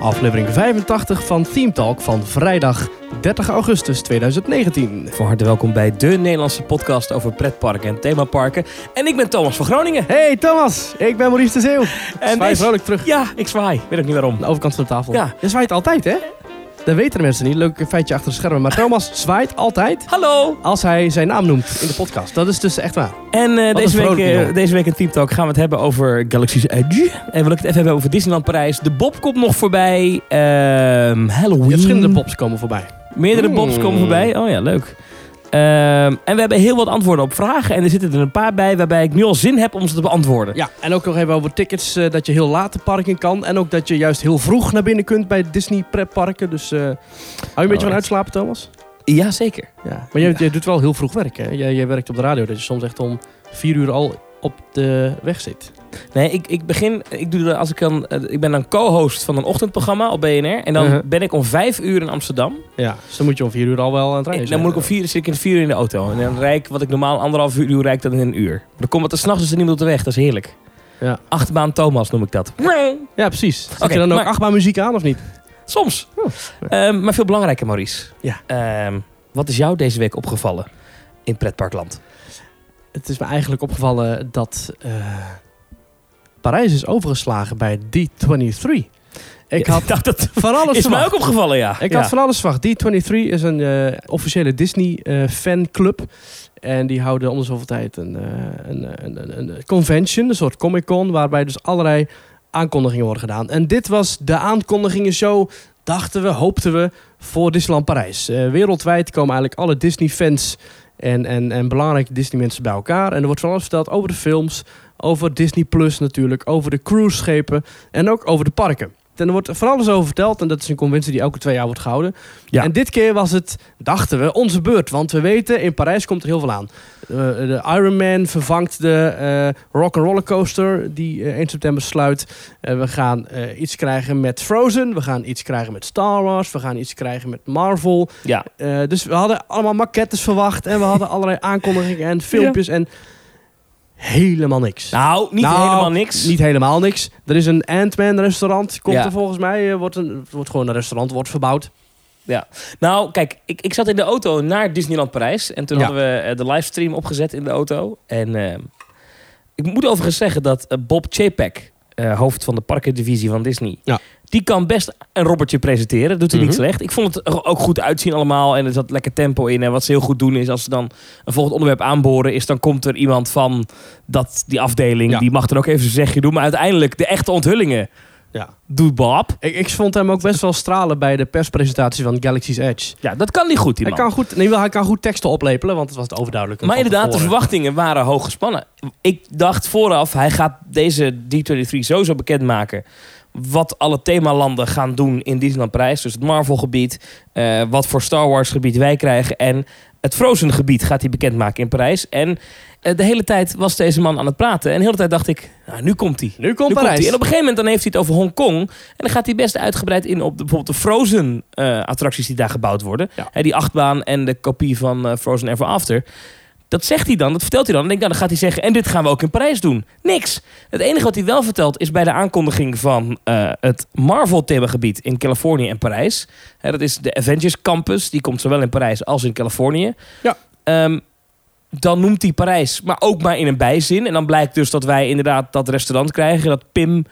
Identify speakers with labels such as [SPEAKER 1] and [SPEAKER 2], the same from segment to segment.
[SPEAKER 1] Aflevering 85 van Team Talk van vrijdag 30 augustus 2019.
[SPEAKER 2] Van harte welkom bij de Nederlandse podcast over pretparken en themaparken. En ik ben Thomas van Groningen.
[SPEAKER 1] Hey Thomas, ik ben Maurice de Zeeuw. En
[SPEAKER 2] En
[SPEAKER 1] zwaai
[SPEAKER 2] deze-
[SPEAKER 1] vrolijk terug
[SPEAKER 2] Ja, ik zwaai. Weet ook niet waarom.
[SPEAKER 1] aan de overkant van de tafel.
[SPEAKER 2] Ja.
[SPEAKER 1] Je zwaait altijd hè? Dat weten de mensen niet, leuk feitje achter de schermen. Maar Thomas zwaait altijd
[SPEAKER 2] Hallo!
[SPEAKER 1] als hij zijn naam noemt in de podcast. Dat is dus echt waar.
[SPEAKER 2] En eh,
[SPEAKER 1] Wat een
[SPEAKER 2] deze, week,
[SPEAKER 1] vrolijke
[SPEAKER 2] eh,
[SPEAKER 1] jongen.
[SPEAKER 2] deze week in Team Talk gaan we het hebben over Galaxy's Edge. En we willen het even hebben over Disneyland Parijs. De Bob komt nog voorbij. Ehm Halloween.
[SPEAKER 1] Je hebt verschillende pops komen voorbij.
[SPEAKER 2] Meerdere
[SPEAKER 1] Mm.
[SPEAKER 2] Bobs komen voorbij. Oh ja, leuk. Ehm, en we hebben heel wat antwoorden op vragen. En er zitten er een paar bij waarbij ik nu al zin heb om ze te beantwoorden.
[SPEAKER 1] Ja, en ook nog even over tickets, eh, dat je heel laat de park in kan. En ook dat je juist heel vroeg naar binnen kunt bij Disney pretparken. Dus eh, hou je een beetje van
[SPEAKER 2] Alright.
[SPEAKER 1] uitslapen Thomas?
[SPEAKER 2] Ja, zeker.
[SPEAKER 1] Ja, maar jij, jij doet wel heel vroeg werk, hè? Jij, jij werkt op de radio, dat je soms echt om vier uur al op de weg zit.
[SPEAKER 2] Nee, ik, ik begin. Ik, doe, dat als ik, kan, eh, ik ben dan co-host van een ochtendprogramma op BNR. En dan
[SPEAKER 1] Uh-huh.
[SPEAKER 2] ben ik om vijf uur in Amsterdam.
[SPEAKER 1] Ja, dus dan moet je om vier uur al wel aan het rijden
[SPEAKER 2] En dan moet ik om vier, zit ik in vier uur in de auto. En dan rijd ik wat ik normaal anderhalf uur doe, rijd ik dat in een uur. Maar dan komt het er s'nachts dus er niemand op de weg. Dat is heerlijk.
[SPEAKER 1] Ja.
[SPEAKER 2] Achtbaan Thomas noem ik dat.
[SPEAKER 1] Ja, precies. Zet
[SPEAKER 2] Oké,
[SPEAKER 1] je dan ook
[SPEAKER 2] maar-
[SPEAKER 1] achtbaan muziek aan of niet?
[SPEAKER 2] Soms.
[SPEAKER 1] Oh,
[SPEAKER 2] Ehm, maar veel belangrijker, Maurice.
[SPEAKER 1] Ja.
[SPEAKER 2] Ehm, wat is jou deze week opgevallen in pretparkland?
[SPEAKER 1] Het is me eigenlijk opgevallen dat eh, Parijs is overgeslagen bij D23. Ik
[SPEAKER 2] Ja, Nou,
[SPEAKER 1] had
[SPEAKER 2] dat, dat
[SPEAKER 1] van alles
[SPEAKER 2] is mij
[SPEAKER 1] verwacht.
[SPEAKER 2] ook opgevallen, ja.
[SPEAKER 1] Ik
[SPEAKER 2] ja.
[SPEAKER 1] had van alles verwacht. D23 is een eh, officiële Disney-fanclub. en die houden om de zoveel tijd een, eh, een, een, een, een convention, een soort Comic-Con, waarbij dus allerlei aankondigingen worden gedaan. En dit was de aankondigingenshow, dachten we, hoopten we, voor Disneyland Parijs. Eh, wereldwijd komen eigenlijk alle Disney-fans en, en, en belangrijke Disney-mensen bij elkaar. En er wordt van alles verteld over de films, over Disney Plus natuurlijk, over de cruiseschepen en ook over de parken. En er wordt van alles over verteld en dat is een conventie die elke twee jaar wordt gehouden.
[SPEAKER 2] Ja.
[SPEAKER 1] En dit keer was het, dachten we, onze beurt. Want we weten, in Parijs komt er heel veel aan. Eh, de Iron Man vervangt de eh Rock'n'Roller Coaster die eh, 1 september sluit. Eh, we gaan eh, iets krijgen met Frozen. We gaan iets krijgen met Star Wars. We gaan iets krijgen met Marvel.
[SPEAKER 2] ja.
[SPEAKER 1] Eh, dus we hadden allemaal maquettes verwacht. En we hadden allerlei aankondigingen en filmpjes. En helemaal niks.
[SPEAKER 2] Nou, niet
[SPEAKER 1] Nou,
[SPEAKER 2] helemaal niks.
[SPEAKER 1] Niet helemaal niks. Er is een Ant-Man restaurant. Komt
[SPEAKER 2] Ja.
[SPEAKER 1] er volgens mij. eh, wordt, een, wordt gewoon een restaurant wordt verbouwd.
[SPEAKER 2] Nou, kijk, ik, ik zat in de auto naar Disneyland Parijs. En toen
[SPEAKER 1] Ja.
[SPEAKER 2] hadden we eh, de livestream opgezet in de auto. En eh, ik moet overigens zeggen dat eh, Bob Chapek, eh, hoofd van de parkendivisie van Disney...
[SPEAKER 1] Ja.
[SPEAKER 2] die kan best een robbertje presenteren. Dat doet hij
[SPEAKER 1] Mhm.
[SPEAKER 2] niet slecht. Ik vond het ook goed uitzien allemaal. En er zat lekker tempo in. En wat ze heel goed doen is als ze dan een volgend onderwerp aanboren... is dan komt er iemand van dat, die afdeling.
[SPEAKER 1] Ja.
[SPEAKER 2] Die mag er ook even zijn zegje doen. Maar uiteindelijk de echte onthullingen
[SPEAKER 1] Ja.
[SPEAKER 2] doet Bob.
[SPEAKER 1] Ik, ik vond hem ook best wel stralen bij de perspresentatie van Galaxy's Edge.
[SPEAKER 2] Ja, dat kan niet goed, die
[SPEAKER 1] Hij
[SPEAKER 2] man.
[SPEAKER 1] kan, goed, nee, wel, hij kan goed teksten oplepelen, want het was het overduidelijk.
[SPEAKER 2] Maar
[SPEAKER 1] van
[SPEAKER 2] inderdaad, de
[SPEAKER 1] tevoren.
[SPEAKER 2] verwachtingen waren hoog gespannen. Ik dacht vooraf, hij gaat deze D23 sowieso bekendmaken. Wat alle themalanden gaan doen in Disneyland Parijs. Dus het Marvel-gebied, eh, wat voor Star Wars-gebied wij krijgen. En het Frozen-gebied gaat hij bekendmaken in Parijs. En eh, de hele tijd was deze man aan het praten. En de hele tijd dacht ik, nou, nu komt hij.
[SPEAKER 1] Nu komt
[SPEAKER 2] Nu komt
[SPEAKER 1] Parijs.
[SPEAKER 2] hij. En op een gegeven moment dan heeft hij het over Hongkong. En dan gaat hij best uitgebreid in op de, bijvoorbeeld de Frozen-attracties die daar gebouwd worden.
[SPEAKER 1] Ja.
[SPEAKER 2] Hè, die achtbaan en de kopie van eh, Frozen Ever After. Dat zegt hij dan, dat vertelt hij dan. En ik denk, nou, dan gaat hij zeggen, en dit gaan we ook in Parijs doen. Niks. Het enige wat hij wel vertelt is bij de aankondiging van eh, het Marvel-themagebied in Californië en Parijs. Hè, dat is de Avengers Campus. Die komt zowel in Parijs als in Californië.
[SPEAKER 1] Ja.
[SPEAKER 2] Ehm, dan noemt hij Parijs, maar ook maar in een bijzin. En dan blijkt dus dat wij inderdaad dat restaurant krijgen. Dat Pim...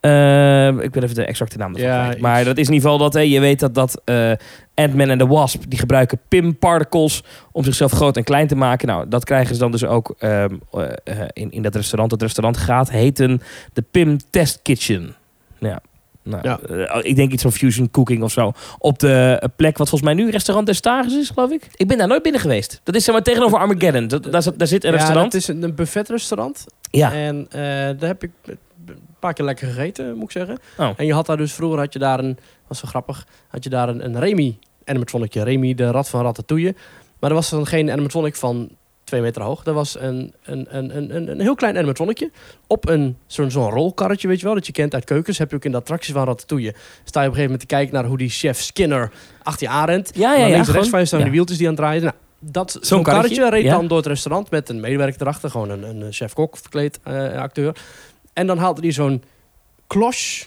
[SPEAKER 2] eh, ik weet even de exacte naam ervan
[SPEAKER 1] Ja,
[SPEAKER 2] kwijt.
[SPEAKER 1] iets.
[SPEAKER 2] Maar dat is in ieder geval dat... Hè, je weet dat, dat eh, Ant-Man en de Wasp... die gebruiken Pim-particles om zichzelf groot en klein te maken. Nou, dat krijgen ze dan dus ook ehm, eh, eh, in, in dat restaurant. Dat restaurant gaat heten de Pim Test Kitchen. Ja. Nou,
[SPEAKER 1] Ja.
[SPEAKER 2] eh, ik denk iets van fusion cooking of zo. Op de eh, plek wat volgens mij nu restaurant Destages is, geloof ik. Ik ben daar nooit binnen geweest. Dat is zeg maar tegenover Armageddon. Dat, daar, zit- daar zit een
[SPEAKER 1] Ja,
[SPEAKER 2] restaurant.
[SPEAKER 1] Het is een, een buffetrestaurant.
[SPEAKER 2] Ja.
[SPEAKER 1] En eh, daar heb ik een paar keer lekker gegeten, moet ik zeggen.
[SPEAKER 2] Oh.
[SPEAKER 1] En je had daar dus vroeger, had je daar een, was zo grappig, had je daar een, een Remy animatronicje. Remy, de rat van Ratatouille. Maar er was dan geen animatronic van twee meter hoog. Dat was een, een, een, een, een, een heel klein animatronicje. Op een, zo'n, zo'n rolkarretje, weet je wel, dat je kent uit keukens. Heb je ook in de attracties van Ratatouille. Sta je op een gegeven moment te kijken naar hoe die chef Skinner achter je aanrent. En
[SPEAKER 2] Ja, Ah, ja,
[SPEAKER 1] dan
[SPEAKER 2] ja.
[SPEAKER 1] links en rechts
[SPEAKER 2] gewoon-
[SPEAKER 1] van je staan
[SPEAKER 2] ja.
[SPEAKER 1] die wieltjes die aan het draaien. zijn. Nou, dat, zo'n, karretje,
[SPEAKER 2] karretje,
[SPEAKER 1] reed
[SPEAKER 2] ja.
[SPEAKER 1] dan door het restaurant met een medewerker erachter. Gewoon een, een eh, chef-kok verkleed eh, acteur. En dan haalde hij zo'n klosh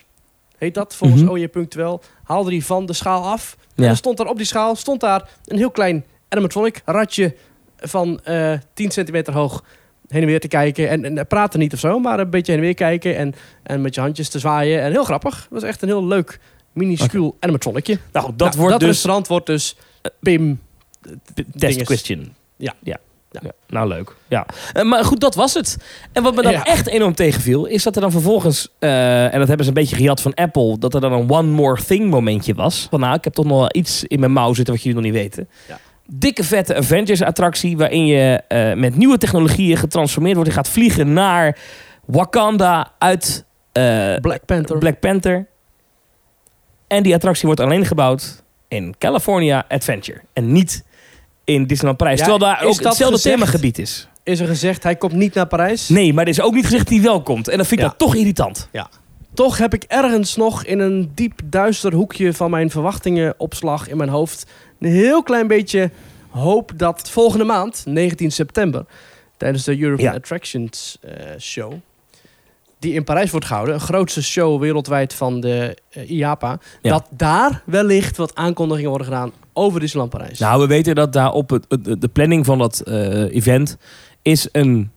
[SPEAKER 1] heet dat, volgens
[SPEAKER 2] Mhm.
[SPEAKER 1] OJ.wel, haalde die van de schaal af. En
[SPEAKER 2] Ja.
[SPEAKER 1] dan stond daar op die schaal stond daar een heel klein animatronic ratje van eh 10 centimeter hoog heen en weer te kijken. En, en praten niet of zo, maar een beetje heen en weer kijken en, en met je handjes te zwaaien. En heel grappig. Het was echt een heel leuk, minuscuul animatronicje.
[SPEAKER 2] Nou, dat
[SPEAKER 1] Nou,
[SPEAKER 2] wordt
[SPEAKER 1] dat
[SPEAKER 2] dus Eh,
[SPEAKER 1] restaurant wordt dus Pim.
[SPEAKER 2] test
[SPEAKER 1] dinges.
[SPEAKER 2] question.
[SPEAKER 1] Ja.
[SPEAKER 2] ja.
[SPEAKER 1] Ja.
[SPEAKER 2] Ja. Nou, leuk. Ja. Eh, maar goed, dat was het. En wat me dan
[SPEAKER 1] Ja.
[SPEAKER 2] echt enorm tegenviel, is dat er dan vervolgens, eh, en dat hebben ze een beetje gejat van Apple, dat er dan een one more thing momentje was. Van nou, ik heb toch nog wel iets in mijn mouw zitten wat jullie nog niet weten.
[SPEAKER 1] Ja.
[SPEAKER 2] Dikke vette Avengers-attractie, waarin je eh, met nieuwe technologieën getransformeerd wordt. Je gaat vliegen naar Wakanda uit eh,
[SPEAKER 1] Black Panther.
[SPEAKER 2] Black Panther. En die attractie wordt alleen gebouwd in California Adventure. En niet in Disneyland Parijs.
[SPEAKER 1] Ja,
[SPEAKER 2] terwijl daar
[SPEAKER 1] is
[SPEAKER 2] ook
[SPEAKER 1] dat
[SPEAKER 2] hetzelfde
[SPEAKER 1] gezegd?
[SPEAKER 2] themagebied is.
[SPEAKER 1] Is er gezegd, hij komt niet naar Parijs.
[SPEAKER 2] Nee, maar er is ook niet gezegd die wel komt. En dat vind ik
[SPEAKER 1] Ja.
[SPEAKER 2] dan toch irritant.
[SPEAKER 1] Toch heb ik ergens nog in een diep duister hoekje van mijn verwachtingenopslag in mijn hoofd een heel klein beetje hoop dat volgende maand, 19 september, tijdens de European
[SPEAKER 2] Ja.
[SPEAKER 1] Attractions eh, Show, die in Parijs wordt gehouden, een grootste show wereldwijd van de eh, IAPA,
[SPEAKER 2] Ja.
[SPEAKER 1] dat daar wellicht wat aankondigingen worden gedaan over Disneyland Parijs.
[SPEAKER 2] Nou, we weten dat daar op het, het- de planning van dat eh, event is een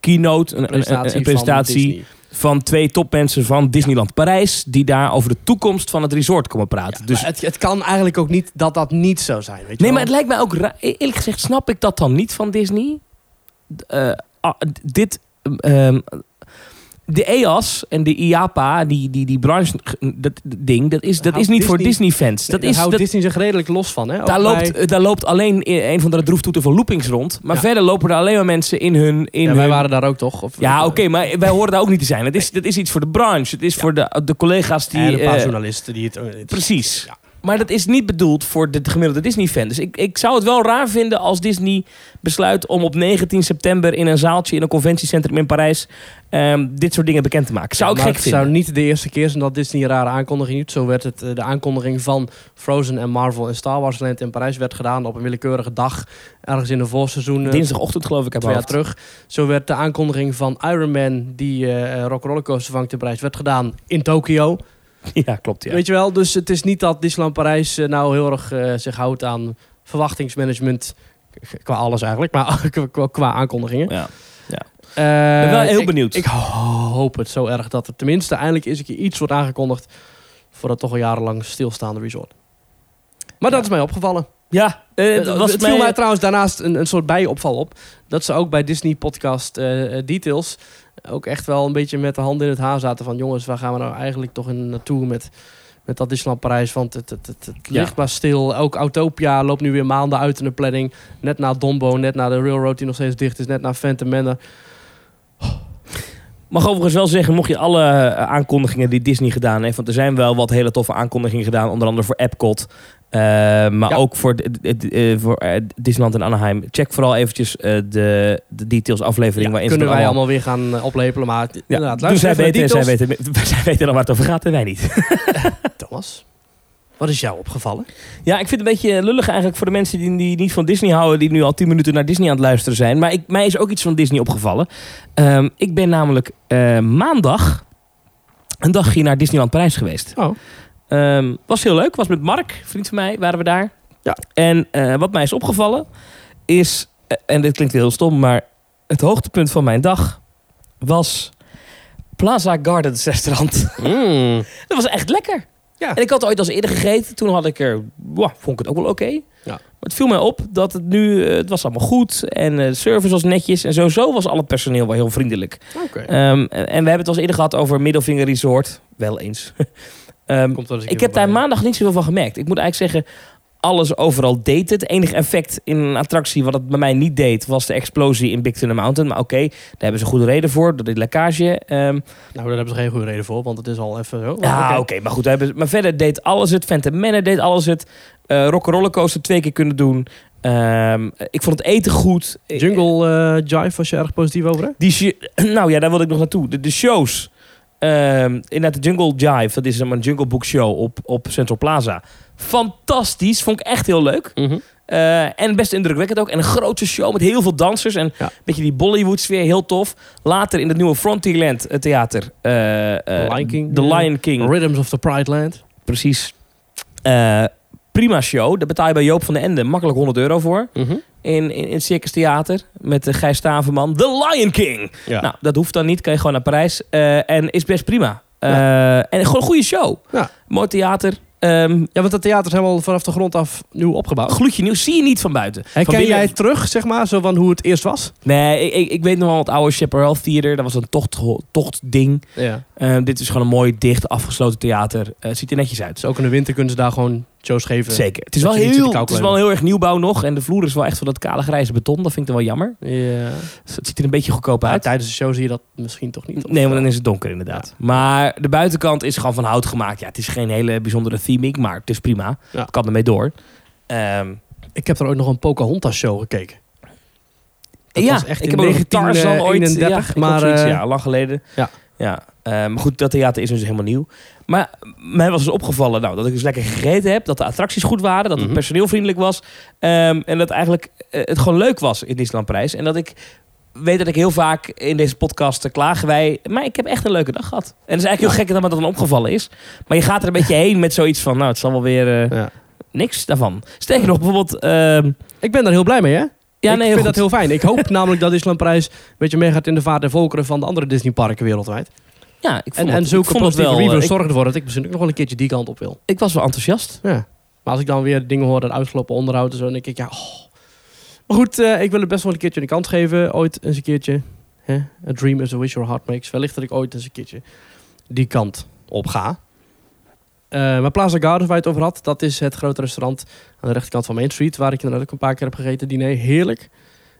[SPEAKER 2] keynote, een, een- een- een,
[SPEAKER 1] van
[SPEAKER 2] presentatie
[SPEAKER 1] Disney.
[SPEAKER 2] van, twee topmensen van Disneyland Parijs. Die daar over de toekomst van het resort komen praten.
[SPEAKER 1] Ja,
[SPEAKER 2] dus
[SPEAKER 1] maar het, het kan eigenlijk ook niet dat dat niet zou zijn. Weet je
[SPEAKER 2] Nee,
[SPEAKER 1] wel?
[SPEAKER 2] maar het lijkt mij ook raar. Eerlijk gezegd, snap ik dat dan niet van Disney? D- eh, ah, d- dit. ehm, de EAS en de IAPA, die, die, die branche, dat ding, dat is, dat
[SPEAKER 1] Houdt
[SPEAKER 2] is niet voor
[SPEAKER 1] Disney-
[SPEAKER 2] Disney-fans.
[SPEAKER 1] Nee,
[SPEAKER 2] Dat
[SPEAKER 1] daar
[SPEAKER 2] is,
[SPEAKER 1] houdt
[SPEAKER 2] dat,
[SPEAKER 1] Disney zich redelijk los van. Hè? Ook
[SPEAKER 2] daar,
[SPEAKER 1] bij-
[SPEAKER 2] loopt, eh, daar loopt alleen eh, een van de droeftoeten van loopings rond. Maar
[SPEAKER 1] Ja.
[SPEAKER 2] verder lopen er alleen maar mensen in hun... In
[SPEAKER 1] ja,
[SPEAKER 2] hun...
[SPEAKER 1] wij waren daar ook toch? Of,
[SPEAKER 2] ja oké, maar wij horen daar ook niet te zijn. Het is, dat is iets voor de branche. Het is voor de, de collega's die...
[SPEAKER 1] en een paar
[SPEAKER 2] eh,
[SPEAKER 1] journalisten die het... eh, het-
[SPEAKER 2] Precies.
[SPEAKER 1] Ja.
[SPEAKER 2] Maar dat is niet bedoeld voor de gemiddelde Disney-fan. Dus ik, ik zou het wel raar vinden als Disney besluit om op 19 september in een zaaltje in een conventiecentrum in Parijs ehm, dit soort dingen bekend te maken. Zou ik
[SPEAKER 1] Maar
[SPEAKER 2] gek
[SPEAKER 1] het
[SPEAKER 2] vinden.
[SPEAKER 1] zou niet de eerste keer zijn dat Disney een rare aankondiging doet. Zo werd het eh, de aankondiging van Frozen en Marvel en Star Wars Land in Parijs werd gedaan op een willekeurige dag. Ergens in de voorseizoen, eh,
[SPEAKER 2] Dinsdagochtend geloof ik. uit
[SPEAKER 1] twee
[SPEAKER 2] mijn
[SPEAKER 1] jaar
[SPEAKER 2] hoofd.
[SPEAKER 1] terug. Zo werd de aankondiging van Iron Man, die eh, Rock Rollercoaster vangt in Parijs, werd gedaan in Tokio.
[SPEAKER 2] Ja, klopt. Ja.
[SPEAKER 1] Weet je wel, dus het is niet dat Disneyland Parijs eh, nou heel erg eh, zich houdt aan verwachtingsmanagement. K- Qua alles eigenlijk, maar qua, qua aankondigingen.
[SPEAKER 2] Ja.
[SPEAKER 1] Eh,
[SPEAKER 2] ben wel heel
[SPEAKER 1] ik-
[SPEAKER 2] benieuwd.
[SPEAKER 1] Ik hoop het zo erg dat er tenminste eindelijk eens een keer iets wordt aangekondigd voor dat toch al jarenlang stilstaande resort. Maar dat
[SPEAKER 2] Ja.
[SPEAKER 1] is mij opgevallen.
[SPEAKER 2] ja eh,
[SPEAKER 1] Het,
[SPEAKER 2] dat was
[SPEAKER 1] het
[SPEAKER 2] mij-
[SPEAKER 1] viel mij trouwens daarnaast een, een soort bijopval op. Dat ze ook bij Disney Podcast eh, eh, Details ook echt wel een beetje met de handen in het haar zaten van... jongens, waar gaan we nou eigenlijk toch in naartoe met, met dat Disneyland Parijs? Want het, het, het, het
[SPEAKER 2] Ja.
[SPEAKER 1] ligt maar stil. Ook Autopia loopt nu weer maanden uit in de planning. Net na Dombo, net na de Railroad die nog steeds dicht is. Net na Phantom Manor.
[SPEAKER 2] Mag overigens wel zeggen, mocht je alle eh, aankondigingen die Disney gedaan heeft... want er zijn wel wat hele toffe aankondigingen gedaan. Onder andere voor Epcot. eh, maar
[SPEAKER 1] Ja.
[SPEAKER 2] ook voor, d- d- d- eh, voor eh, Disneyland en Anaheim. Check vooral eventjes eh, de, de details aflevering...
[SPEAKER 1] Ja,
[SPEAKER 2] waarin ze
[SPEAKER 1] kunnen
[SPEAKER 2] dat
[SPEAKER 1] wij
[SPEAKER 2] allemaal
[SPEAKER 1] allemaal weer gaan eh, oplepelen. Maar het-
[SPEAKER 2] Ja,
[SPEAKER 1] inderdaad,
[SPEAKER 2] doen
[SPEAKER 1] luister
[SPEAKER 2] zij
[SPEAKER 1] even naar
[SPEAKER 2] weten, zij
[SPEAKER 1] Details.
[SPEAKER 2] weten, zij weten dan waar het over gaat en wij niet.
[SPEAKER 1] Thomas, wat is jou opgevallen?
[SPEAKER 2] Ja, ik vind het een beetje lullig eigenlijk voor de mensen die, die niet van Disney houden... die nu al tien minuten naar Disney aan het luisteren zijn. Maar ik, mij is ook iets van Disney opgevallen. Ehm, ik ben namelijk eh, maandag een dagje naar Disneyland Parijs geweest.
[SPEAKER 1] Oh.
[SPEAKER 2] Ehm, was heel leuk. Was met Mark, vriend van mij, waren we daar.
[SPEAKER 1] Ja.
[SPEAKER 2] En eh, wat mij is opgevallen is, eh, en dit klinkt heel stom, maar het hoogtepunt van mijn dag was Plaza Gardens restaurant.
[SPEAKER 1] Hmm.
[SPEAKER 2] Dat was echt lekker.
[SPEAKER 1] Ja.
[SPEAKER 2] En ik had ooit als eerder gegeten. Toen had ik er, wow, vond ik het ook wel oké.
[SPEAKER 1] Ja.
[SPEAKER 2] Maar het viel mij op dat het nu, eh, het was allemaal goed. En eh, de service was netjes. En sowieso was al het personeel wel heel vriendelijk.
[SPEAKER 1] Oké.
[SPEAKER 2] Ehm, en en we hebben het al eens eerder gehad over Middelvinger Resort. Wel eens. Ehm,
[SPEAKER 1] Komt wel eens een
[SPEAKER 2] ik
[SPEAKER 1] keer
[SPEAKER 2] heb daar
[SPEAKER 1] voorbij.
[SPEAKER 2] maandag niet zoveel van gemerkt. Ik moet eigenlijk zeggen, alles overal deed het. Enig effect in een attractie wat het bij mij niet deed... was de explosie in Big Thunder Mountain. Maar oké, daar hebben ze goede reden voor, door die lekkage. Ehm,
[SPEAKER 1] Nou, daar hebben ze geen goede reden voor, want het is al even zo.
[SPEAKER 2] ja, oké, maar goed. daar hebben ze- Maar verder deed alles het. Phantom Manor deed alles het. Eh Rock'n'Roller Coaster twee keer kunnen doen. Ehm, ik vond het eten goed.
[SPEAKER 1] Jungle eh Jive eh, was je erg positief over, hè?
[SPEAKER 2] Die shi- nou ja, daar wilde ik nog naartoe. De, de shows Ehm, inderdaad, de Jungle Jive, dat is een Jungle Book Show op, op Central Plaza. Fantastisch, vond ik echt heel leuk. Eh, en best indrukwekkend ook. En een grote show met heel veel dansers. En
[SPEAKER 1] Ja.
[SPEAKER 2] een beetje die Bollywood sfeer, heel tof. Later in het nieuwe Frontierland eh, theater. eh, eh,
[SPEAKER 1] The Lion King.
[SPEAKER 2] The
[SPEAKER 1] Ja.
[SPEAKER 2] Lion King.
[SPEAKER 1] Rhythms of the Pride Land.
[SPEAKER 2] Precies. Eh, prima show. Daar betaal je bij Joop van den Ende makkelijk 100 euro voor. In, in, in het Circus Theater met eh, Gijs Staverman. The Lion King.
[SPEAKER 1] Ja.
[SPEAKER 2] Nou, dat hoeft dan niet. Kan je gewoon naar Parijs. Eh, en is best prima. Eh, En gewoon een goede show.
[SPEAKER 1] Ja.
[SPEAKER 2] Mooi theater. Ehm
[SPEAKER 1] ja, want dat theater is helemaal vanaf de grond af nieuw opgebouwd.
[SPEAKER 2] gloedje nieuw. Zie je niet van buiten. van
[SPEAKER 1] Herken
[SPEAKER 2] binnen-
[SPEAKER 1] jij het terug, zeg maar, zo van hoe het eerst was?
[SPEAKER 2] Nee, ik, ik, ik weet nog wel het oude Chaparral Theater. Dat was een tocht, tochtding.
[SPEAKER 1] Ja.
[SPEAKER 2] Eh, dit is gewoon een mooi, dicht, afgesloten theater. Eh, het ziet er netjes uit.
[SPEAKER 1] Dus ook in de winter kunnen ze daar gewoon shows geven.
[SPEAKER 2] Zeker. Het is,
[SPEAKER 1] Dat
[SPEAKER 2] wel
[SPEAKER 1] je niet zit te
[SPEAKER 2] heel, het is
[SPEAKER 1] koukelen.
[SPEAKER 2] wel heel erg nieuwbouw nog. En de vloer is wel echt van dat kale grijze beton. Dat vind ik dan wel jammer.
[SPEAKER 1] Ja.
[SPEAKER 2] Dus het ziet er een beetje goedkoop
[SPEAKER 1] Maar
[SPEAKER 2] uit.
[SPEAKER 1] tijdens de show zie je dat misschien toch niet. eh,
[SPEAKER 2] Nee, want dan is het donker inderdaad. Maar de buitenkant is gewoon van hout gemaakt. Ja, het is geen hele bijzondere theming, maar het is prima.
[SPEAKER 1] Ja.
[SPEAKER 2] Ik kan ermee door. Ehm,
[SPEAKER 1] Ik heb er ook nog een Pocahontas show gekeken. Dat
[SPEAKER 2] ja,
[SPEAKER 1] was echt
[SPEAKER 2] ik
[SPEAKER 1] in
[SPEAKER 2] heb ook nog Tarzan ooit.
[SPEAKER 1] 1931,
[SPEAKER 2] ja, ik
[SPEAKER 1] maar,
[SPEAKER 2] ook zoiets,
[SPEAKER 1] eh,
[SPEAKER 2] ja, lang geleden.
[SPEAKER 1] ja.
[SPEAKER 2] ja. eh, maar goed, dat theater is dus helemaal nieuw. Maar mij was dus opgevallen nou, dat ik dus lekker gegeten heb. Dat de attracties goed waren. Dat het
[SPEAKER 1] Mhm.
[SPEAKER 2] personeelvriendelijk was. ehm, en dat eigenlijk eh, het gewoon leuk was in Disneyland Prijs. En dat ik weet dat ik heel vaak in deze podcast eh, klagen wij. Maar ik heb echt een leuke dag gehad. En het is eigenlijk heel gek dat me dat dan opgevallen is. Maar je gaat er een beetje heen met zoiets van... Nou, het zal wel weer eh,
[SPEAKER 1] Ja.
[SPEAKER 2] niks daarvan. Sterker nog, bijvoorbeeld... ehm,
[SPEAKER 1] Ik ben daar heel blij mee, hè?
[SPEAKER 2] ja,
[SPEAKER 1] ik
[SPEAKER 2] nee, heel
[SPEAKER 1] vind
[SPEAKER 2] goed.
[SPEAKER 1] dat heel fijn. Ik hoop namelijk dat Disneyland Parijs een beetje meegaat in de vaart en volkeren van de andere Disneyparken wereldwijd.
[SPEAKER 2] Ja, ik vond
[SPEAKER 1] En,
[SPEAKER 2] het,
[SPEAKER 1] en
[SPEAKER 2] ik
[SPEAKER 1] zulke
[SPEAKER 2] vond het
[SPEAKER 1] positieve
[SPEAKER 2] wel, eh,
[SPEAKER 1] reviews
[SPEAKER 2] ik-
[SPEAKER 1] zorgen ervoor dat ik misschien ook nog wel een keertje die kant op wil.
[SPEAKER 2] Ik was wel enthousiast.
[SPEAKER 1] Ja. Maar als ik dan weer dingen hoor dat uitgelopen onderhoud en zo, dan denk ik, ja, oh. Maar goed, eh, ik wil het best wel een keertje een kans geven. Ooit eens een keertje. Hè? A dream is a wish your heart makes. Wellicht dat ik ooit eens een keertje die kant op ga. Eh, maar Plaza Gardens, waar je het over had, dat is het grote restaurant aan de rechterkant van Main Street, waar ik inderdaad ook een paar keer heb gegeten. Diner, heerlijk.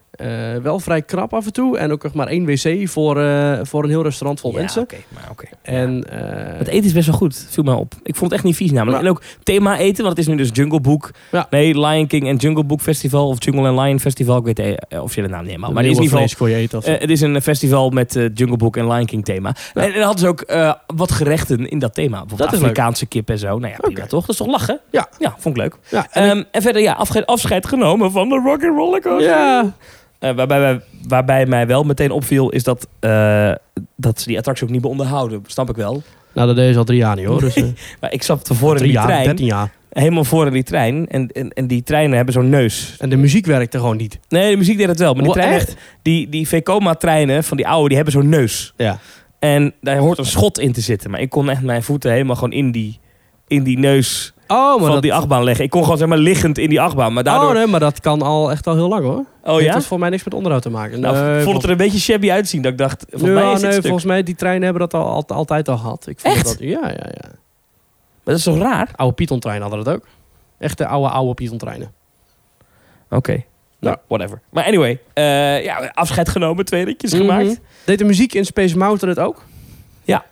[SPEAKER 1] Eh, wel vrij krap af en toe. En ook nog maar één wc voor, eh, voor een heel restaurant vol
[SPEAKER 2] Ja,
[SPEAKER 1] mensen.
[SPEAKER 2] oké, maar oké. Ja.
[SPEAKER 1] En, eh,
[SPEAKER 2] Het eten is best wel goed, viel mij op. Ik vond het echt niet vies namelijk.
[SPEAKER 1] Ja.
[SPEAKER 2] En ook thema eten, want het is nu dus Jungle Book.
[SPEAKER 1] Ja.
[SPEAKER 2] Nee, Lion King en Jungle Book Festival of Jungle and Lion Festival. Ik weet de eh, officiële naam niet helemaal. Maar het is in ieder geval...
[SPEAKER 1] vlees voor je eten. of zo.
[SPEAKER 2] eh, het is een festival met eh, Jungle Book en Lion King thema.
[SPEAKER 1] Ja.
[SPEAKER 2] En, en dan hadden ze ook eh, wat gerechten in dat thema. Bijvoorbeeld
[SPEAKER 1] Dat is leuk.
[SPEAKER 2] Afrikaanse kip en zo. Nou ja, prima
[SPEAKER 1] Oké.
[SPEAKER 2] toch? Dat is toch lachen?
[SPEAKER 1] Ja.
[SPEAKER 2] Ja, vond ik leuk.
[SPEAKER 1] ja, en
[SPEAKER 2] Ehm, en verder, ja, afscheid, afscheid genomen van de Rock'n'Roller Coaster.
[SPEAKER 1] Ja.
[SPEAKER 2] Eh, waarbij, wij- waarbij mij wel meteen opviel is dat, eh, dat ze die attractie ook niet meer onderhouden. Snap ik wel.
[SPEAKER 1] Nou, dat deed ze al drie jaar niet hoor. Dus, eh,
[SPEAKER 2] Maar ik zat tevoren in
[SPEAKER 1] drie
[SPEAKER 2] die
[SPEAKER 1] jaar,
[SPEAKER 2] trein.
[SPEAKER 1] dertien jaar.
[SPEAKER 2] Helemaal voor in die trein. En, en, en die treinen hebben zo'n neus.
[SPEAKER 1] En de muziek werkte gewoon niet.
[SPEAKER 2] Nee, de muziek deed het wel. Maar die,
[SPEAKER 1] Wa-
[SPEAKER 2] treinen,
[SPEAKER 1] echt?
[SPEAKER 2] die, die VKOMA-treinen van die oude, die hebben zo'n neus.
[SPEAKER 1] Ja.
[SPEAKER 2] En daar hoort een schot in te zitten. Maar ik kon echt mijn voeten helemaal gewoon in die, in die neus
[SPEAKER 1] Oh, maar
[SPEAKER 2] van
[SPEAKER 1] dat,
[SPEAKER 2] die achtbaan leggen. Ik kon gewoon zeg maar liggend in die achtbaan. Maar daardoor...
[SPEAKER 1] oh, nee, maar dat kan al echt al heel lang hoor.
[SPEAKER 2] oh
[SPEAKER 1] Het
[SPEAKER 2] ja?
[SPEAKER 1] is voor mij niks met onderhoud te maken.
[SPEAKER 2] Nou,
[SPEAKER 1] Nee,
[SPEAKER 2] ik vond het er een beetje shabby uitzien. Dat ik dacht, volgens mij
[SPEAKER 1] Ja,
[SPEAKER 2] is dit
[SPEAKER 1] nee,
[SPEAKER 2] stuk.
[SPEAKER 1] volgens mij die treinen hebben dat al, al- altijd al gehad. Ik vond
[SPEAKER 2] Echt?
[SPEAKER 1] Dat, ja, ja, ja.
[SPEAKER 2] Maar dat is toch raar?
[SPEAKER 1] Oude Python-treinen hadden dat ook. Echte oude, oude Python-treinen.
[SPEAKER 2] Oké. Nou, whatever. Maar anyway, eh, ja, afscheid genomen, twee ritjes
[SPEAKER 1] Mhm.
[SPEAKER 2] gemaakt.
[SPEAKER 1] Deed de muziek in Space Mountain het ook?
[SPEAKER 2] Ja.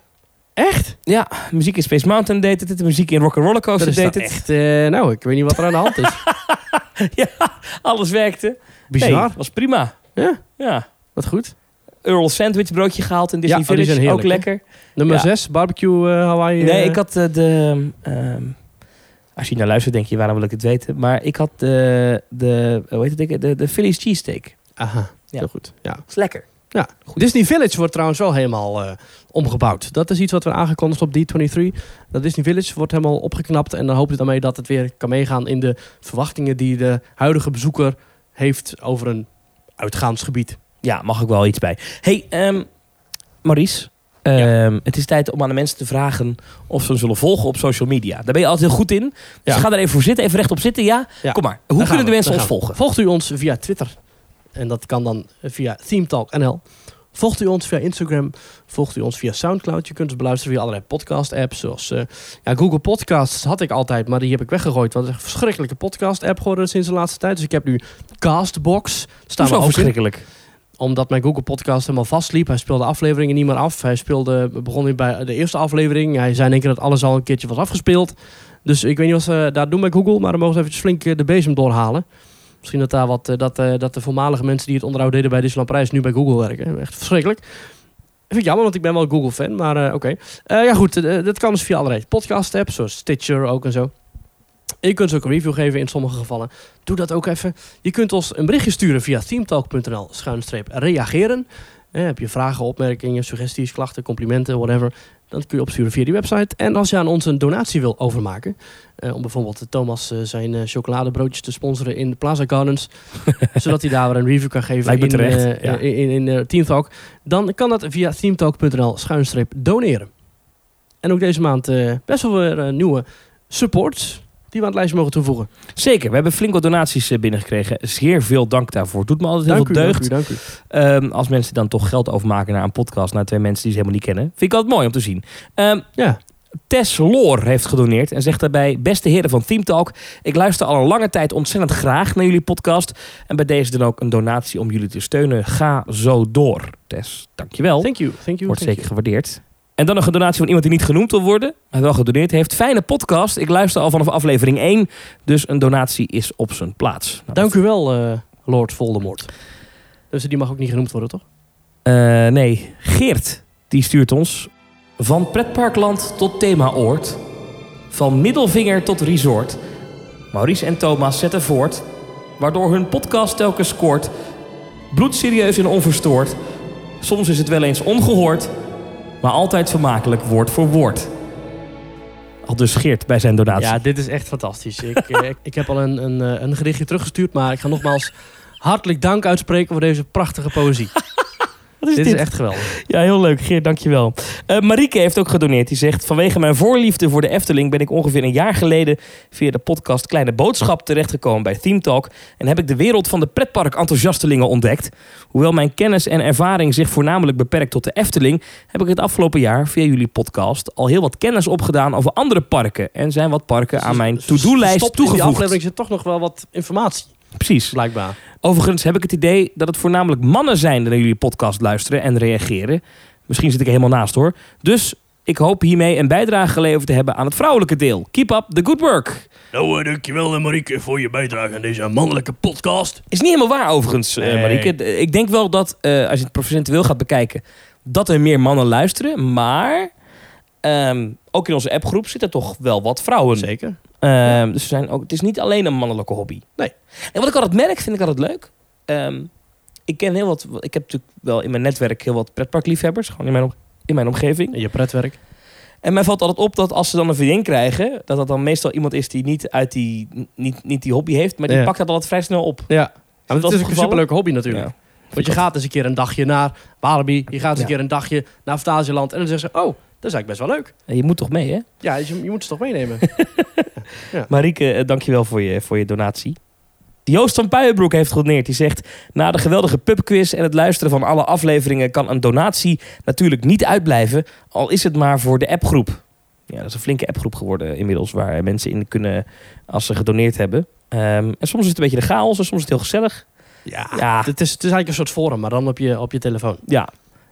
[SPEAKER 1] Echt?
[SPEAKER 2] Ja, muziek in Space Mountain deed het, de muziek in Rock'n'Roller
[SPEAKER 1] Dat
[SPEAKER 2] Coaster
[SPEAKER 1] is
[SPEAKER 2] deed
[SPEAKER 1] dan
[SPEAKER 2] het.
[SPEAKER 1] echt... eh, nou, ik weet niet wat er aan de hand is.
[SPEAKER 2] Alles werkte.
[SPEAKER 1] Bizar.
[SPEAKER 2] Nee, was prima.
[SPEAKER 1] Ja,
[SPEAKER 2] Ja.
[SPEAKER 1] wat goed.
[SPEAKER 2] Earl Sandwich broodje gehaald in Disney
[SPEAKER 1] Ja, oh, die
[SPEAKER 2] Village.
[SPEAKER 1] zijn
[SPEAKER 2] ook
[SPEAKER 1] heerlijk,
[SPEAKER 2] lekker.
[SPEAKER 1] Nummer
[SPEAKER 2] Ja.
[SPEAKER 1] 6, barbecue eh, Hawaii.
[SPEAKER 2] Nee,
[SPEAKER 1] eh,
[SPEAKER 2] ik had eh, de... ehm, als je nou luistert, denk je, waarom wil ik het weten? Maar ik had de, de hoe heet het, ding? de, de Philly's cheesesteak. Dat
[SPEAKER 1] Aha,
[SPEAKER 2] Ja.
[SPEAKER 1] heel goed. Ja.
[SPEAKER 2] is lekker.
[SPEAKER 1] Ja, Disney Village wordt trouwens wel helemaal eh, omgebouwd. Dat is iets wat we aangekondigd op D23. Dat Disney Village wordt helemaal opgeknapt. En dan hoop je daarmee dat het weer kan meegaan in de verwachtingen die de huidige bezoeker heeft over een uitgaansgebied.
[SPEAKER 2] Ja, mag ik wel iets bij. hey, ehm, Maurice. ehm, Het is tijd om aan de mensen te vragen of ze ons willen volgen op social media. Daar ben je altijd heel goed in. Dus
[SPEAKER 1] Ja.
[SPEAKER 2] ga daar even voor zitten, even rechtop zitten. Ja,
[SPEAKER 1] Ja,
[SPEAKER 2] kom maar.
[SPEAKER 1] Daar
[SPEAKER 2] Hoe
[SPEAKER 1] gaan
[SPEAKER 2] kunnen de
[SPEAKER 1] we,
[SPEAKER 2] mensen
[SPEAKER 1] daar
[SPEAKER 2] ons
[SPEAKER 1] gaan we.
[SPEAKER 2] volgen?
[SPEAKER 1] Volgt u ons via Twitter. En dat kan dan via ThemeTalk.nl. Volgt u ons via Instagram. Volgt u ons via Soundcloud. Je kunt ons beluisteren via allerlei podcast-apps. Zoals eh, ja, Google Podcasts had ik altijd, maar die heb ik weggegooid. Want het is echt een verschrikkelijke podcast-app geworden sinds de laatste tijd. Dus ik heb nu Castbox. Daar Staan we
[SPEAKER 2] Zo
[SPEAKER 1] ook in.
[SPEAKER 2] verschrikkelijk.
[SPEAKER 1] Omdat mijn Google Podcast helemaal vastliep. Hij speelde afleveringen niet meer af. Hij speelde, begon weer bij de eerste aflevering. Hij zei in één keer dat alles al een keertje was afgespeeld. Dus ik weet niet wat ze daar doen met Google. Maar dan mogen ze eventjes flink eh, de bezem doorhalen. Misschien dat, daar wat, eh, dat, eh, dat de voormalige mensen die het onderhoud deden bij Disneyland Prijs nu bij Google werken. Echt verschrikkelijk. Vind ik jammer, want ik ben wel een Google-fan, maar eh, oké. Eh, ja, goed, eh, dat kan dus via allerlei podcast-apps, zoals Stitcher ook en zo. En je kunt dus ook een review geven in sommige gevallen. Doe dat ook even. Je kunt ons een berichtje sturen via teamtalk.nl-reageren. Eh, heb je vragen, opmerkingen, suggesties, klachten, complimenten, whatever. Dan kun je opsturen via die website. En als je aan ons een donatie wil overmaken... eh, om bijvoorbeeld Thomas eh, zijn eh, chocoladebroodjes te sponsoren in de Plaza Gardens... zodat hij daar weer een review kan geven
[SPEAKER 2] Lijkt me
[SPEAKER 1] in, eh,
[SPEAKER 2] terecht, ja.
[SPEAKER 1] in, in, in eh, Teamtalk... dan kan dat via teamtalk.nl-doneren. En ook deze maand eh, best wel weer eh, nieuwe supports... die we aan het lijstje mogen toevoegen.
[SPEAKER 2] Zeker, we hebben flink wat donaties eh, binnengekregen. Zeer veel dank daarvoor. Doet me altijd heel
[SPEAKER 1] Dank u,
[SPEAKER 2] veel deugd.
[SPEAKER 1] dank u, dank u.
[SPEAKER 2] Ehm, als mensen dan toch geld overmaken naar een podcast, naar twee mensen die ze helemaal niet kennen. Vind ik altijd mooi om te zien. Ehm,
[SPEAKER 1] Ja,
[SPEAKER 2] Tess Loor heeft gedoneerd en zegt daarbij... Beste heren van Team Talk, ik luister al een lange tijd ontzettend graag naar jullie podcast. En bij deze dan ook een donatie om jullie te steunen. Ga zo door. Tess, dankjewel.
[SPEAKER 1] thank you, thank you.
[SPEAKER 2] Wordt
[SPEAKER 1] thank
[SPEAKER 2] zeker gewaardeerd. En dan nog een donatie van iemand die niet genoemd wil worden, maar wel gedoneerd heeft. Fijne podcast. Ik luister al vanaf aflevering 1, dus een donatie is op zijn plaats. Nou,
[SPEAKER 1] you. Dank u wel, eh, Lord Voldemort. Dus die mag ook niet genoemd worden, toch?
[SPEAKER 2] Eh, nee, Geert, die stuurt ons. Van pretparkland tot themaoord. Van middelvinger tot resort. Maurice en Thomas zetten voort. Waardoor hun podcast telkens scoort. Bloedserieus en onverstoord. Soms is het wel eens ongehoord. Maar altijd vermakelijk woord voor woord. Al dus Geert bij zijn donatie.
[SPEAKER 1] Ja, dit is echt fantastisch. Ik, eh, ik heb al een, een, eh, een gerichtje teruggestuurd, maar ik ga nogmaals hartelijk dank uitspreken voor deze prachtige poëzie.
[SPEAKER 2] Wat
[SPEAKER 1] dit is echt geweldig.
[SPEAKER 2] Ja, heel leuk. Geert, dankjewel. Eh Marieke heeft ook gedoneerd. Die zegt... Vanwege mijn voorliefde voor de Efteling... ben ik ongeveer een jaar geleden... via de podcast Kleine Boodschap terechtgekomen bij Theme Talk... en heb ik de wereld van de pretpark enthousiastelingen ontdekt. Hoewel mijn kennis en ervaring zich voornamelijk beperkt tot de Efteling... heb ik het afgelopen jaar via jullie podcast... al heel wat kennis opgedaan over andere parken... en zijn wat parken aan mijn to-do-lijst
[SPEAKER 1] Verstopt Dus in die
[SPEAKER 2] toegevoegd.
[SPEAKER 1] aflevering zit toch nog wel wat informatie,
[SPEAKER 2] Precies.
[SPEAKER 1] blijkbaar.
[SPEAKER 2] Overigens heb ik het idee dat het voornamelijk mannen zijn die naar jullie podcast luisteren en reageren. Misschien zit ik er helemaal naast hoor. Dus ik hoop hiermee een bijdrage geleverd te hebben aan het vrouwelijke deel. Keep up the good work.
[SPEAKER 1] Nou, dankjewel Marieke voor je bijdrage aan deze mannelijke podcast.
[SPEAKER 2] Is niet helemaal waar overigens, eh,
[SPEAKER 1] Nee.
[SPEAKER 2] Marieke. D- Ik denk wel dat eh, als je het procentueel gaat bekijken, dat er meer mannen luisteren. Maar ehm, ook in onze appgroep zitten toch wel wat vrouwen.
[SPEAKER 1] Zeker.
[SPEAKER 2] Ehm, Dus we zijn ook, het is niet alleen een mannelijke hobby.
[SPEAKER 1] Nee.
[SPEAKER 2] En wat ik altijd merk, vind ik altijd leuk. Ehm, ik ken heel wat. Ik heb natuurlijk wel in mijn netwerk heel wat pretparkliefhebbers. Gewoon in mijn, om- in mijn omgeving.
[SPEAKER 1] En je pretwerk.
[SPEAKER 2] En mij valt altijd op dat als ze dan een vriendin krijgen. dat dat dan meestal iemand is die niet, uit die, niet, niet die hobby heeft. maar die
[SPEAKER 1] Ja.
[SPEAKER 2] pakt dat altijd vrij snel op.
[SPEAKER 1] Ja. Maar het
[SPEAKER 2] dat
[SPEAKER 1] is ook een
[SPEAKER 2] opgevallen?
[SPEAKER 1] superleuke hobby natuurlijk. Want je gaat eens een keer een dagje naar Walibi. Je gaat eens een
[SPEAKER 2] Ja.
[SPEAKER 1] keer een dagje naar Fantasieland. En dan zeggen ze, oh, dat is eigenlijk best wel leuk.
[SPEAKER 2] Ja. Je moet toch mee, hè?
[SPEAKER 1] Ja, dus je, je moet ze toch meenemen.
[SPEAKER 2] Marieke, eh, dankjewel voor je, voor je donatie. Joost van Puijenbroek heeft gedoneerd. Die zegt, na de geweldige pubquiz en het luisteren van alle afleveringen... kan een donatie natuurlijk niet uitblijven, al is het maar voor de appgroep. Ja, dat is een flinke appgroep geworden inmiddels... waar mensen in kunnen als ze gedoneerd hebben. Ehm, en soms is het een beetje de chaos en soms is het heel gezellig.
[SPEAKER 1] Ja.
[SPEAKER 2] Ja,
[SPEAKER 1] Het, is, het is eigenlijk een soort forum, maar dan op je, op je telefoon.
[SPEAKER 2] ja.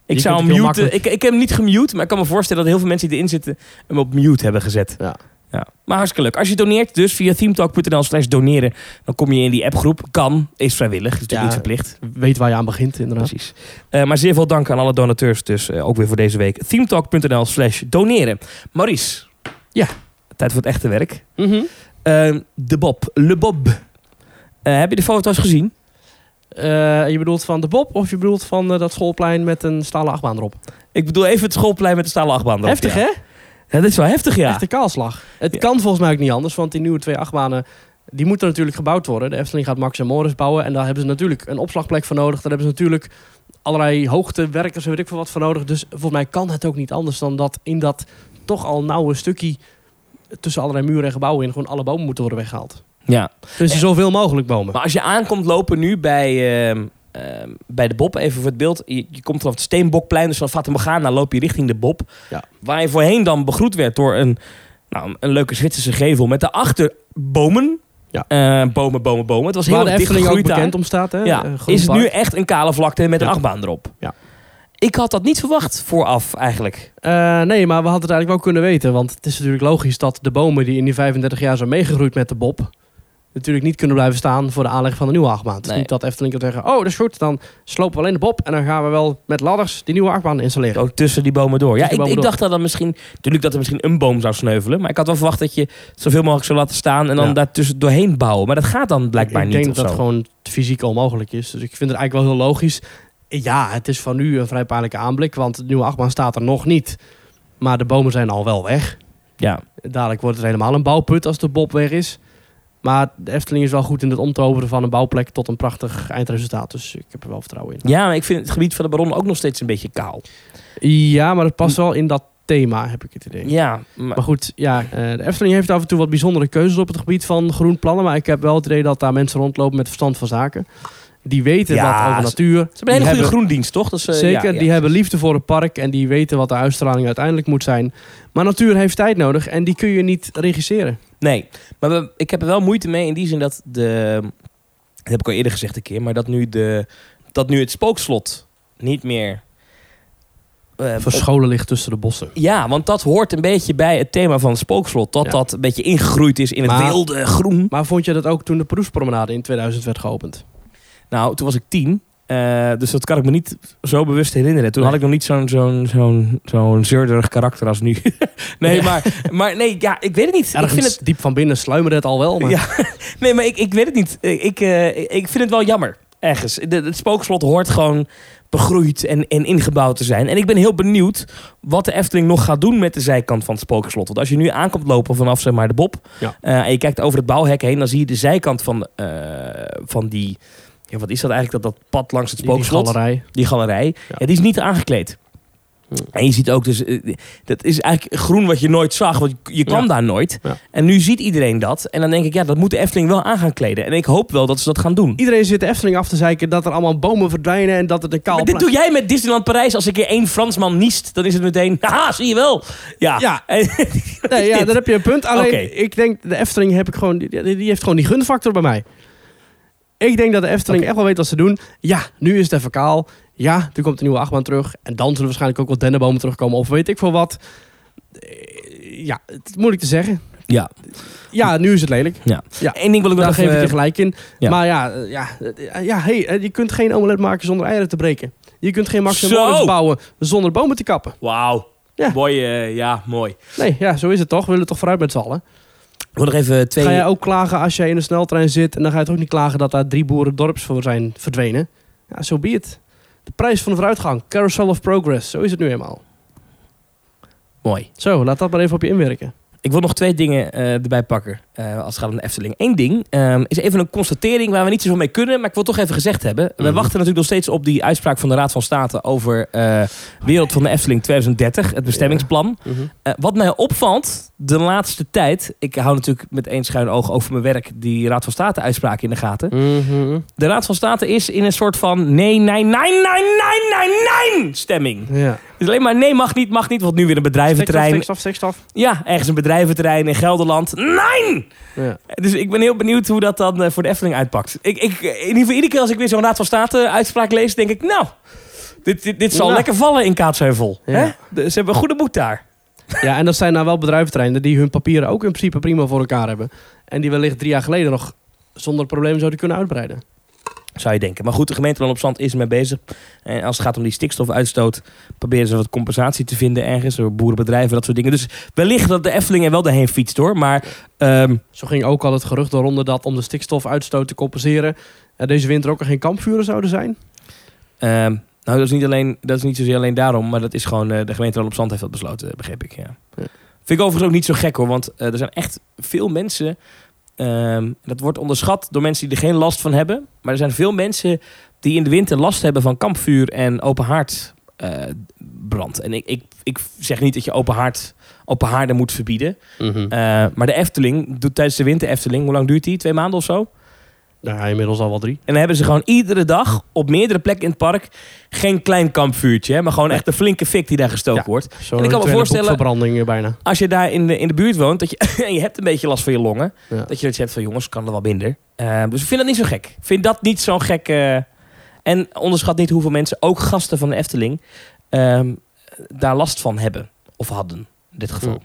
[SPEAKER 2] Ik
[SPEAKER 1] Je
[SPEAKER 2] zou
[SPEAKER 1] kunt
[SPEAKER 2] hem
[SPEAKER 1] het heel
[SPEAKER 2] muten. Ik,
[SPEAKER 1] makkelijk-
[SPEAKER 2] ik heb hem niet gemute, maar ik kan me voorstellen dat heel veel mensen die erin zitten hem op mute hebben gezet.
[SPEAKER 1] Ja.
[SPEAKER 2] Ja. Maar hartstikke leuk. Als je doneert, dus via themetalk.nl slash doneren, dan kom je in die appgroep. Kan, is vrijwillig, is natuurlijk
[SPEAKER 1] Ja.
[SPEAKER 2] niet verplicht.
[SPEAKER 1] Weet waar je aan begint, inderdaad.
[SPEAKER 2] Precies. Eh, maar zeer veel dank aan alle donateurs, dus eh, ook weer voor deze week. themetalk.nl slash doneren. Maurice.
[SPEAKER 1] Ja.
[SPEAKER 2] Tijd voor het echte werk.
[SPEAKER 1] Mhm.
[SPEAKER 2] Eh, de Bob, Le Bob. Eh, heb je de foto's gezien?
[SPEAKER 1] Eh, je bedoelt van de Bob of je bedoelt van eh, dat schoolplein met een stalen achtbaan erop?
[SPEAKER 2] Ik bedoel even het schoolplein met de stalen achtbaan. erop,
[SPEAKER 1] Heftig,
[SPEAKER 2] ja.
[SPEAKER 1] hè?
[SPEAKER 2] Ja, dat is wel heftig, ja.
[SPEAKER 1] Echt een kaalslag. Het
[SPEAKER 2] Ja.
[SPEAKER 1] kan volgens mij ook niet anders, want die nieuwe twee achtbanen... die moeten natuurlijk gebouwd worden. De Efteling gaat Max en Morris bouwen... en daar hebben ze natuurlijk een opslagplek voor nodig. Daar hebben ze natuurlijk allerlei hoogtewerkers en weet ik veel wat voor nodig. Dus volgens mij kan het ook niet anders dan dat in dat toch al nauwe stukje... tussen allerlei muren en gebouwen in... gewoon alle bomen moeten worden weggehaald.
[SPEAKER 2] Ja.
[SPEAKER 1] Dus zoveel mogelijk bomen.
[SPEAKER 2] Maar als je aankomt lopen nu bij, ehm, ehm, bij de Bob, even voor het beeld. Je, je komt vanaf het Steenbokplein, dus van Fatima Ghana loop je richting de Bob.
[SPEAKER 1] Ja.
[SPEAKER 2] Waar je voorheen dan begroet werd door een, nou, een leuke Zwitserse gevel met daarachter bomen.
[SPEAKER 1] Ja.
[SPEAKER 2] Eh, bomen, bomen, bomen. Het was heel
[SPEAKER 1] Waar de
[SPEAKER 2] erg dicht
[SPEAKER 1] Efteling ook
[SPEAKER 2] gegroeid daar.
[SPEAKER 1] bekend om staat. Hè?
[SPEAKER 2] Ja.
[SPEAKER 1] Eh, groen
[SPEAKER 2] Is het
[SPEAKER 1] park.
[SPEAKER 2] nu echt een kale vlakte met een
[SPEAKER 1] Ja.
[SPEAKER 2] achtbaan erop?
[SPEAKER 1] Ja.
[SPEAKER 2] Ik had dat niet verwacht vooraf eigenlijk.
[SPEAKER 1] Eh, nee, maar we hadden het eigenlijk wel kunnen weten. Want het is natuurlijk logisch dat de bomen die in die 35 jaar zijn meegegroeid met de Bob... natuurlijk niet kunnen blijven staan voor de aanleg van de nieuwe achtbaan. Het is
[SPEAKER 2] Nee.
[SPEAKER 1] niet dat Efteling kan zeggen, oh dat is goed, dan slopen we alleen de bob en dan gaan we wel met ladders die nieuwe achtbaan installeren.
[SPEAKER 2] Ook tussen die bomen door. Ja,
[SPEAKER 1] Tussen die
[SPEAKER 2] ik,
[SPEAKER 1] bomen
[SPEAKER 2] ik
[SPEAKER 1] door.
[SPEAKER 2] dacht dat, dat misschien, natuurlijk dat er misschien een boom zou sneuvelen. Maar ik had wel verwacht dat je zoveel mogelijk zou laten staan en dan
[SPEAKER 1] Ja.
[SPEAKER 2] daartussen doorheen bouwen. Maar dat gaat dan blijkbaar
[SPEAKER 1] ik
[SPEAKER 2] niet.
[SPEAKER 1] denk
[SPEAKER 2] of
[SPEAKER 1] dat
[SPEAKER 2] zo.
[SPEAKER 1] dat gewoon fysiek onmogelijk is. Dus ik vind het eigenlijk wel heel logisch. Ja, het is van nu een vrij pijnlijke aanblik, want de nieuwe achtbaan staat er nog niet. Maar de bomen zijn al wel weg.
[SPEAKER 2] Ja.
[SPEAKER 1] Dadelijk wordt het helemaal een bouwput als de bob weg is. Maar de Efteling is wel goed in het omtoveren van een bouwplek tot een prachtig eindresultaat. Dus ik heb er wel vertrouwen in.
[SPEAKER 2] ja, maar ik vind het gebied van de baron ook nog steeds een beetje kaal.
[SPEAKER 1] Ja, maar het past wel in dat thema, heb ik het idee.
[SPEAKER 2] Ja, maar,
[SPEAKER 1] Maar goed, ja, eh, de Efteling heeft af en toe wat bijzondere keuzes op het gebied van groen plannen. Maar ik heb wel het idee dat daar mensen rondlopen met verstand van zaken. Die weten
[SPEAKER 2] Ja,
[SPEAKER 1] wat over
[SPEAKER 2] ze-
[SPEAKER 1] natuur.
[SPEAKER 2] ze hebben een hele
[SPEAKER 1] Die
[SPEAKER 2] goede groendienst, toch? Dus, eh,
[SPEAKER 1] Zeker,
[SPEAKER 2] ja, ja.
[SPEAKER 1] die hebben liefde voor het park en die weten wat de uitstraling uiteindelijk moet zijn. Maar natuur heeft tijd nodig en die kun je niet regisseren.
[SPEAKER 2] Nee, maar we- ik heb er wel moeite mee in die zin dat de... Dat heb ik al eerder gezegd een keer, maar dat nu, de, dat nu het spookslot niet meer... eh,
[SPEAKER 1] Verscholen ligt tussen de bossen.
[SPEAKER 2] Ja, want dat hoort een beetje bij het thema van het spookslot. Dat
[SPEAKER 1] Ja.
[SPEAKER 2] dat een beetje ingegroeid is in het
[SPEAKER 1] Maar-
[SPEAKER 2] wilde groen.
[SPEAKER 1] Maar vond je dat ook toen de Proefpromenade in 2000 werd geopend?
[SPEAKER 2] Nou, toen was ik tien. eh, dus dat kan ik me niet zo bewust herinneren. Toen
[SPEAKER 1] Nee.
[SPEAKER 2] had ik nog niet zo'n zo'n zo'n zo'n zeurderig karakter als nu. nee,
[SPEAKER 1] Ja.
[SPEAKER 2] maar, maar nee, ja, ik weet het niet.
[SPEAKER 1] Ergens
[SPEAKER 2] Ik vind het,
[SPEAKER 1] diep van binnen sluimerde het al wel. Maar...
[SPEAKER 2] Ja. nee, maar ik, ik weet het niet. Ik, ik, eh, ik vind het wel jammer. Ergens. De- het spookslot hoort gewoon begroeid en, en ingebouwd te zijn. En ik ben heel benieuwd wat de Efteling nog gaat doen met de zijkant van het spookslot. Want als je nu aankomt lopen vanaf zeg maar, de Bob...
[SPEAKER 1] Ja.
[SPEAKER 2] eh, en je kijkt over het bouwhek heen... dan zie je de zijkant van, eh, van die... Ja, wat is dat eigenlijk? Dat, dat pad langs het
[SPEAKER 1] Die, die
[SPEAKER 2] spookslot?
[SPEAKER 1] galerij.
[SPEAKER 2] die galerij.
[SPEAKER 1] Ja.
[SPEAKER 2] Ja. die is niet aangekleed.
[SPEAKER 1] Hm.
[SPEAKER 2] En je ziet ook dus, eh, dat is eigenlijk groen wat je nooit zag, want je kwam
[SPEAKER 1] Ja.
[SPEAKER 2] daar nooit.
[SPEAKER 1] Ja.
[SPEAKER 2] En nu ziet iedereen dat. En dan denk ik, ja, dat moet de Efteling wel aan gaan kleden. En ik hoop wel dat ze dat gaan doen.
[SPEAKER 1] Iedereen zit de Efteling af te zeiken dat er allemaal bomen verdwijnen en dat het een kaal
[SPEAKER 2] Maar dit
[SPEAKER 1] plek-
[SPEAKER 2] doe jij met Disneyland Parijs. Als ik hier één Fransman niest, dan is het meteen, haha, zie je wel. Ja.
[SPEAKER 1] Ja.
[SPEAKER 2] En-
[SPEAKER 1] Nee, ja,
[SPEAKER 2] dit?
[SPEAKER 1] daar heb je een punt. Alleen,
[SPEAKER 2] Oké.
[SPEAKER 1] ik denk, de Efteling heb ik gewoon, die, die heeft gewoon die gunfactor bij mij. Ik denk dat de Efteling echt wel weet wat ze doen. Ja, nu is het even kaal. Ja, er komt een nieuwe achtbaan terug. En dan zullen waarschijnlijk ook wel dennenbomen terugkomen. Of weet ik veel wat. Eh, Ja, het is moeilijk te zeggen.
[SPEAKER 2] ja.
[SPEAKER 1] Ja, nu is het lelijk.
[SPEAKER 2] Eén ding wil ik nog
[SPEAKER 1] Daar geef ik je
[SPEAKER 2] even...
[SPEAKER 1] gelijk in.
[SPEAKER 2] eh, ja.
[SPEAKER 1] Maar ja, eh, ja, eh, ja hey, eh, je kunt geen omelet maken zonder eieren te breken. Je kunt geen Max en
[SPEAKER 2] Zo!
[SPEAKER 1] Moritz bouwen zonder bomen te kappen.
[SPEAKER 2] Wauw.
[SPEAKER 1] Ja.
[SPEAKER 2] Mooi, eh, ja, mooi.
[SPEAKER 1] Nee, ja, zo is het toch. We willen toch vooruit met z'n allen.
[SPEAKER 2] Ik wil nog even twee...
[SPEAKER 1] Ga jij ook klagen als jij in een sneltrein zit en dan ga je toch niet klagen dat daar drie boerendorps voor zijn verdwenen? Ja, zo be het. De prijs van de vooruitgang, carousel of progress, zo is het nu eenmaal.
[SPEAKER 2] Mooi.
[SPEAKER 1] Zo, laat dat maar even op je inwerken.
[SPEAKER 2] Ik wil nog twee dingen eh, erbij pakken eh, als het gaat om de Efteling. Eén ding ehm, is even een constatering waar we niet zoveel mee kunnen, maar ik wil het toch even gezegd hebben. We
[SPEAKER 1] Mhm.
[SPEAKER 2] wachten natuurlijk nog steeds op die uitspraak van de Raad van State over eh, Wereld van de Efteling 2030, het bestemmingsplan. Eh, wat mij opvalt de laatste tijd, ik hou natuurlijk met één schuin oog over mijn werk die Raad van State uitspraak in de gaten. De Raad van State is in een soort van nee, nee, nee, nee, nee, nee, nee stemming.
[SPEAKER 1] Ja.
[SPEAKER 2] Dus alleen maar nee mag niet, mag niet, want nu weer een
[SPEAKER 1] Stikstof,
[SPEAKER 2] bedrijventerrein.
[SPEAKER 1] stikstof, stikstof.
[SPEAKER 2] Ja, ergens een bedrijventerrein in Gelderland. Nee!
[SPEAKER 1] Ja.
[SPEAKER 2] Dus ik ben heel benieuwd hoe dat dan eh, voor de Efteling uitpakt. Ik, ik, in ieder geval, iedere keer als ik weer zo'n Raad van State uitspraak lees, denk ik, nou, dit, dit, dit zal
[SPEAKER 1] Nou.
[SPEAKER 2] lekker vallen in Kaatsheuvel.
[SPEAKER 1] Ja.
[SPEAKER 2] Hè? De- Ze hebben een goede moed daar.
[SPEAKER 1] ja, en dat zijn nou wel bedrijventerreinen die hun papieren ook in principe prima voor elkaar hebben. En die wellicht drie jaar geleden nog zonder problemen zouden kunnen uitbreiden.
[SPEAKER 2] Zou je denken. Maar goed, de gemeente Land op Zand is ermee bezig. En als het gaat om die stikstofuitstoot, proberen ze wat compensatie te vinden ergens. Door boerenbedrijven, dat soort dingen. Dus wellicht dat de Efteling er wel doorheen fietst hoor. Maar ehm,
[SPEAKER 1] Zo ging ook al het gerucht de ronde dat om de stikstofuitstoot te compenseren er deze winter ook al geen kampvuren zouden zijn.
[SPEAKER 2] Ehm, nou, dat is, niet alleen, dat is niet zozeer alleen daarom, maar dat is gewoon eh, de gemeente Ron op Zand heeft dat besloten, eh, begreep ik. Ja.
[SPEAKER 1] Ja.
[SPEAKER 2] Vind ik overigens ook niet zo gek hoor, want eh, er zijn echt veel mensen. ehm, dat wordt onderschat door mensen die er geen last van hebben. Maar er zijn veel mensen die in de winter last hebben van kampvuur en open haard eh, brand. En ik, ik, ik zeg niet dat je open, haard, open haarden moet verbieden. Eh, maar de Efteling doet tijdens de winter Efteling, hoe lang duurt die? Twee maanden of zo?
[SPEAKER 1] nou Ja, inmiddels al wel drie.
[SPEAKER 2] En dan hebben ze gewoon iedere dag op meerdere plekken in het park geen klein kampvuurtje, hè, maar gewoon echt een flinke fik die daar gestoken
[SPEAKER 1] Ja.
[SPEAKER 2] wordt.
[SPEAKER 1] Zo'n
[SPEAKER 2] En ik kan me
[SPEAKER 1] tweede
[SPEAKER 2] voorstellen-
[SPEAKER 1] boekverbranding, eh, bijna.
[SPEAKER 2] Als je daar in de, in de buurt woont dat je, en je hebt een beetje last van je longen,
[SPEAKER 1] Ja.
[SPEAKER 2] dat je dat zegt van jongens, kan er wel minder. Eh, dus ik vind dat niet zo gek. Ik vind dat niet zo'n gek. eh, en onderschat niet hoeveel mensen, ook gasten van de Efteling, ehm, daar last van hebben of hadden in dit geval.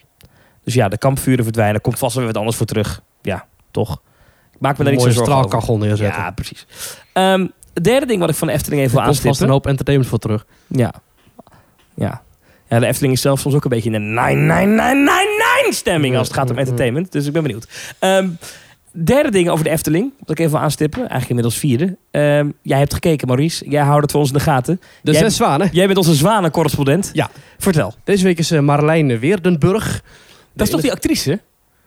[SPEAKER 2] Dus ja, de kampvuren verdwijnen, komt vast wel weer wat anders voor terug. Ja, toch. Ik maak me daar
[SPEAKER 1] een
[SPEAKER 2] niet zo
[SPEAKER 1] mooie
[SPEAKER 2] zorgen over.
[SPEAKER 1] straalkachel neerzetten.
[SPEAKER 2] Ja, precies. Ehm, het derde ding wat ik van de Efteling even wil
[SPEAKER 1] er komt vast
[SPEAKER 2] aanstippen.
[SPEAKER 1] een hoop entertainment voor terug.
[SPEAKER 2] Ja. ja. Ja, de Efteling is zelf soms ook een beetje in de 9 stemming als het gaat om entertainment. Dus ik ben benieuwd. Ehm, derde ding over de Efteling, wat ik even wil aanstippen. Eigenlijk inmiddels vierde. Ehm, jij hebt gekeken, Maurice. Jij houdt het voor ons in de gaten.
[SPEAKER 1] De
[SPEAKER 2] Jij-
[SPEAKER 1] zes zwanen.
[SPEAKER 2] Jij bent onze zwanencorrespondent.
[SPEAKER 1] Ja.
[SPEAKER 2] Vertel.
[SPEAKER 1] Deze week is eh, Marlijn Weerdenburg.
[SPEAKER 2] Dat is toch die actrice?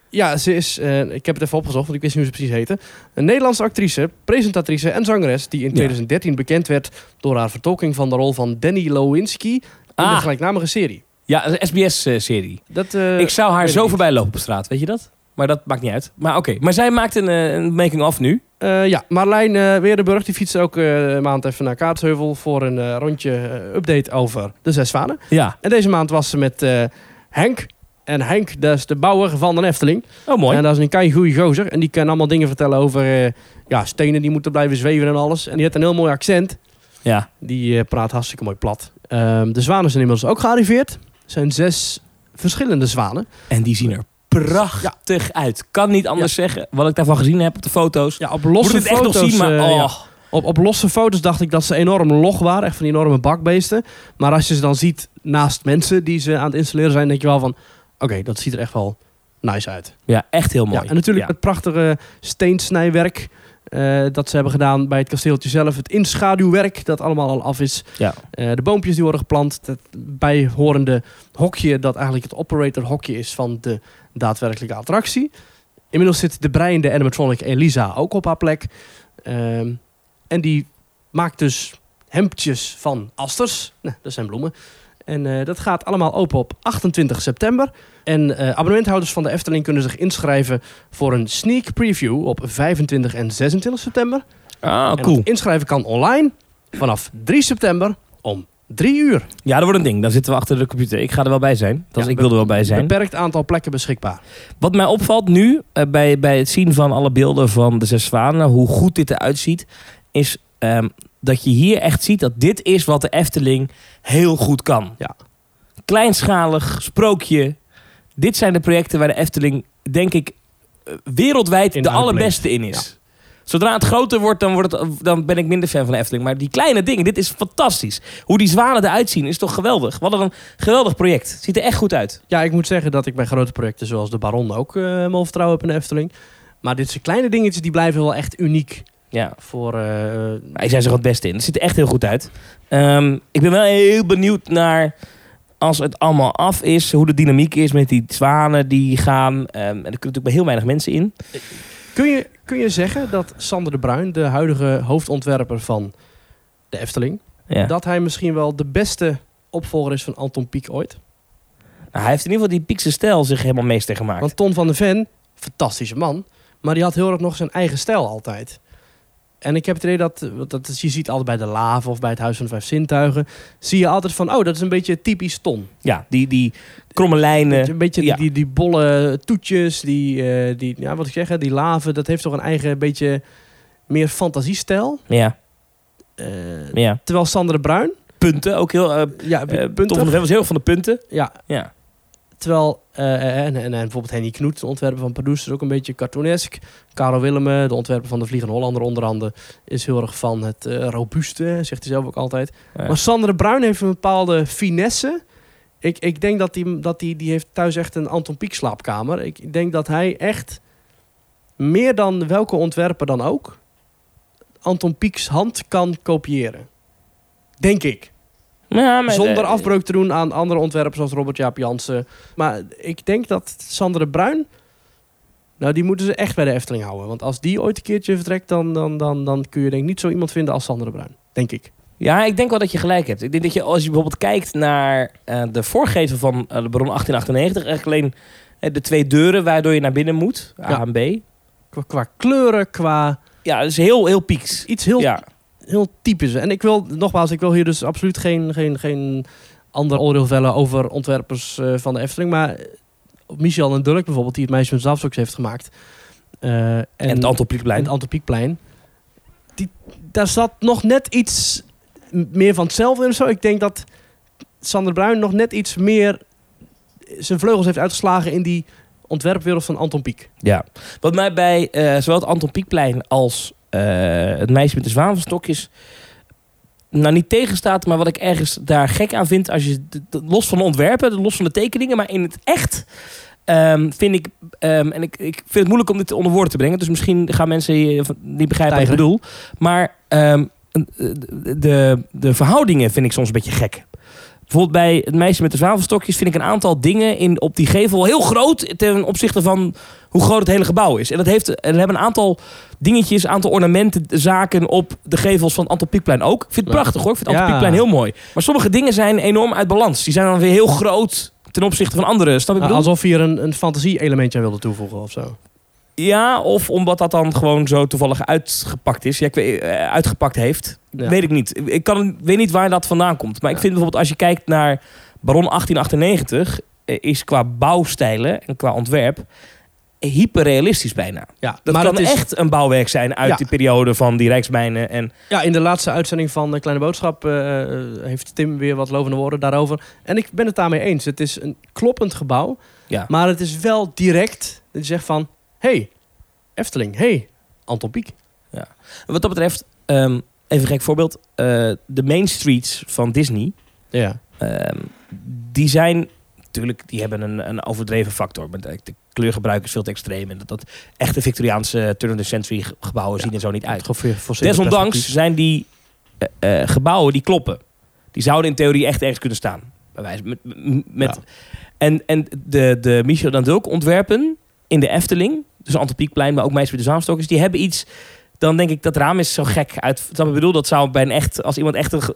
[SPEAKER 1] Ja, ze is, eh, ik heb het even opgezocht, want ik wist niet hoe ze precies heette. Een Nederlandse actrice, presentatrice en zangeres... die in
[SPEAKER 2] Ja.
[SPEAKER 1] 2013 bekend werd door haar vertolking van de rol van Danny Lewinsky... in de
[SPEAKER 2] Ah,
[SPEAKER 1] gelijknamige serie.
[SPEAKER 2] ja, een SBS-serie.
[SPEAKER 1] Dat, eh,
[SPEAKER 2] ik zou haar
[SPEAKER 1] weet
[SPEAKER 2] zo
[SPEAKER 1] ik
[SPEAKER 2] voorbij lopen op straat, weet je dat? Maar dat maakt niet uit. Maar oké, maar zij maakt een, eh, een making-of nu.
[SPEAKER 1] eh, ja, Marlijn eh Weerdenburg die fietst ook eh, een maand even naar Kaatsheuvel... voor een eh, rondje eh, update over de Zes Zwanen.
[SPEAKER 2] Ja.
[SPEAKER 1] En deze maand was ze met eh, Henk. En Henk, dat is de bouwer van de Efteling...
[SPEAKER 2] Oh, mooi.
[SPEAKER 1] En dat is een kei goeie gozer. En die kan allemaal dingen vertellen over eh, ja, stenen die moeten blijven zweven en alles. En die heeft een heel mooi accent.
[SPEAKER 2] Ja.
[SPEAKER 1] Die eh, praat hartstikke mooi plat. Ehm, de zwanen zijn inmiddels ook gearriveerd. Er zijn zes verschillende zwanen.
[SPEAKER 2] En die zien er prachtig uit. Kan niet anders zeggen. Wat ik daarvan gezien heb op de foto's.
[SPEAKER 1] Ja, op losse
[SPEAKER 2] Moet het echt
[SPEAKER 1] foto's,
[SPEAKER 2] nog zien, maar...
[SPEAKER 1] eh,
[SPEAKER 2] oh.
[SPEAKER 1] ja. op, op losse foto's dacht ik dat ze enorm log waren. Echt van die enorme bakbeesten. Maar als je ze dan ziet naast mensen die ze aan het installeren zijn, denk je wel van... Oké, dat ziet er echt wel nice uit.
[SPEAKER 2] ja, echt heel mooi.
[SPEAKER 1] Ja, en natuurlijk
[SPEAKER 2] Ja.
[SPEAKER 1] het prachtige steensnijwerk eh, dat ze hebben gedaan bij het kasteeltje zelf. Het inschaduwwerk dat allemaal al af is.
[SPEAKER 2] Ja.
[SPEAKER 1] Eh, de boompjes die worden geplant. Het bijhorende hokje dat eigenlijk het operator hokje is van de daadwerkelijke attractie. Inmiddels zit de breiende animatronic Elisa ook op haar plek. Ehm, en die maakt dus hemdjes van asters. Nou, dat zijn bloemen. En eh, dat gaat allemaal open op 28 september. En eh, abonnementhouders van de Efteling kunnen zich inschrijven voor een sneak preview op 25 en 26 september.
[SPEAKER 2] Ah,
[SPEAKER 1] En
[SPEAKER 2] cool.
[SPEAKER 1] het inschrijven kan online vanaf 3 september om 3 uur.
[SPEAKER 2] Ja, dat wordt een ding. Dan zitten we achter de computer. Ik ga er wel bij zijn. Dat is-
[SPEAKER 1] Ja,
[SPEAKER 2] ik wil er wel bij zijn.
[SPEAKER 1] Beperkt aantal plekken beschikbaar.
[SPEAKER 2] Wat mij opvalt nu, eh, bij, bij het zien van alle beelden van de Zes Zwanen, hoe goed dit eruit ziet, is ehm, dat je hier echt ziet dat dit is wat de Efteling heel goed kan.
[SPEAKER 1] Ja.
[SPEAKER 2] Kleinschalig, sprookje. Dit zijn de projecten waar de Efteling, denk ik, eh, wereldwijd
[SPEAKER 1] In
[SPEAKER 2] de
[SPEAKER 1] uitblinkt.
[SPEAKER 2] allerbeste in is. Zodra het groter wordt, dan, wordt het, dan ben ik minder fan van de Efteling. Maar die kleine dingen, dit is fantastisch. Hoe die zwanen eruit zien, is toch geweldig. Wat een geweldig project. Ziet er echt goed uit.
[SPEAKER 1] Ja, ik moet zeggen dat ik bij grote projecten zoals de Baron ook eh mijn vertrouwen heb in de Efteling. Maar dit zijn kleine dingetjes die blijven wel echt uniek
[SPEAKER 2] Ja.
[SPEAKER 1] voor... eh,
[SPEAKER 2] Hij zijn er het beste in. Het ziet er echt heel goed uit. Ehm, ik ben wel heel benieuwd naar als het allemaal af is, hoe de dynamiek is met die zwanen die gaan. Ehm, en er kunnen natuurlijk maar heel weinig mensen in.
[SPEAKER 1] Kun je, kun je zeggen dat Sander de Bruin, de huidige hoofdontwerper van de Efteling,
[SPEAKER 2] Ja.
[SPEAKER 1] dat hij misschien wel de beste opvolger is van Anton Pieck ooit?
[SPEAKER 2] Nou, hij heeft in ieder geval die Piekse stijl zich helemaal meester gemaakt.
[SPEAKER 1] Want Ton van de Ven, fantastische man, maar die had heel erg nog zijn eigen stijl altijd. En ik heb het idee dat, eh, want dat is- je ziet altijd bij de Lave of bij het Huis van de Vijf Zintuigen, zie je altijd van, oh, dat is een beetje typisch Ton.
[SPEAKER 2] Ja, die, die kromme
[SPEAKER 1] Weet je,
[SPEAKER 2] lijnen.
[SPEAKER 1] Een beetje die-
[SPEAKER 2] eh, ja.
[SPEAKER 1] die, die bolle toetjes, die, eh, die, ja, wat ik zeg, hè, die Lave, dat heeft toch een eigen beetje meer fantasiestijl.
[SPEAKER 2] Ja,
[SPEAKER 1] Eh,
[SPEAKER 2] ja.
[SPEAKER 1] terwijl Sander de Bruin,
[SPEAKER 2] Punten ook heel. eh eh,
[SPEAKER 1] Ja,
[SPEAKER 2] Tom van
[SPEAKER 1] punten.
[SPEAKER 2] der Ven was heel erg van de punten.
[SPEAKER 1] Ja,
[SPEAKER 2] Ja.
[SPEAKER 1] terwijl, eh, en, en, en bijvoorbeeld Henny Knoet, de ontwerper van Produce, is ook een beetje cartoonesk. Karel Willemme, de ontwerper van De Vliegende Hollander onder andere, is heel erg van het eh, robuuste, zegt hij zelf ook altijd.
[SPEAKER 2] Ja.
[SPEAKER 1] Maar Sander de Bruin heeft een bepaalde finesse. Ik, ik denk dat die, dat die, die heeft thuis echt een Anton Pieck slaapkamer. Ik denk dat hij echt, meer dan welke ontwerper dan ook, Anton Pieck's hand kan kopiëren. Denk ik.
[SPEAKER 2] Ja, maar,
[SPEAKER 1] Zonder
[SPEAKER 2] eh,
[SPEAKER 1] afbreuk te doen aan andere ontwerpers zoals Robert Jaap Jansen. Maar ik denk dat Sander de Bruin... Nou, die moeten ze echt bij de Efteling houden. Want als die ooit een keertje vertrekt... dan, dan, dan, dan kun je denk ik niet zo iemand vinden als Sander de Bruin. Denk ik.
[SPEAKER 2] Ja, ik denk wel dat je gelijk hebt. Ik denk dat je, als je bijvoorbeeld kijkt naar eh, de voorgevel van eh, de Baron 1898, eigenlijk alleen eh, de twee deuren waardoor je naar binnen moet, A
[SPEAKER 1] Ja.
[SPEAKER 2] en B.
[SPEAKER 1] Qua, qua kleuren, qua
[SPEAKER 2] Ja, dat is heel, heel pieks.
[SPEAKER 1] iets heel,
[SPEAKER 2] Ja,
[SPEAKER 1] heel typisch. En ik wil, nogmaals, ik wil hier dus absoluut geen, geen, geen ander oordeel vellen... over ontwerpers eh, van de Efteling. Maar eh, Michel en Dulk bijvoorbeeld, die het Meisje met de Zafzoks heeft gemaakt... eh, en,
[SPEAKER 2] en, het Anton
[SPEAKER 1] en
[SPEAKER 2] Pieckplein.
[SPEAKER 1] het Anton Pieckplein. Die, daar zat nog net iets m- meer van hetzelfde in of zo. Ik denk dat Sander Bruin nog net iets meer zijn vleugels heeft uitgeslagen in die ontwerpwereld van Anton Pieck.
[SPEAKER 2] Ja. Wat mij bij eh, zowel het Anton Pieckplein als eh, het meisje met de zwaan van stokjes... Nou, niet tegenstaat, maar wat ik ergens daar gek aan vind... Als je, d- d- los van de ontwerpen, los van de tekeningen, maar in het echt... ehm, vind ik, ehm, en ik, ik vind het moeilijk om dit onder woorden te brengen. Dus misschien gaan mensen hier van- niet begrijpen wat ik
[SPEAKER 1] Tijger.
[SPEAKER 2] bedoel. Maar ehm, een- eh, de- de, de verhoudingen vind ik soms een beetje gek. Bijvoorbeeld bij het meisje met de zwavelstokjes vind ik een aantal dingen in, op die gevel heel groot ten opzichte van hoe groot het hele gebouw is. En dat heeft, er hebben een aantal dingetjes, een aantal ornamenten, zaken op de gevels van het Anton Pieckplein ook. Ik vind het
[SPEAKER 1] Ja.
[SPEAKER 2] prachtig hoor, ik vind het Anton
[SPEAKER 1] Ja.
[SPEAKER 2] Pieckplein heel mooi. Maar sommige dingen zijn enorm uit balans. Die zijn dan weer heel groot ten opzichte van andere. Snap je wat ik bedoel?
[SPEAKER 1] alsof je er een, een fantasie-elementje aan wilde toevoegen of zo.
[SPEAKER 2] Ja, of omdat dat dan gewoon zo toevallig uitgepakt is. Ja, ik weet, eh, uitgepakt heeft.
[SPEAKER 1] Ja.
[SPEAKER 2] Weet ik niet. Ik- Ik kan, weet niet waar dat vandaan komt. Maar ik
[SPEAKER 1] Ja.
[SPEAKER 2] vind bijvoorbeeld als je kijkt naar Baron 1898... eh, is qua bouwstijlen en qua ontwerp hyperrealistisch bijna.
[SPEAKER 1] Ja,
[SPEAKER 2] Dat
[SPEAKER 1] maar
[SPEAKER 2] kan
[SPEAKER 1] dat is,
[SPEAKER 2] echt een bouwwerk zijn uit
[SPEAKER 1] Ja.
[SPEAKER 2] die periode van die Rijksmijnen. En
[SPEAKER 1] ja, in de laatste uitzending van eh, Kleine Boodschap eh, eh, heeft Tim weer wat lovende woorden daarover. En ik ben het daarmee eens. Het is een kloppend gebouw,
[SPEAKER 2] Ja.
[SPEAKER 1] maar het is wel direct dat je zegt van... hey, Efteling, hey, Anton Pieck.
[SPEAKER 2] wat dat betreft, ehm, even een gek voorbeeld. eh, de main streets van Disney...
[SPEAKER 1] Ja.
[SPEAKER 2] Ehm, die zijn natuurlijk, die hebben een, een overdreven factor. Maar De, de kleurgebruik is veel te extreem. En dat, dat echte Victoriaanse turn of the century ge- gebouwen zien er zo niet uit. Desondanks zijn die eh, eh, gebouwen die kloppen. Die zouden in theorie echt ergens kunnen staan. Bij wijze, met, met, met- En, en de, de Michel dan Dulk ontwerpen in de Efteling, dus Anton Pieckplein, maar ook Meisjes met de Zaanstokers, die hebben iets. Dan denk ik dat raam is zo gek uit. snap je wat Ik bedoel, dat zou bij een echt, als iemand echt een. ge-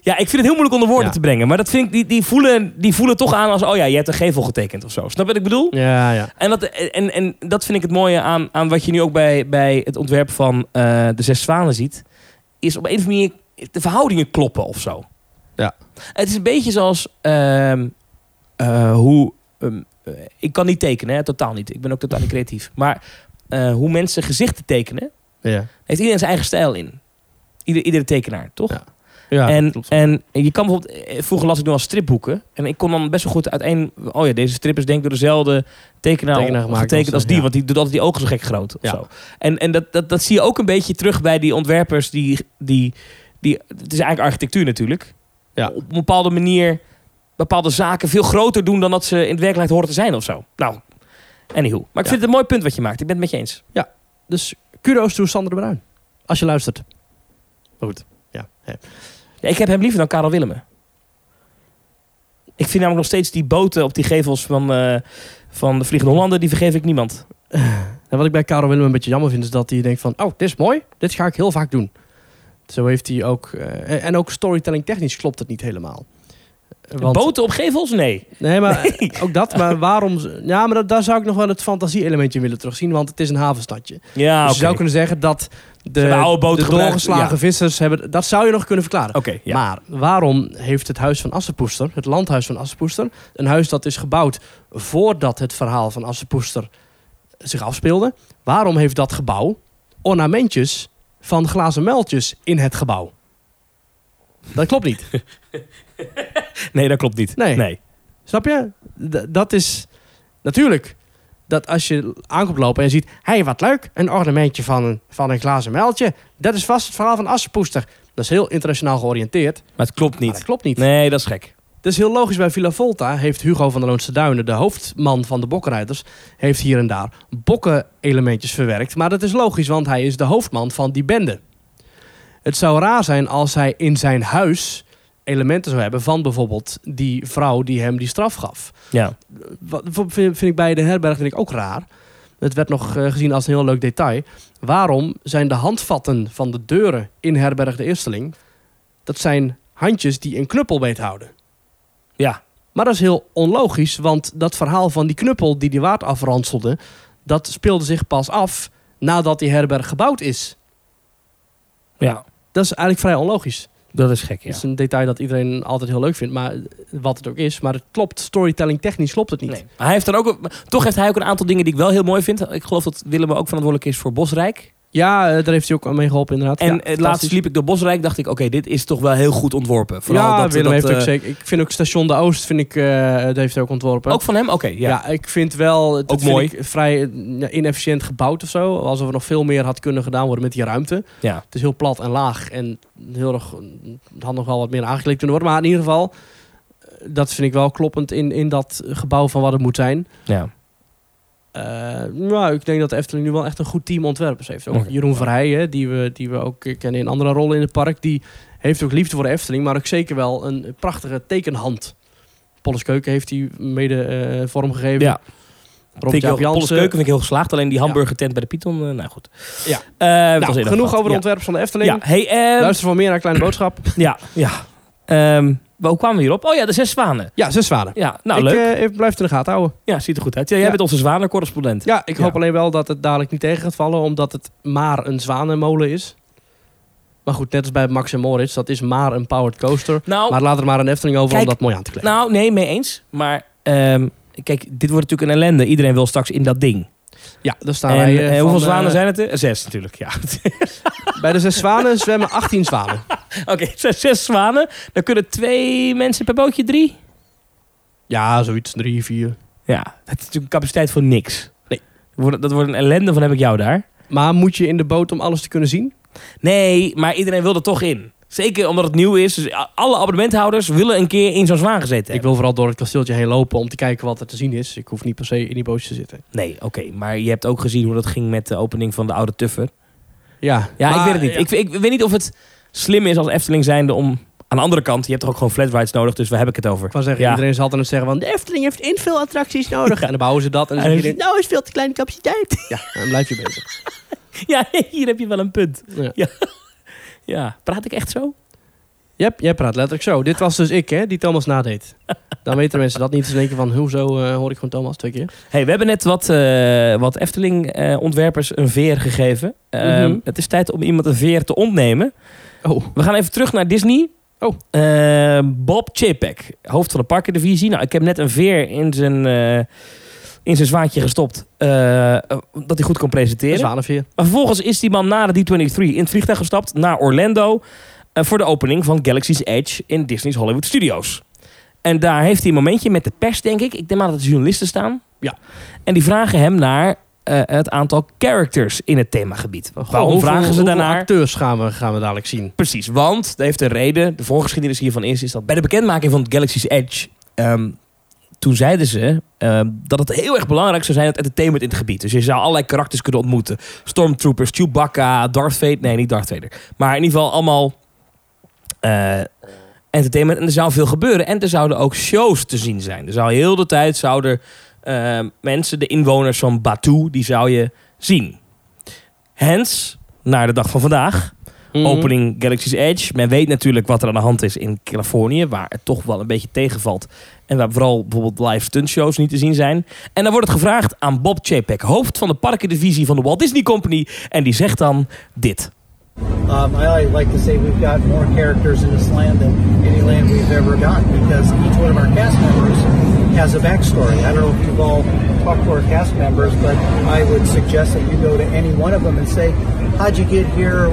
[SPEAKER 2] Ja, ik vind het heel moeilijk onder woorden
[SPEAKER 1] Ja.
[SPEAKER 2] te brengen, maar dat vind ik, die, die, voelen, die voelen toch aan als, oh ja, je hebt een gevel getekend of zo. Snap je wat ik bedoel?
[SPEAKER 1] Ja, ja.
[SPEAKER 2] En dat, en, en dat vind ik het mooie aan, aan wat je nu ook bij, bij het ontwerp van eh, De Zes Zwanen ziet. Is op een of andere manier de verhoudingen kloppen of zo.
[SPEAKER 1] Ja.
[SPEAKER 2] Het is een beetje zoals ehm, eh, hoe... ehm, eh, ik kan niet tekenen, hè, totaal niet. Ik ben ook totaal niet creatief. Maar eh, hoe mensen gezichten tekenen,
[SPEAKER 1] ja.
[SPEAKER 2] heeft iedereen zijn eigen stijl in. Ieder, iedere tekenaar, toch?
[SPEAKER 1] Ja. ja
[SPEAKER 2] en,
[SPEAKER 1] klopt.
[SPEAKER 2] en je kan bijvoorbeeld, eh, vroeger las ik nog wel stripboeken. En ik kon dan best wel goed uiteen. Oh ja, deze strip is denk ik door dezelfde tekenaar,
[SPEAKER 1] Tekenaar gemaakt
[SPEAKER 2] getekend
[SPEAKER 1] als,
[SPEAKER 2] als die.
[SPEAKER 1] ja.
[SPEAKER 2] Want die doet altijd die ogen zo gek groot. Of
[SPEAKER 1] Ja.
[SPEAKER 2] zo. En, en dat, dat, dat zie je ook een beetje terug bij die ontwerpers. Die, die, die, het is eigenlijk architectuur natuurlijk.
[SPEAKER 1] Ja.
[SPEAKER 2] Op een bepaalde manier bepaalde zaken veel groter doen dan dat ze in de werkelijkheid horen te zijn of zo. Nou, anyhow. Maar ik
[SPEAKER 1] Ja.
[SPEAKER 2] vind het een mooi punt wat je maakt. Ik ben het met je eens.
[SPEAKER 1] Dus kudos toe Sander de Bruin. Als je luistert. Maar goed. Ja. hè.
[SPEAKER 2] Ja, ik heb hem liever dan Karel Willemen. Ik vind namelijk nog steeds die boten op die gevels van, eh, van de Vliegende Hollander, die vergeef ik niemand.
[SPEAKER 1] En wat ik bij Karel Willem een beetje jammer vind, is dat hij denkt van... Oh, dit is mooi. Dit ga ik heel vaak doen. Zo heeft hij ook... eh, en- en ook storytelling technisch klopt het niet helemaal. Want-
[SPEAKER 2] Boten op gevels? Nee.
[SPEAKER 1] Nee, maar eh, ook dat. Maar waarom... ze- Ja, maar dat- daar zou ik nog wel het fantasie-elementje in willen terugzien. Want het is een havenstadje.
[SPEAKER 2] Ja,
[SPEAKER 1] dus
[SPEAKER 2] oké.
[SPEAKER 1] je zou kunnen zeggen dat de,
[SPEAKER 2] hebben oude boten
[SPEAKER 1] de
[SPEAKER 2] gebruikt,
[SPEAKER 1] doorgeslagen
[SPEAKER 2] ja.
[SPEAKER 1] vissers hebben... Dat zou je nog kunnen verklaren.
[SPEAKER 2] Oké, ja.
[SPEAKER 1] Maar waarom heeft het huis van Assepoester, het landhuis van Assepoester, een huis dat is gebouwd voordat het verhaal van Assepoester zich afspeelde, waarom heeft dat gebouw ornamentjes van glazen muiltjes in het gebouw? Dat klopt niet.
[SPEAKER 2] Nee, dat klopt niet.
[SPEAKER 1] Nee.
[SPEAKER 2] nee.
[SPEAKER 1] Snap je? D- dat is natuurlijk dat als je aankomt lopen en je ziet, hé hey, wat leuk, een ornamentje van een, van een glazen muiltje, dat is vast het verhaal van Assepoester. Dat is heel internationaal georiënteerd, maar
[SPEAKER 2] Maar het klopt niet.
[SPEAKER 1] dat klopt niet.
[SPEAKER 2] Nee, dat is gek.
[SPEAKER 1] Dus heel logisch bij Villa Volta heeft Hugo van der Loonse Duinen, de hoofdman van de Bokkenrijders, heeft hier en daar bokken-elementjes verwerkt. Maar dat is logisch, want hij is de hoofdman van die bende. Het zou raar zijn als hij in zijn huis elementen zou hebben van bijvoorbeeld die vrouw die hem die straf gaf.
[SPEAKER 2] Ja.
[SPEAKER 1] Wat vind, vind ik bij de herberg vind ik ook raar. Het werd nog eh, gezien als een heel leuk detail. Waarom zijn de handvatten van de deuren in herberg de Eersteling... dat zijn handjes die een knuppel beethouden.
[SPEAKER 2] Ja.
[SPEAKER 1] Maar dat is heel onlogisch, want dat verhaal van die knuppel die die waard afranselde, dat speelde zich pas af nadat die herberg gebouwd is.
[SPEAKER 2] ja,
[SPEAKER 1] Dat is eigenlijk vrij onlogisch.
[SPEAKER 2] dat is gek.
[SPEAKER 1] Het is een detail dat iedereen altijd heel leuk vindt, maar wat het ook is. Maar het klopt, storytelling technisch klopt het niet.
[SPEAKER 2] Nee. Maar Hij heeft dan ook, maar toch heeft hij ook een aantal dingen die ik wel heel mooi vind. Ik geloof dat Willem ook verantwoordelijk is voor Bosrijk.
[SPEAKER 1] Ja, eh, daar heeft hij ook aan mee geholpen inderdaad.
[SPEAKER 2] En
[SPEAKER 1] Ja,
[SPEAKER 2] eh, laatst liep ik door Bosrijk, dacht ik, oké, dit is toch wel heel goed ontworpen. Vooral
[SPEAKER 1] ja,
[SPEAKER 2] dat,
[SPEAKER 1] Willem
[SPEAKER 2] dat,
[SPEAKER 1] heeft ook
[SPEAKER 2] eh,
[SPEAKER 1] zeker. Ik vind ook Station de Oost, vind ik, eh, dat heeft hij ook ontworpen.
[SPEAKER 2] Ook van hem? Oké,
[SPEAKER 1] ja.
[SPEAKER 2] ja.
[SPEAKER 1] ik vind wel... dat
[SPEAKER 2] Ook
[SPEAKER 1] vind
[SPEAKER 2] mooi.
[SPEAKER 1] ik vrij eh, ja, inefficiënt gebouwd of zo. Alsof er nog veel meer had kunnen gedaan worden met die ruimte.
[SPEAKER 2] ja.
[SPEAKER 1] Het is heel plat en laag. En heel erg, het had nog wel wat meer aangekleed kunnen worden. Maar in ieder geval, eh, dat vind ik wel kloppend in, in dat gebouw van wat het moet zijn.
[SPEAKER 2] ja.
[SPEAKER 1] Eh, nou, ik denk dat Efteling nu wel echt een goed team ontwerpers heeft. Ook
[SPEAKER 2] Oké.
[SPEAKER 1] Jeroen Verheijen, die we, die we ook kennen in andere rollen in het park, die heeft ook liefde voor de Efteling, maar ook zeker wel een prachtige tekenhand. Polles Keuken heeft die mede eh, vormgegeven.
[SPEAKER 2] Ja.
[SPEAKER 1] Rob
[SPEAKER 2] Vind ik
[SPEAKER 1] Jaap
[SPEAKER 2] heel, Polles
[SPEAKER 1] Jansen.
[SPEAKER 2] Keuken vind ik heel geslaagd. Alleen die hamburger tent bij de Python, eh, nou goed.
[SPEAKER 1] Ja.
[SPEAKER 2] Eh, dat
[SPEAKER 1] Nou, genoeg
[SPEAKER 2] was eerder
[SPEAKER 1] over de
[SPEAKER 2] gehad. ja.
[SPEAKER 1] ontwerpers van de Efteling.
[SPEAKER 2] Ja, hey, ehm,
[SPEAKER 1] Luister voor meer naar Kleine Boodschap.
[SPEAKER 2] ja, ja. Ehm, maar hoe kwamen we hierop? Oh ja, de zes zwanen.
[SPEAKER 1] Ja, zes zwanen.
[SPEAKER 2] Ja, nou
[SPEAKER 1] ik,
[SPEAKER 2] leuk.
[SPEAKER 1] eh, ik blijf het in de gaten houden.
[SPEAKER 2] ja, ziet er goed uit. Ja, jij
[SPEAKER 1] ja.
[SPEAKER 2] bent onze zwanencorrespondent.
[SPEAKER 1] Ja, ik
[SPEAKER 2] Ja.
[SPEAKER 1] hoop alleen wel dat het dadelijk niet tegen gaat vallen, omdat het maar een zwanenmolen is. Maar goed, net als bij Max en Moritz, dat is maar een powered coaster.
[SPEAKER 2] Nou,
[SPEAKER 1] Maar laat er maar een Efteling over om
[SPEAKER 2] Kijk,
[SPEAKER 1] dat mooi aan te kleden.
[SPEAKER 2] nou, nee, mee eens. Maar ehm, kijk, dit wordt natuurlijk een ellende. Iedereen wil straks in dat ding.
[SPEAKER 1] ja, daar staan
[SPEAKER 2] En,
[SPEAKER 1] wij. eh, van,
[SPEAKER 2] eh, hoeveel
[SPEAKER 1] eh,
[SPEAKER 2] zwanen zijn het er? Zes natuurlijk, ja.
[SPEAKER 1] Bij de zes zwanen zwemmen 18 zwanen.
[SPEAKER 2] Oké, zes, zes zwanen. Dan kunnen twee mensen per bootje drie.
[SPEAKER 1] Ja, zoiets. Drie, vier.
[SPEAKER 2] Ja, dat is natuurlijk een capaciteit voor niks.
[SPEAKER 1] Nee.
[SPEAKER 2] Dat wordt, dat wordt een ellende van heb ik jou daar.
[SPEAKER 1] Maar moet je in de boot om alles te kunnen zien?
[SPEAKER 2] Nee, maar iedereen wil er toch in. Zeker omdat het nieuw is. Dus a- alle abonnementhouders willen een keer in zo'n zwaan gezeten
[SPEAKER 1] Ik
[SPEAKER 2] hebben.
[SPEAKER 1] wil vooral door het kasteeltje heen lopen om te kijken wat er te zien is. Ik hoef niet per se in die bootjes te zitten.
[SPEAKER 2] Nee, oké. maar je hebt ook gezien hoe dat ging met de opening van de oude Tuffer.
[SPEAKER 1] Ja,
[SPEAKER 2] Ja, ik
[SPEAKER 1] maar- eh,
[SPEAKER 2] weet het niet. Ik, ik weet niet of het slim is als Efteling zijnde om... Aan de andere kant, je hebt toch ook gewoon flat rides nodig. Dus waar heb ik het over?
[SPEAKER 1] Ik wou zeggen,
[SPEAKER 2] Ja.
[SPEAKER 1] iedereen zal altijd zeggen van... de Efteling heeft in veel attracties nodig. En dan bouwen ze dat en dan
[SPEAKER 2] En
[SPEAKER 1] zeg
[SPEAKER 2] dan
[SPEAKER 1] je...
[SPEAKER 2] is
[SPEAKER 1] nou is veel te kleine capaciteit. Ja, dan blijf je bezig.
[SPEAKER 2] Ja, hier heb je wel een punt.
[SPEAKER 1] Ja.
[SPEAKER 2] Ja, praat ik echt zo?
[SPEAKER 1] Jij, jij praat letterlijk zo. Dit was dus ik, hè, die Thomas nadeed. Dan weten mensen dat niet. Ze denken van, hoezo eh, hoor ik gewoon Thomas twee keer?
[SPEAKER 2] Hey, we hebben net wat, eh, wat Efteling-ontwerpers een veer gegeven. Ehm,
[SPEAKER 1] Mhm.
[SPEAKER 2] Het is tijd om iemand een veer te ontnemen.
[SPEAKER 1] Oh,
[SPEAKER 2] We gaan even terug naar Disney.
[SPEAKER 1] Oh.
[SPEAKER 2] Eh, Bob Chapek, hoofd van de parkendivisie. Nou, ik heb net een veer in zijn, eh, in zijn zwaantje gestopt. eh, eh, dat hij goed kon presenteren.
[SPEAKER 1] zwanenveer.
[SPEAKER 2] Maar vervolgens is die man na de D23 in het vliegtuig gestapt naar Orlando. eh, voor de opening van Galaxy's Edge in Disney's Hollywood Studios. En daar heeft hij een momentje met de pers, denk ik. Ik denk maar dat er journalisten staan.
[SPEAKER 1] Ja.
[SPEAKER 2] En die vragen hem naar eh, het aantal characters in het themagebied. Waarom
[SPEAKER 1] Hoeveel-
[SPEAKER 2] vragen ze
[SPEAKER 1] hoeveel
[SPEAKER 2] daarnaar?
[SPEAKER 1] acteurs gaan we, gaan we dadelijk zien?
[SPEAKER 2] Precies, want dat heeft een reden. De voorgeschiedenis hiervan is, is dat bij de bekendmaking van Galaxy's Edge... ehm, toen zeiden ze ehm, dat het heel erg belangrijk zou zijn... het entertainment in het gebied. Dus je zou allerlei karakters kunnen ontmoeten. Stormtroopers, Chewbacca, Darth Vader... Nee, niet Darth Vader. Maar in ieder geval allemaal eh, entertainment. En er zou veel gebeuren. En er zouden ook shows te zien zijn. Er zou heel de tijd zouden ehm, mensen, de inwoners van Batuu... die zou je zien. Hens, naar de dag van vandaag...
[SPEAKER 1] Mhm.
[SPEAKER 2] Opening Galaxy's Edge. Men weet natuurlijk wat er aan de hand is in Californië, waar het toch wel een beetje tegenvalt. En waar vooral bijvoorbeeld live stuntshows niet te zien zijn. En dan wordt het gevraagd aan Bob Chapek, hoofd van de parkendivisie van de Walt Disney Company. En die zegt dan dit.
[SPEAKER 3] Um, I always like to say we've got more characters in this land than any land we've ever got because each one of our cast members has a backstory. I don't know if you've all talked to our cast members, but I would suggest that you go to any one of them and say, "How'd you get here?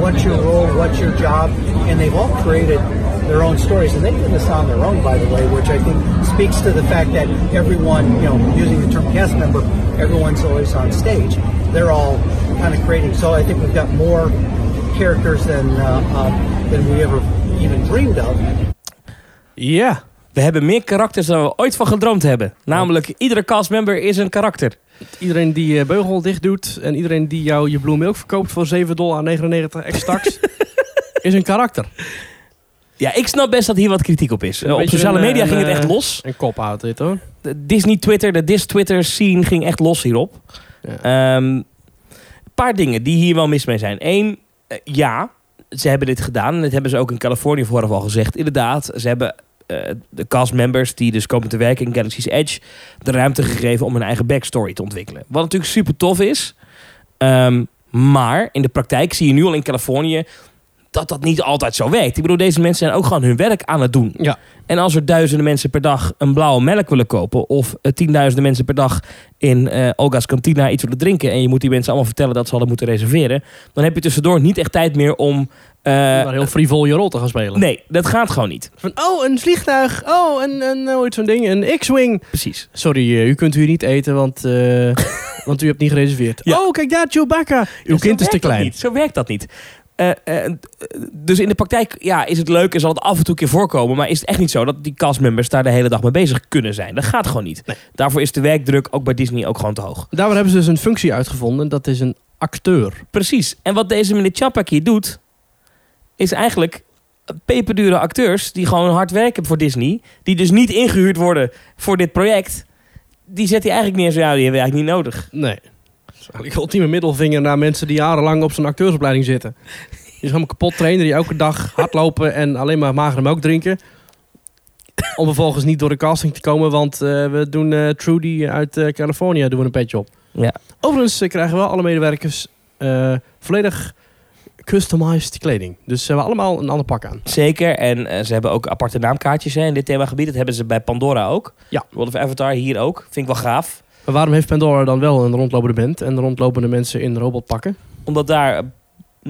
[SPEAKER 3] What's your role? What's your job?" And they've all created their own stories, and they do this on their own, by the way, which I think speaks to the fact that everyone, you know, using the term cast member, everyone's always on stage. They're all kind of creating. So I think we've got more characters than uh, um, than we ever even dreamed of.
[SPEAKER 1] Ja.
[SPEAKER 2] We hebben meer karakters dan we ooit van gedroomd hebben. Namelijk, iedere castmember is een karakter.
[SPEAKER 1] Iedereen die je beugel dicht doet en iedereen die jou je Blue Milk verkoopt voor 7,99 dollar ex tax, is een karakter.
[SPEAKER 2] Ja, ik snap best dat hier wat kritiek op is.
[SPEAKER 1] Een
[SPEAKER 2] Eh, Op
[SPEAKER 1] beetje
[SPEAKER 2] sociale
[SPEAKER 1] een,
[SPEAKER 2] media
[SPEAKER 1] een,
[SPEAKER 2] ging het echt
[SPEAKER 1] eh,
[SPEAKER 2] los.
[SPEAKER 1] Een kop uit dit hoor.
[SPEAKER 2] de Disney-Twitter, de Dis-Twitter-scene ging echt los hierop. Ehm, Een paar dingen die hier wel mis mee zijn. Eén, eh, ja, ze hebben dit gedaan. En dat hebben ze ook in Californië vooraf al gezegd. Inderdaad, ze hebben eh, de castmembers die dus komen te werken in Galaxy's Edge... de ruimte gegeven om hun eigen backstory te ontwikkelen. Wat natuurlijk super tof is. Ehm, maar in de praktijk zie je nu al in Californië... dat dat niet altijd zo werkt. Ik bedoel, deze mensen zijn ook gewoon hun werk aan het doen.
[SPEAKER 1] Ja.
[SPEAKER 2] En als er duizenden mensen per dag een blauwe melk willen kopen... of eh, tienduizenden mensen per dag in eh Olga's Cantina iets willen drinken... en je moet die mensen allemaal vertellen dat ze hadden moeten reserveren... dan heb je tussendoor niet echt tijd meer om... eh,
[SPEAKER 1] maar heel frivol je rol te gaan spelen.
[SPEAKER 2] nee, dat gaat gewoon niet.
[SPEAKER 1] Van, oh, een vliegtuig. Oh, een, een ooit zo'n ding. Een X-Wing.
[SPEAKER 2] Precies.
[SPEAKER 1] Sorry, eh, u kunt hier niet eten, want, eh, want u hebt niet gereserveerd.
[SPEAKER 2] Ja.
[SPEAKER 1] Oh, kijk daar, Chewbacca. Uw
[SPEAKER 2] Ja, Dus
[SPEAKER 1] kind is
[SPEAKER 2] zo
[SPEAKER 1] te
[SPEAKER 2] werkt dat
[SPEAKER 1] klein.
[SPEAKER 2] niet. Zo werkt dat niet. Eh, eh, dus in de praktijk ja, is het leuk en zal het af en toe een keer voorkomen. Maar is het echt niet zo dat die castmembers daar de hele dag mee bezig kunnen zijn? Dat gaat gewoon niet. Daarvoor is de werkdruk ook bij Disney ook gewoon te hoog.
[SPEAKER 1] Daarvoor hebben ze dus een functie uitgevonden. Dat is een acteur.
[SPEAKER 2] Precies. En wat deze meneer Chapak hier doet, is eigenlijk peperdure acteurs die gewoon hard werken voor Disney. Die dus niet ingehuurd worden voor dit project. Die zet hij eigenlijk neer. Zo, ja, die hebben we eigenlijk niet nodig.
[SPEAKER 1] Nee. Dat is eigenlijk een ultieme middelvinger naar mensen die jarenlang op zo'n acteursopleiding zitten. Die is helemaal kapot trainer die elke dag hardlopen en alleen maar magere melk drinken. Om vervolgens niet door de casting te komen, want eh, we doen eh, Trudy uit eh, Californië doen we een petje op.
[SPEAKER 2] Ja.
[SPEAKER 1] Overigens eh, krijgen wel alle medewerkers eh, volledig customized kleding. Dus ze hebben allemaal een ander pak aan.
[SPEAKER 2] Zeker, en eh, ze hebben ook aparte naamkaartjes hè, in dit themagebied. Dat hebben ze bij Pandora ook.
[SPEAKER 1] Ja.
[SPEAKER 2] World of Avatar hier ook. Vind ik wel gaaf.
[SPEAKER 1] Maar waarom heeft Pandora dan wel een rondlopende band en rondlopende mensen in robotpakken?
[SPEAKER 2] Omdat daar eh,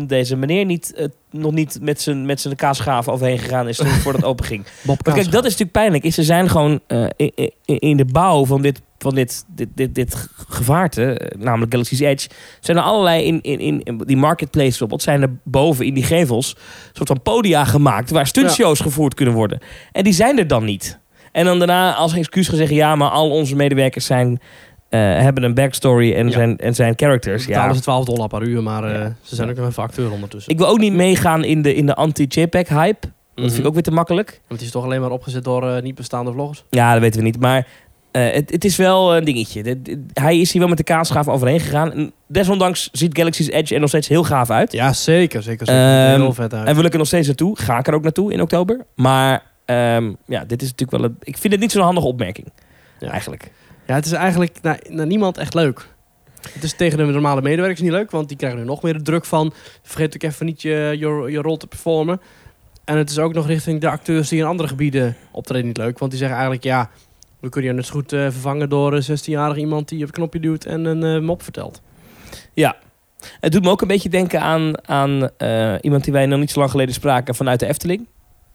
[SPEAKER 2] deze meneer niet, eh, nog niet met zijn, met zijn kaasschaaf overheen gegaan is toen het voor dat open ging.
[SPEAKER 1] Bob
[SPEAKER 2] Maar
[SPEAKER 1] Kaas.
[SPEAKER 2] kijk, dat is natuurlijk pijnlijk. Is ze zijn gewoon eh, in, in- in de bouw van dit, van dit, dit, dit, dit ge- gevaarte, eh, namelijk Galaxy's Edge, zijn er allerlei in, in, in in die marketplace bijvoorbeeld, zijn er boven in die gevels soort van podia gemaakt waar stuntshows gevoerd kunnen worden. En die zijn er dan niet. En dan daarna als excuus gezegd, ja, maar al onze medewerkers zijn, eh, hebben een backstory en,
[SPEAKER 1] Ja.
[SPEAKER 2] zijn, en zijn characters.
[SPEAKER 1] betalen
[SPEAKER 2] Dus Ja.
[SPEAKER 1] ze 12 dollar per uur, maar eh,
[SPEAKER 2] Ja.
[SPEAKER 1] ze zijn ook nog even acteur ondertussen.
[SPEAKER 2] Ik wil ook niet meegaan in de, in de anti-JPEG-hype.
[SPEAKER 1] Mhm.
[SPEAKER 2] Dat vind ik ook weer te makkelijk.
[SPEAKER 1] Want die is toch alleen maar opgezet door eh, niet bestaande vloggers.
[SPEAKER 2] Ja, dat weten we niet. Maar eh, het, het is wel een dingetje. Dit- dit- hij is hier wel met de kaasschaaf overheen gegaan. En desondanks ziet Galaxy's Edge er nog steeds heel gaaf uit.
[SPEAKER 1] Ja, zeker. Zeker.
[SPEAKER 2] zeker. Ehm,
[SPEAKER 1] heel
[SPEAKER 2] Heel
[SPEAKER 1] vet uit.
[SPEAKER 2] En wil ik er nog steeds naartoe? Ga ik er ook naartoe in oktober? Maar ehm, ja, dit is natuurlijk wel... Een, ik vind het niet zo'n handige opmerking.
[SPEAKER 1] Ja.
[SPEAKER 2] Eigenlijk.
[SPEAKER 1] Ja, het is eigenlijk naar, naar niemand echt leuk. Het is tegen de normale medewerkers niet leuk, want die krijgen er nog meer de druk van. Vergeet ook even niet je, je, je rol te performen. En het is ook nog richting de acteurs die in andere gebieden optreden niet leuk. Want die zeggen eigenlijk, ja, we kunnen je net zo goed eh, vervangen door een 16-jarig iemand die op het knopje duwt en een eh, mop vertelt.
[SPEAKER 2] Het doet me ook een beetje denken aan, aan eh, iemand die wij nog niet zo lang geleden spraken vanuit de Efteling.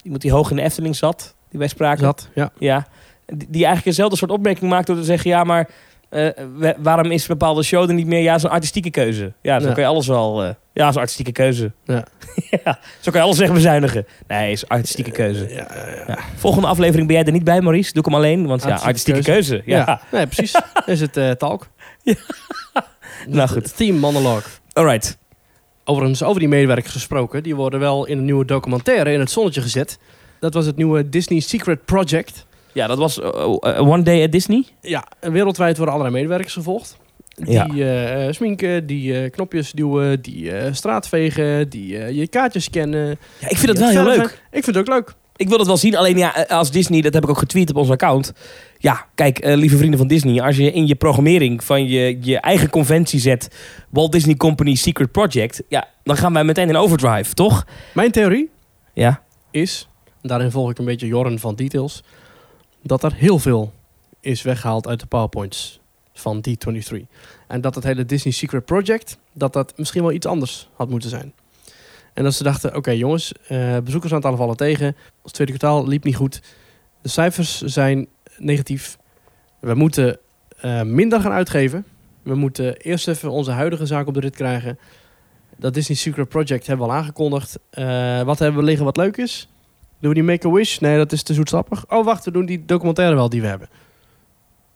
[SPEAKER 2] Iemand die hoog in de Efteling zat. Die wij spraken.
[SPEAKER 1] Zat, ja.
[SPEAKER 2] Ja, die, die eigenlijk eenzelfde soort opmerking maakt door te zeggen: ja, maar eh, we- waarom is een bepaalde show er niet meer? Ja, is een artistieke keuze. Ja, zo
[SPEAKER 1] Ja.
[SPEAKER 2] kan je alles wel. eh, ja, is een artistieke keuze.
[SPEAKER 1] Ja.
[SPEAKER 2] Ja, zo kan je alles zeggen bezuinigen. Nee, is een artistieke keuze.
[SPEAKER 1] Ja, ja, ja.
[SPEAKER 2] Volgende aflevering ben jij er niet bij, Maurice. Doe ik hem alleen, want ja,
[SPEAKER 1] Artistieke
[SPEAKER 2] artistieke keuze. Ja.
[SPEAKER 1] Ja. nee, precies. Dan is het eh, talk.
[SPEAKER 2] Ja.
[SPEAKER 1] Nou goed.
[SPEAKER 2] goed.
[SPEAKER 1] Team monologue.
[SPEAKER 2] Alright.
[SPEAKER 1] Overigens, over die medewerkers gesproken. Die worden wel in een nieuwe documentaire in het zonnetje gezet. Dat was het nieuwe Disney Secret Project.
[SPEAKER 2] Ja, dat was eh, eh, One Day at Disney.
[SPEAKER 1] Ja, en wereldwijd worden allerlei medewerkers gevolgd. Die
[SPEAKER 2] Ja.
[SPEAKER 1] eh, eh, sminken, die eh, knopjes duwen, die eh straatvegen, die eh, je kaartjes scannen.
[SPEAKER 2] Ja, ik vind dat
[SPEAKER 1] die
[SPEAKER 2] wel
[SPEAKER 1] het
[SPEAKER 2] heel
[SPEAKER 1] verven.
[SPEAKER 2] leuk.
[SPEAKER 1] Ik vind het ook leuk.
[SPEAKER 2] Ik wil dat wel zien, alleen ja, eh, als Disney, dat heb ik ook getweet op ons account. Ja, kijk, eh, lieve vrienden van Disney, als je in je programmering van je, je eigen conventie zet Walt Disney Company Secret Project, ja, dan gaan wij meteen in overdrive, toch?
[SPEAKER 1] Mijn theorie
[SPEAKER 2] Ja.
[SPEAKER 1] is, en daarin volg ik een beetje Jorren van Details, dat er heel veel is weggehaald uit de powerpoints van D23. En dat het hele Disney Secret Project, dat dat misschien wel iets anders had moeten zijn. En dat ze dachten, oké jongens, eh bezoekersaantallen vallen tegen. Ons tweede kwartaal liep niet goed. De cijfers zijn negatief. We moeten eh, minder gaan uitgeven. We moeten eerst even onze huidige zaak op de rit krijgen. Dat Disney Secret Project hebben we al aangekondigd. Eh, wat hebben we liggen wat leuk is? Doen we die Make-A-Wish? Nee, dat is te zoetsappig. Oh, wacht, we doen die documentaire wel die we hebben.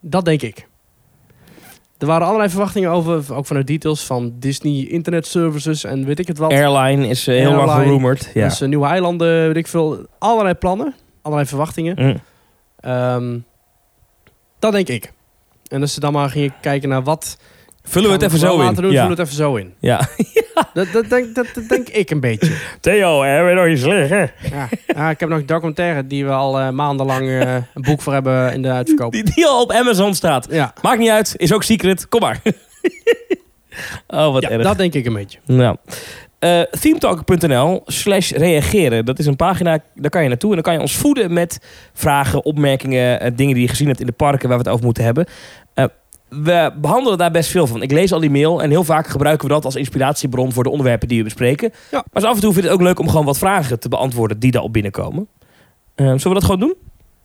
[SPEAKER 1] Dat denk ik. Er waren allerlei verwachtingen over, ook vanuit details van Disney Internet Services en weet ik het wat.
[SPEAKER 2] Airline is eh, heel lang
[SPEAKER 1] Airline.
[SPEAKER 2] gerumored. Ja.
[SPEAKER 1] Dus eh, nieuwe eilanden, weet ik veel. Allerlei plannen, allerlei verwachtingen.
[SPEAKER 2] Mm.
[SPEAKER 1] Ehm, dat denk ik. En dat ze dan maar gingen kijken naar wat...
[SPEAKER 2] Vullen we het
[SPEAKER 1] gaan
[SPEAKER 2] even zo
[SPEAKER 1] laten
[SPEAKER 2] in.
[SPEAKER 1] Doen,
[SPEAKER 2] ja.
[SPEAKER 1] Vullen we het even zo in.
[SPEAKER 2] ja.
[SPEAKER 1] Dat, dat, denk, dat, dat denk ik een beetje.
[SPEAKER 2] Theo, hebben we nog iets liggen?
[SPEAKER 1] Ja. Ah, ik heb nog een documentaire die we al eh, maandenlang eh, een boek voor hebben in de uitverkoop.
[SPEAKER 2] Die, die al op Amazon staat.
[SPEAKER 1] Ja,
[SPEAKER 2] Maakt niet uit, is ook secret. Kom maar. oh, wat
[SPEAKER 1] ja
[SPEAKER 2] erg.
[SPEAKER 1] dat denk ik een beetje.
[SPEAKER 2] Nou, eh themetalker.nl slash reageren. Dat is een pagina, daar kan je naartoe. En dan kan je ons voeden met vragen, opmerkingen, eh, dingen die je gezien hebt in de parken waar we het over moeten hebben. Eh, we behandelen daar best veel van. Ik lees al die mail en heel vaak gebruiken we dat als inspiratiebron voor de onderwerpen die we bespreken.
[SPEAKER 1] Ja.
[SPEAKER 2] Maar zo af en toe vind ik het ook leuk om gewoon wat vragen te beantwoorden die daarop binnenkomen. Eh, zullen we dat gewoon doen?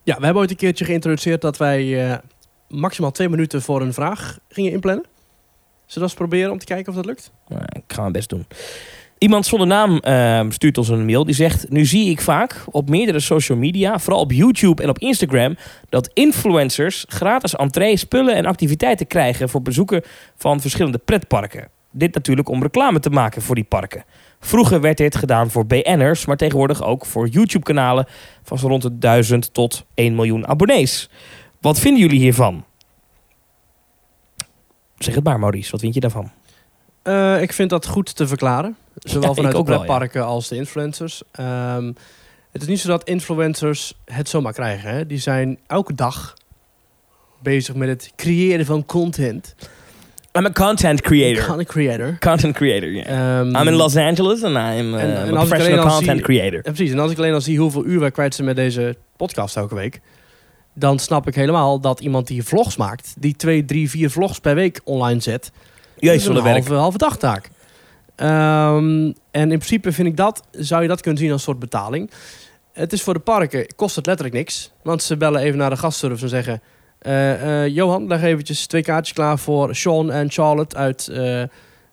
[SPEAKER 1] Ja, we hebben ooit een keertje geïntroduceerd dat wij eh, maximaal twee minuten voor een vraag gingen inplannen. Zullen we dat eens proberen om te kijken of dat lukt?
[SPEAKER 2] Nou, ik ga mijn best doen. Iemand zonder naam ehm, stuurt ons een mail. Die zegt: Nu zie ik vaak op meerdere social media, vooral op YouTube en op Instagram, dat influencers gratis entree, spullen en activiteiten krijgen voor bezoeken van verschillende pretparken. Dit natuurlijk om reclame te maken voor die parken. Vroeger werd dit gedaan voor BN'ers, maar tegenwoordig ook voor YouTube-kanalen van zo rond de 1000 tot 1 miljoen abonnees. Wat vinden jullie hiervan? Zeg het maar, Maurice, wat vind je daarvan?
[SPEAKER 1] Eh, ik vind dat goed te verklaren. Zowel
[SPEAKER 2] Ja, ik
[SPEAKER 1] vanuit de
[SPEAKER 2] ook wel, ja.
[SPEAKER 1] pretparken als de influencers. Ehm, het is niet zo dat influencers het zomaar krijgen. Hè? Die zijn elke dag bezig met het creëren van content.
[SPEAKER 2] I'm a content creator.
[SPEAKER 1] Content creator.
[SPEAKER 2] Content creator, yeah.
[SPEAKER 1] Ehm,
[SPEAKER 2] I'm in Los Angeles and I'm uh,
[SPEAKER 1] en- en
[SPEAKER 2] a
[SPEAKER 1] als ik alleen
[SPEAKER 2] professional
[SPEAKER 1] al
[SPEAKER 2] content
[SPEAKER 1] zie-
[SPEAKER 2] creator.
[SPEAKER 1] Ja, precies. En als ik alleen al zie hoeveel uur wij kwijt zijn met deze podcast elke week. Dan snap ik helemaal dat iemand die vlogs maakt, die twee, drie, vier vlogs per week online zet, dat
[SPEAKER 2] Jezus,
[SPEAKER 1] is
[SPEAKER 2] wat
[SPEAKER 1] een
[SPEAKER 2] een werk.
[SPEAKER 1] halve, halve dagtaak. Ehm, en in principe vind ik dat, zou je dat kunnen zien als een soort betaling. Het is voor de parken, kost het letterlijk niks. Want ze bellen even naar de gastservice en zeggen... eh, eh, Johan, leg eventjes twee kaartjes klaar voor Sean en Charlotte uit, eh, eh,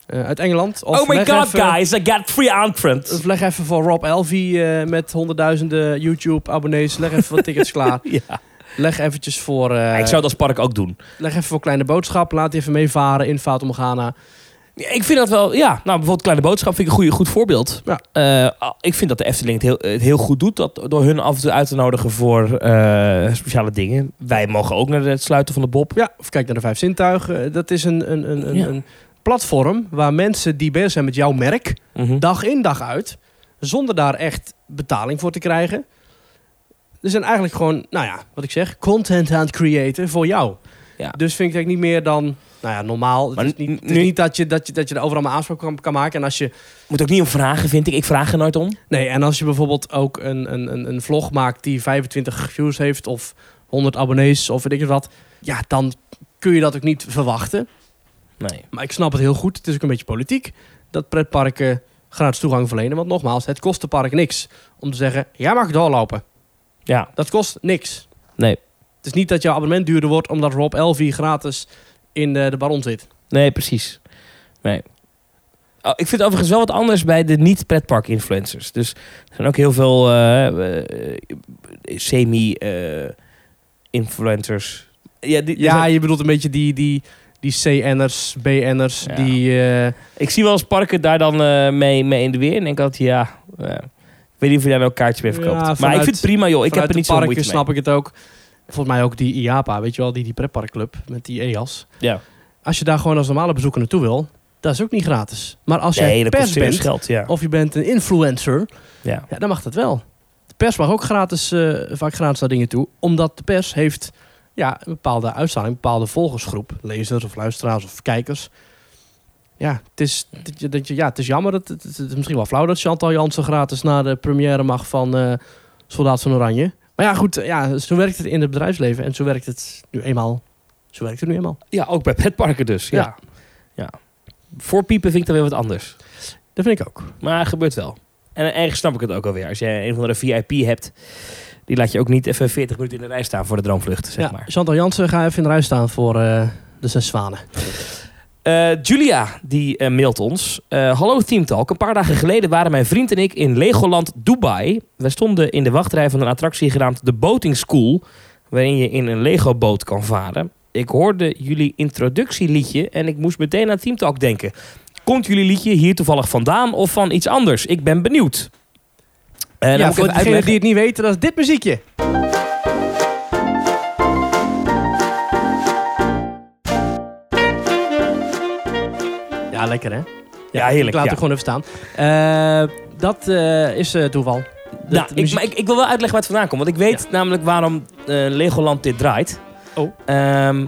[SPEAKER 1] uit Engeland. Of
[SPEAKER 2] Oh my
[SPEAKER 1] leg
[SPEAKER 2] god,
[SPEAKER 1] even-
[SPEAKER 2] guys, I got free entrance.
[SPEAKER 1] Of leg even voor Rob Elvie eh, met honderdduizenden YouTube-abonnees. Leg even wat tickets klaar.
[SPEAKER 2] Ja.
[SPEAKER 1] Leg eventjes voor... eh,
[SPEAKER 2] ik zou dat als park ook doen.
[SPEAKER 1] Leg even voor Kleine Boodschap. Laat even meevaren in Fatum Ghana.
[SPEAKER 2] Ja, Ik vind dat wel, ja. Nou, bijvoorbeeld Kleine Boodschap vind ik een goede, goed voorbeeld.
[SPEAKER 1] Ja.
[SPEAKER 2] Eh, ah, ik vind dat de Efteling het heel, het heel goed doet dat, door hun af en toe uit te nodigen voor eh, speciale dingen. Wij mogen ook naar het sluiten van de Bob.
[SPEAKER 1] Ja, of kijk naar de Vijf Zintuigen. Eh, Dat is een, een, een, een,
[SPEAKER 2] Ja.
[SPEAKER 1] een platform waar mensen die bezig zijn met jouw merk,
[SPEAKER 2] Mhm.
[SPEAKER 1] dag in dag uit, zonder daar echt betaling voor te krijgen. Er zijn eigenlijk gewoon, nou ja, wat ik zeg, content aan het creëren voor jou.
[SPEAKER 2] Ja.
[SPEAKER 1] Dus vind ik het eigenlijk niet meer dan, nou ja, normaal.
[SPEAKER 2] Maar
[SPEAKER 1] het is niet, het is
[SPEAKER 2] nu-
[SPEAKER 1] niet dat, je, dat, je, dat je er overal maar aanspraak kan, kan maken. En als je
[SPEAKER 2] Moet ook niet om vragen, vind ik. Ik vraag er nooit om.
[SPEAKER 1] Nee, en als je bijvoorbeeld ook een, een, een, een vlog maakt die 25 views heeft of 100 abonnees of weet ik het wat, ja, dan kun je dat ook niet verwachten.
[SPEAKER 2] Nee.
[SPEAKER 1] Maar ik snap het heel goed. Het is ook een beetje politiek dat pretparken gratis toegang verlenen. Want nogmaals, het kost de park niks om te zeggen: jij mag doorlopen.
[SPEAKER 2] Ja.
[SPEAKER 1] Dat kost niks.
[SPEAKER 2] Nee.
[SPEAKER 1] Het is niet dat jouw abonnement duurder wordt omdat Rob Elvie gratis in de, de baron zit.
[SPEAKER 2] Nee, precies. Nee. Oh, ik vind het overigens wel wat anders bij de niet-pretpark-influencers. Dus er zijn ook heel veel eh, eh, semi-influencers. ja, die, die
[SPEAKER 1] Ja,
[SPEAKER 2] zijn-
[SPEAKER 1] je bedoelt een beetje die, die, die CN'ers, BN'ers,
[SPEAKER 2] Ja.
[SPEAKER 1] die. eh,
[SPEAKER 2] ik zie wel eens parken daar dan eh, mee, mee in de weer. En denk altijd, ja, eh, ik weet niet of je daar nou kaartjes mee
[SPEAKER 1] Ja,
[SPEAKER 2] verkoopt. maar ik
[SPEAKER 1] vanuit-
[SPEAKER 2] vind het prima, joh. Ik heb
[SPEAKER 1] Vanuit
[SPEAKER 2] er niet
[SPEAKER 1] de
[SPEAKER 2] zo
[SPEAKER 1] parken
[SPEAKER 2] moeite mee.
[SPEAKER 1] snap ik het ook. Volgens mij ook die IAPA, weet je wel, die, die pretparkclub met die EAS.
[SPEAKER 2] Ja.
[SPEAKER 1] Als je daar gewoon als normale bezoeker naartoe wil, dat is ook niet gratis. Maar als
[SPEAKER 2] Nee,
[SPEAKER 1] jij
[SPEAKER 2] dat kost
[SPEAKER 1] pers
[SPEAKER 2] serieus
[SPEAKER 1] bent,
[SPEAKER 2] geld, ja.
[SPEAKER 1] of je bent een influencer,
[SPEAKER 2] ja.
[SPEAKER 1] ja, dan mag dat wel. De pers mag ook gratis, eh, vaak gratis naar dingen toe. Omdat de pers heeft ja, een bepaalde uitstraling, een bepaalde volgersgroep. Lezers of luisteraars of kijkers. Ja, het is, dat je- dat je- ja, het is jammer. Dat, het, het is misschien wel flauw dat Chantal Jansen gratis naar de première mag van eh, Soldaat van Oranje. Maar ja, goed, eh, ja, zo werkt het in het bedrijfsleven. En zo werkt het nu eenmaal. Zo werkt het nu eenmaal.
[SPEAKER 2] ja, ook bij pretparken dus. Ja. ja.
[SPEAKER 1] Ja.
[SPEAKER 2] Voorpiepen vind ik dan weer wat anders.
[SPEAKER 1] Dat vind ik ook.
[SPEAKER 2] Maar het gebeurt wel. En ergens snap ik het ook alweer. Als jij een van de VIP hebt, die laat je ook niet even 40 minuten in de rij staan voor de droomvlucht, zeg
[SPEAKER 1] Ja,
[SPEAKER 2] maar.
[SPEAKER 1] Chantal Jansen, ga even in de rij staan voor eh, de Zes Zwanen.
[SPEAKER 2] Eh, Julia, die eh, mailt ons. Eh, Hallo Teamtalk. Een paar dagen geleden waren mijn vriend en ik in Legoland Dubai. We stonden in de wachtrij van een attractie genaamd de Boating School, waarin je in een Lego-boot kan varen. Ik hoorde jullie introductieliedje en ik moest meteen aan Teamtalk denken. Komt jullie liedje hier toevallig vandaan of van iets anders? Ik ben benieuwd. Eh, dan
[SPEAKER 1] ja,
[SPEAKER 2] moet ik even
[SPEAKER 1] voor degenen
[SPEAKER 2] uitleggen-
[SPEAKER 1] die het niet weten, dat is dit muziekje. Ja, lekker hè? Ja,
[SPEAKER 2] Ja, heerlijk,
[SPEAKER 1] Ik laat
[SPEAKER 2] ja.
[SPEAKER 1] het gewoon even staan. Eh, dat eh, is eh, toeval. Dat
[SPEAKER 2] Nou, ik,
[SPEAKER 1] muziek-
[SPEAKER 2] maar ik, ik wil wel uitleggen waar het vandaan komt. Want ik weet namelijk waarom eh, Legoland dit draait.
[SPEAKER 1] Oh.
[SPEAKER 2] Ehm,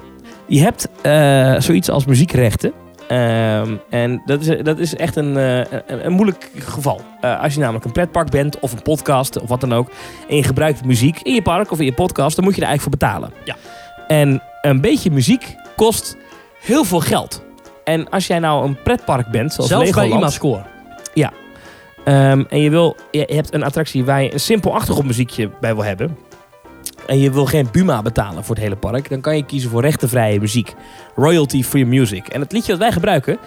[SPEAKER 2] je hebt eh, zoiets als muziekrechten. Ehm, en dat is, dat is echt een, eh, een, een moeilijk geval. Eh, als je namelijk een pretpark bent of een podcast of wat dan ook. En je gebruikt muziek in je park of in je podcast, dan moet je er eigenlijk voor betalen.
[SPEAKER 1] Ja.
[SPEAKER 2] En een beetje muziek kost heel veel geld. En als jij nou een pretpark bent, zoals
[SPEAKER 1] Zelfs bij
[SPEAKER 2] Legoland,
[SPEAKER 1] IMA-score.
[SPEAKER 2] Ehm, en je, wil, je hebt een attractie waar je een simpel achtergrondmuziekje bij wil hebben. En je wil geen Buma betalen voor het hele park. Dan kan je kiezen voor rechtenvrije muziek. Royalty-free music. En het liedje dat wij gebruiken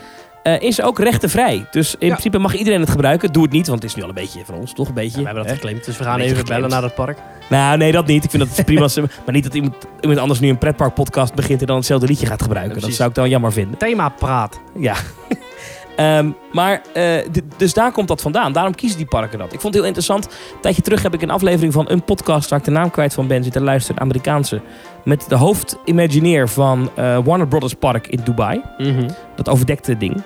[SPEAKER 2] eh, is ook rechtenvrij. Dus in
[SPEAKER 1] Ja.
[SPEAKER 2] principe mag iedereen het gebruiken. Doe het niet, want het is nu al een beetje van ons, toch? Een beetje.
[SPEAKER 1] Ja, we hebben dat
[SPEAKER 2] hè?
[SPEAKER 1] geclaimd, dus we gaan
[SPEAKER 2] Beetje
[SPEAKER 1] even
[SPEAKER 2] geclaimd.
[SPEAKER 1] bellen naar het park.
[SPEAKER 2] Nou, nee, dat niet. Ik vind dat het prima. is, maar niet dat iemand, iemand anders nu een pretparkpodcast begint en dan hetzelfde liedje gaat gebruiken.
[SPEAKER 1] Ja,
[SPEAKER 2] dat
[SPEAKER 1] precies.
[SPEAKER 2] zou ik dan jammer vinden.
[SPEAKER 1] Thema praat.
[SPEAKER 2] Ja. Ehm, maar, eh, d- dus daar komt dat vandaan. Daarom kiezen die parken dat. Ik vond het heel interessant. Een tijdje terug heb ik een aflevering van een podcast... waar ik de naam kwijt van ben, zitten luisteren, een Amerikaanse... met de hoofdimagineer van eh, Warner Brothers Park in Dubai.
[SPEAKER 1] Mhm.
[SPEAKER 2] Dat overdekte ding.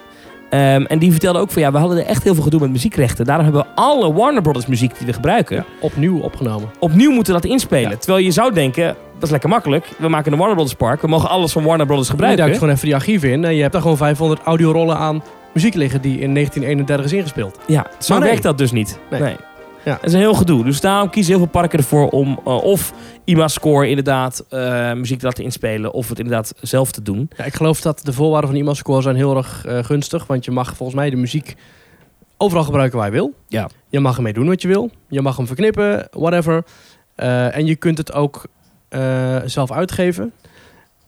[SPEAKER 2] Ehm, en die vertelde ook van... ja, we hadden er echt heel veel gedoe met muziekrechten. Daarom hebben we alle Warner Brothers muziek die we gebruiken...
[SPEAKER 1] Opnieuw opgenomen.
[SPEAKER 2] opnieuw moeten dat inspelen.
[SPEAKER 1] Ja.
[SPEAKER 2] Terwijl je zou denken, dat is lekker makkelijk. We maken een Warner Brothers Park. We mogen alles van Warner Brothers
[SPEAKER 1] Je
[SPEAKER 2] gebruiken.
[SPEAKER 1] duikt gewoon even die archieven in en je hebt daar gewoon 500 audiorollen aan muziek liggen die in 1931 is ingespeeld.
[SPEAKER 2] Ja, zo
[SPEAKER 1] Maar nee.
[SPEAKER 2] werkt dat dus niet. Nee.
[SPEAKER 1] Nee. Ja.
[SPEAKER 2] Dat is een heel gedoe. Dus daarom kiezen heel veel parken ervoor om eh, of IMA-score inderdaad eh, muziek te laten inspelen... of het inderdaad zelf te doen.
[SPEAKER 1] Ja, ik geloof dat de voorwaarden van IMA-score zijn heel erg eh, gunstig, want je mag volgens mij de muziek overal gebruiken waar je wil.
[SPEAKER 2] Ja.
[SPEAKER 1] Je mag ermee doen wat je wil. Je mag hem verknippen, whatever. Eh, en je kunt het ook eh, zelf uitgeven.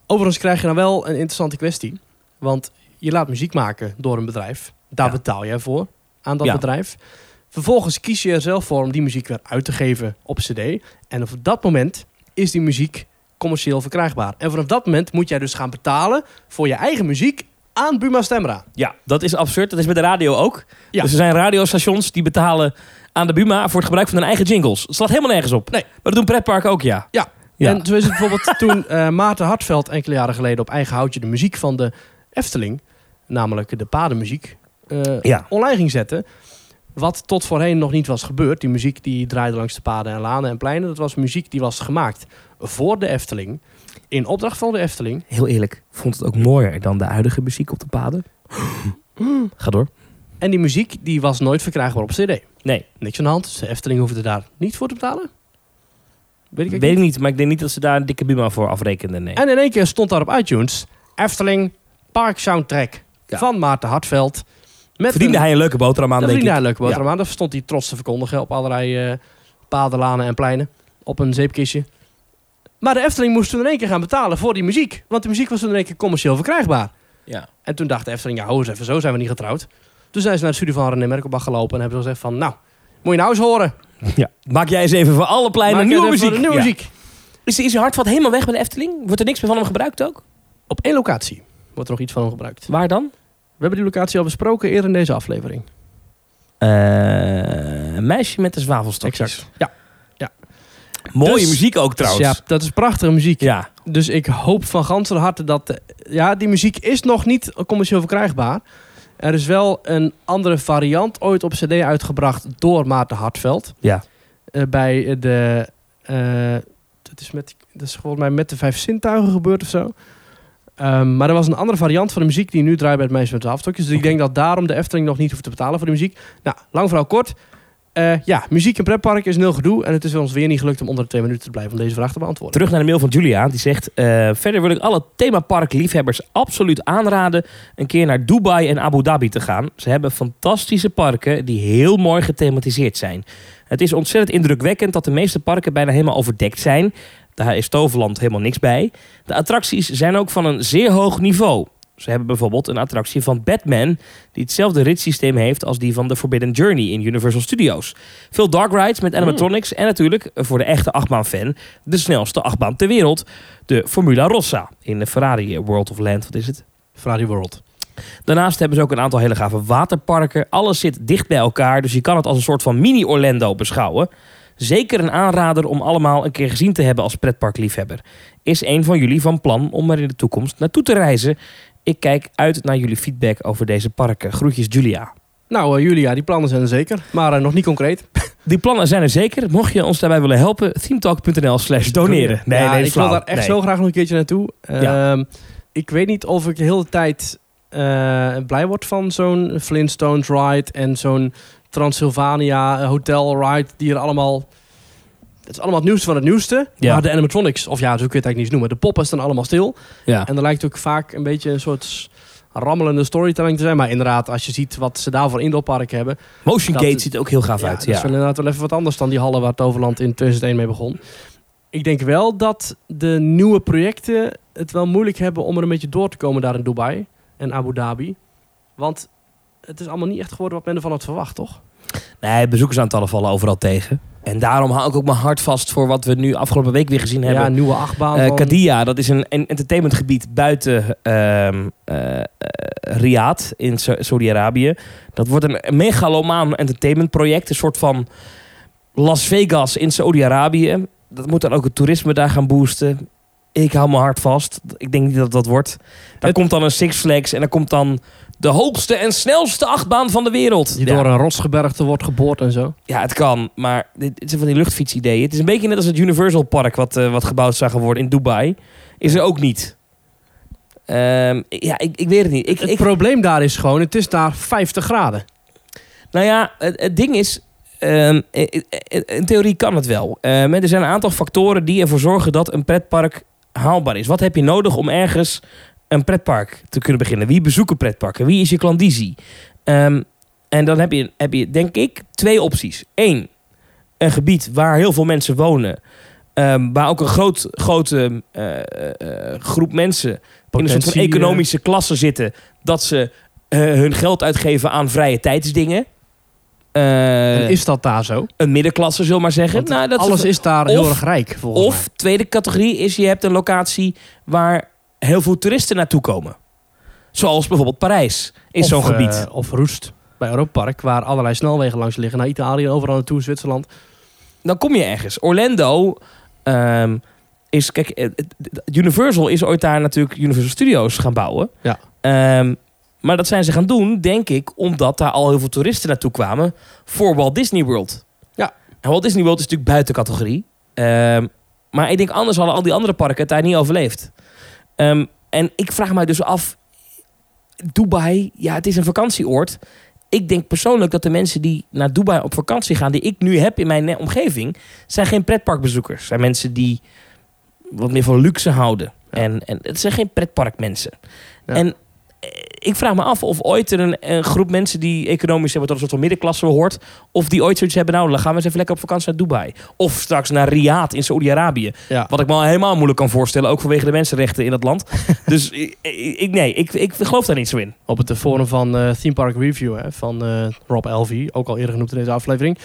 [SPEAKER 1] Overigens krijg je dan wel een interessante kwestie. Want je laat muziek maken door een bedrijf. Daar
[SPEAKER 2] Ja.
[SPEAKER 1] betaal jij voor aan dat
[SPEAKER 2] Ja.
[SPEAKER 1] bedrijf. Vervolgens kies je er zelf voor om die muziek weer uit te geven op CD. En op dat moment is die muziek commercieel verkrijgbaar. En vanaf dat moment moet jij dus gaan betalen voor je eigen muziek aan Buma Stemra.
[SPEAKER 2] Ja, dat is absurd. Dat is bij de radio ook.
[SPEAKER 1] Ja.
[SPEAKER 2] Dus er zijn radiostations die betalen aan de Buma... voor het gebruik van hun eigen jingles. Het slaat helemaal nergens op.
[SPEAKER 1] Nee.
[SPEAKER 2] Maar dat doen pretparken ook, ja.
[SPEAKER 1] Ja.
[SPEAKER 2] Ja.
[SPEAKER 1] En zo is het bijvoorbeeld toen eh, Maarten Hartveld enkele jaren geleden op eigen houtje de muziek van de Efteling, namelijk de padenmuziek, eh,
[SPEAKER 2] Ja.
[SPEAKER 1] online ging zetten. Wat tot voorheen nog niet was gebeurd. Die muziek die draaide langs de paden en lanen en pleinen. Dat was muziek die was gemaakt voor de Efteling. In opdracht van de Efteling.
[SPEAKER 2] Heel eerlijk, vond het ook mooier dan de huidige muziek op de paden. Ga door.
[SPEAKER 1] En die muziek die was nooit verkrijgbaar op CD.
[SPEAKER 2] Nee.
[SPEAKER 1] Niks aan de hand. Dus de Efteling hoefde daar niet voor te betalen. Weet ik
[SPEAKER 2] Ik
[SPEAKER 1] ook
[SPEAKER 2] weet
[SPEAKER 1] niet.
[SPEAKER 2] ik niet, eh, maar ik denk niet dat ze daar een dikke Buma voor afrekenden. Nee.
[SPEAKER 1] En in één keer stond daar op iTunes... Efteling Park Soundtrack
[SPEAKER 2] Ja.
[SPEAKER 1] van Maarten Hartveld. Met
[SPEAKER 2] Verdiende
[SPEAKER 1] een,
[SPEAKER 2] hij een leuke boterham aan,
[SPEAKER 1] dat
[SPEAKER 2] denk
[SPEAKER 1] verdiende
[SPEAKER 2] ik.
[SPEAKER 1] hij een leuke boterham aan. Daar stond hij trots te verkondigen op allerlei eh, paden, lanen en pleinen. Op een zeepkistje. Maar de Efteling moest toen in één keer gaan betalen voor die muziek. Want de muziek was toen in één keer commercieel verkrijgbaar.
[SPEAKER 2] Ja.
[SPEAKER 1] En toen dacht de Efteling, ja, ho eens even, zo zijn we niet getrouwd. Toen zijn ze naar de studie van René Merkelbach gelopen en hebben ze gezegd van... Nou, moet je nou eens horen.
[SPEAKER 2] Ja. Maak jij eens even voor alle pleinen
[SPEAKER 1] Maak
[SPEAKER 2] nieuwe
[SPEAKER 1] even
[SPEAKER 2] muziek.
[SPEAKER 1] een Nieuwe
[SPEAKER 2] Ja.
[SPEAKER 1] muziek.
[SPEAKER 2] Is, is hart wat helemaal weg bij de Efteling? Wordt er niks meer van hem gebruikt ook?
[SPEAKER 1] Op één locatie wordt er nog iets van hem gebruikt.
[SPEAKER 2] Waar dan?
[SPEAKER 1] We hebben die locatie al besproken eerder in deze aflevering.
[SPEAKER 2] Eh, een meisje met de zwavelstokjes.
[SPEAKER 1] Ja.
[SPEAKER 2] Mooie
[SPEAKER 1] Dus-
[SPEAKER 2] muziek ook trouwens.
[SPEAKER 1] Dus ja, dat is prachtige muziek.
[SPEAKER 2] ja.
[SPEAKER 1] Dus ik hoop van ganser harte dat... eh, Ja, die muziek is nog niet commercieel verkrijgbaar. Er is wel een andere variant ooit op cd uitgebracht door Maarten Hartveld.
[SPEAKER 2] Ja.
[SPEAKER 1] Eh, bij de... eh, dat, is met, dat is volgens mij met de vijf zintuigen gebeurd of zo. Ehm, maar er was een andere variant van de muziek die nu draait bij het meisje met de afstokjes. Dus
[SPEAKER 2] Oké.
[SPEAKER 1] ik denk dat daarom de Efteling nog niet hoeft te betalen voor de muziek. Nou, lang verhaal kort. Eh, ja, muziek in pretpark is nul gedoe. En het is ons weer niet gelukt om onder de twee minuten te blijven om deze vraag te beantwoorden.
[SPEAKER 2] Terug naar de mail van Julia. Die zegt... eh, verder wil ik alle themaparkliefhebbers absoluut aanraden... een keer naar Dubai en Abu Dhabi te gaan. Ze hebben fantastische parken die heel mooi gethematiseerd zijn. Het is ontzettend indrukwekkend dat de meeste parken bijna helemaal overdekt zijn. Daar is Toverland helemaal niks bij. De attracties zijn ook van een zeer hoog niveau. Ze hebben bijvoorbeeld een attractie van Batman... die hetzelfde ritssysteem heeft als die van The Forbidden Journey in Universal Studios. Veel dark rides met animatronics... en natuurlijk, eh, voor de echte achtbaan-fan... de snelste achtbaan ter wereld, de Formula Rossa... in de Ferrari World of Land, wat is het?
[SPEAKER 1] Ferrari World.
[SPEAKER 2] Daarnaast hebben ze ook een aantal hele gave waterparken. Alles zit dicht bij elkaar, dus je kan het als een soort van mini-Orlando beschouwen. Zeker een aanrader om allemaal een keer gezien te hebben als pretparkliefhebber. Is een van jullie van plan om er in de toekomst naartoe te reizen? Ik kijk uit naar jullie feedback over deze parken. Groetjes Julia.
[SPEAKER 1] Nou, eh, Julia, die plannen zijn er zeker. Maar eh, nog niet concreet.
[SPEAKER 2] Die plannen zijn er zeker. Mocht je ons daarbij willen helpen, themetalk.nl slash Dus doneren. Nee,
[SPEAKER 1] Ja,
[SPEAKER 2] nee, dat
[SPEAKER 1] ik
[SPEAKER 2] is
[SPEAKER 1] wil
[SPEAKER 2] flauw.
[SPEAKER 1] daar echt
[SPEAKER 2] Nee.
[SPEAKER 1] zo graag nog een keertje naartoe.
[SPEAKER 2] Ja.
[SPEAKER 1] Ehm, ik weet niet of ik de hele tijd eh, blij wordt van zo'n Flintstones ride en zo'n Transylvania eh, hotel ride, die er allemaal... Het is allemaal het nieuwste van het nieuwste.
[SPEAKER 2] Ja.
[SPEAKER 1] Maar de animatronics, of ja, zo kun je het eigenlijk niet noemen. De poppen staan allemaal stil.
[SPEAKER 2] Ja.
[SPEAKER 1] En dat lijkt ook vaak een beetje een soort s- rammelende storytelling te zijn. Maar inderdaad, als je ziet wat ze daar voor indoorpark hebben...
[SPEAKER 2] Motion
[SPEAKER 1] Dat
[SPEAKER 2] Gate
[SPEAKER 1] is-
[SPEAKER 2] ziet er ook heel gaaf
[SPEAKER 1] Ja,
[SPEAKER 2] uit.
[SPEAKER 1] dat is
[SPEAKER 2] Ja.
[SPEAKER 1] wel inderdaad wel even wat anders dan die hallen waar Toverland in 2001 mee begon. Ik denk wel dat de nieuwe projecten het wel moeilijk hebben om er een beetje door te komen daar in Dubai en Abu Dhabi. Want het is allemaal niet echt geworden wat men ervan had verwacht, toch?
[SPEAKER 2] Nee, bezoekersaantallen vallen overal tegen. En daarom hou ik ook mijn hart vast voor wat we nu afgelopen week weer gezien
[SPEAKER 1] Ja,
[SPEAKER 2] hebben.
[SPEAKER 1] een nieuwe achtbaan.
[SPEAKER 2] Eh,
[SPEAKER 1] van-
[SPEAKER 2] Qadiyah, dat is een, een entertainmentgebied buiten ehm eh, eh, Riyadh in Sa- Saudi-Arabië. Dat wordt een megalomaan entertainmentproject. Een soort van Las Vegas in Saudi-Arabië. Dat moet dan ook het toerisme daar gaan boosten. Ik hou mijn hart vast. Ik denk niet dat dat wordt. Dan
[SPEAKER 1] Het-
[SPEAKER 2] komt dan een Six Flags en dan komt dan de hoogste en snelste achtbaan van de wereld.
[SPEAKER 1] die
[SPEAKER 2] Ja.
[SPEAKER 1] door een rotsgebergte wordt geboord en zo.
[SPEAKER 2] Ja, het kan, maar dit, dit zijn van die luchtfietsideeën. Het is een beetje net als het Universal Park wat, eh, wat gebouwd zou gaan worden in Dubai. Is er ook niet. Ehm, ja, ik, ik weet het niet. Ik,
[SPEAKER 1] het
[SPEAKER 2] ik,
[SPEAKER 1] probleem daar is gewoon, het is daar 50 graden.
[SPEAKER 2] nou ja, het, het ding is, ehm, i- i- i- in theorie kan het wel. Ehm, er zijn een aantal factoren die ervoor zorgen dat een pretpark haalbaar is. Wat heb je nodig om ergens een pretpark te kunnen beginnen? Wie bezoeken pretparken? Wie is je klandizie? Ehm, en dan heb je, heb je, denk ik, twee opties. Eén, een gebied waar heel veel mensen wonen. ehm, waar ook een groot, grote eh, eh, eh, groep mensen in een soort van
[SPEAKER 1] Potentie, eh.
[SPEAKER 2] economische klasse zitten. Dat ze eh, hun geld uitgeven aan vrije tijdsdingen. Eh,
[SPEAKER 1] En is dat daar zo?
[SPEAKER 2] een middenklasse, zullen we maar zeggen.
[SPEAKER 1] Want
[SPEAKER 2] Nou, dat is-
[SPEAKER 1] Alles is daar heel
[SPEAKER 2] of-
[SPEAKER 1] erg rijk, volgens
[SPEAKER 2] of tweede categorie is je hebt een locatie waar heel veel toeristen naartoe komen. Zoals bijvoorbeeld Parijs is
[SPEAKER 1] Of,
[SPEAKER 2] zo'n
[SPEAKER 1] eh,
[SPEAKER 2] gebied.
[SPEAKER 1] of Roest bij Europa Park, waar allerlei snelwegen langs liggen. Naar Italië, overal naartoe, Zwitserland.
[SPEAKER 2] dan kom je ergens. Orlando ehm, is, kijk, eh, het- Universal is ooit daar natuurlijk Universal Studios gaan bouwen.
[SPEAKER 1] Ja.
[SPEAKER 2] Ehm, maar dat zijn ze gaan doen, denk ik, omdat daar al heel veel toeristen naartoe kwamen voor Walt Disney World.
[SPEAKER 1] Ja.
[SPEAKER 2] En Walt Disney World is natuurlijk buiten categorie. Ehm, maar ik denk anders hadden al die andere parken het daar niet overleefd. Ehm, en ik vraag mij dus af, Dubai, ja, het is een vakantieoord. Ik denk persoonlijk dat de mensen die naar Dubai op vakantie gaan, die ik nu heb in mijn eh, omgeving, zijn geen pretparkbezoekers. Zijn mensen die wat meer van luxe houden. En, en het zijn geen pretparkmensen.
[SPEAKER 1] Ja.
[SPEAKER 2] En eh, ik vraag me af of ooit er een, een groep mensen die economisch hebben tot een soort van middenklasse behoort, of die ooit zoiets hebben, nou, dan gaan we eens even lekker op vakantie naar Dubai. Of straks naar Riyadh in Saoedi-Arabië.
[SPEAKER 1] Ja.
[SPEAKER 2] Wat ik me al helemaal moeilijk kan voorstellen, ook vanwege de mensenrechten in dat land. dus ik, ik, nee, ik, ik geloof daar niet zo in.
[SPEAKER 1] Op het forum van eh Theme Park Review hè, van eh, Rob Elvie, ook al eerder genoemd in deze aflevering,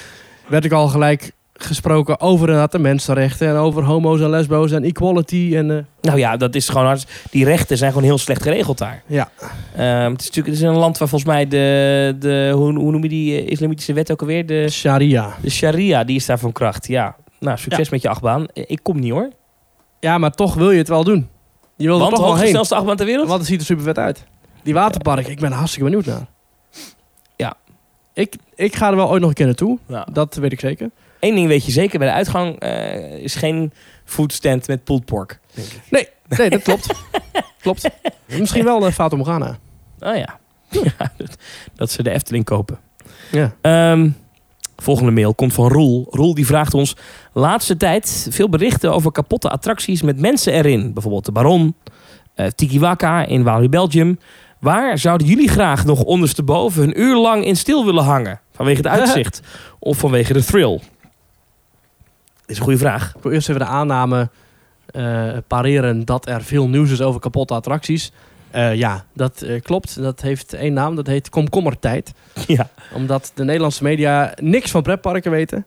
[SPEAKER 1] werd ik al gelijk gesproken over inderdaad de mensenrechten en over homo's en lesbo's en equality. En, eh,
[SPEAKER 2] Nou ja, dat is gewoon hard. Die rechten zijn gewoon heel slecht geregeld daar.
[SPEAKER 1] ja.
[SPEAKER 2] Ehm, het is natuurlijk het is een land waar volgens mij de, de hoe, hoe noem je die eh, islamitische wet ook alweer? De,
[SPEAKER 1] eh, Sharia.
[SPEAKER 2] de sharia, die is daar van kracht. Ja, nou succes met je achtbaan. Eh, Ik kom niet hoor.
[SPEAKER 1] Ja, maar toch wil je het wel doen. Je wil er
[SPEAKER 2] Want
[SPEAKER 1] toch wel
[SPEAKER 2] hoogste
[SPEAKER 1] heen.
[SPEAKER 2] snelste achtbaan ter wereld?
[SPEAKER 1] Want het ziet er super vet uit. Die waterpark, ik ben er hartstikke benieuwd naar.
[SPEAKER 2] Ja.
[SPEAKER 1] Ik, ik ga er wel ooit nog een keer naartoe.
[SPEAKER 2] Ja.
[SPEAKER 1] Dat weet ik zeker.
[SPEAKER 2] Eén ding weet je zeker, bij de uitgang eh, is geen foodstand met pulled pork.
[SPEAKER 1] Nee, dat klopt. klopt. Misschien wel een Fata Morgana.
[SPEAKER 2] Oh ja, ja dat, dat ze de Efteling kopen.
[SPEAKER 1] Ja.
[SPEAKER 2] Ehm, volgende mail komt van Roel. Roel die vraagt ons... Laatste tijd veel berichten over kapotte attracties met mensen erin. Bijvoorbeeld de Baron, eh Tikiwaka in Walibi Belgium. Waar zouden jullie graag nog ondersteboven een uur lang in stil willen hangen? Vanwege het uitzicht of vanwege de thrill? Dit is een goede vraag.
[SPEAKER 1] Ik wil eerst even de aanname eh, pareren dat er veel nieuws is over kapotte attracties. Eh, ja, dat eh, klopt. Dat heeft één naam. Dat heet komkommertijd.
[SPEAKER 2] Ja.
[SPEAKER 1] Omdat de Nederlandse media niks van pretparken weten.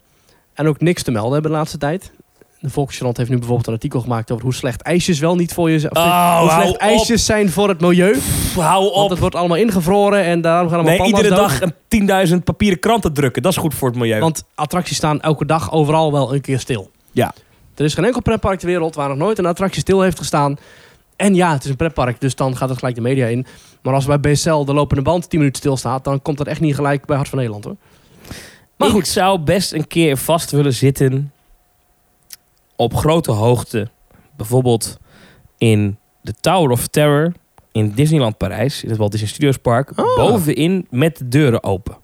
[SPEAKER 1] En ook niks te melden hebben de laatste tijd. De Volkskrant heeft nu bijvoorbeeld een artikel gemaakt over hoe slecht ijsjes wel niet voor je zijn. of
[SPEAKER 2] Oh,
[SPEAKER 1] hoe
[SPEAKER 2] hou
[SPEAKER 1] slecht
[SPEAKER 2] op.
[SPEAKER 1] ijsjes zijn voor het milieu.
[SPEAKER 2] Hou
[SPEAKER 1] Want
[SPEAKER 2] op.
[SPEAKER 1] het wordt allemaal ingevroren en daarom gaan allemaal
[SPEAKER 2] Nee,
[SPEAKER 1] panda's
[SPEAKER 2] iedere
[SPEAKER 1] dood.
[SPEAKER 2] dag een 10.000 papieren kranten drukken. Dat is goed voor het milieu.
[SPEAKER 1] Want attracties staan elke dag overal wel een keer stil.
[SPEAKER 2] Ja.
[SPEAKER 1] Er is geen enkel pretpark ter wereld waar nog nooit een attractie stil heeft gestaan. En ja, het is een pretpark, dus dan gaat het gelijk de media in. Maar als bij BSL de lopende band 10 minuten stilstaat, dan komt dat echt niet gelijk bij Hart van Nederland hoor.
[SPEAKER 2] Maar
[SPEAKER 1] Maar
[SPEAKER 2] goed.
[SPEAKER 1] goed.
[SPEAKER 2] Ik zou best een keer vast willen zitten op grote hoogte. Bijvoorbeeld in de Tower of Terror in Disneyland Parijs, in het Walt Disney Studios Park,
[SPEAKER 1] Ah.
[SPEAKER 2] bovenin met de deuren open.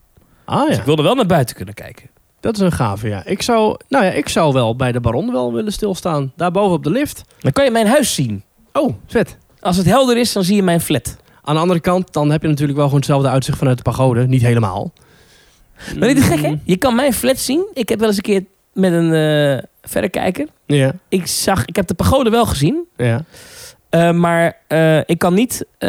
[SPEAKER 1] Ah
[SPEAKER 2] Dus
[SPEAKER 1] ja,
[SPEAKER 2] ik wilde wel naar buiten kunnen kijken.
[SPEAKER 1] dat is een gave, ja. Ik zou, nou ja, ik zou wel bij de Baron wel willen stilstaan. Daarboven op de lift.
[SPEAKER 2] Dan kan je mijn huis zien.
[SPEAKER 1] Oh, vet.
[SPEAKER 2] Als het helder is, dan zie je mijn flat.
[SPEAKER 1] Aan de andere kant, dan heb je natuurlijk wel gewoon hetzelfde uitzicht vanuit de pagode. Niet helemaal. Mm.
[SPEAKER 2] Maar dit is gek, hè? Je kan mijn flat zien. Ik heb wel eens een keer met een eh, verrekijker.
[SPEAKER 1] Ja,
[SPEAKER 2] Ik, zag, ik heb de pagode wel gezien.
[SPEAKER 1] ja.
[SPEAKER 2] Eh, maar eh, ik kan niet eh,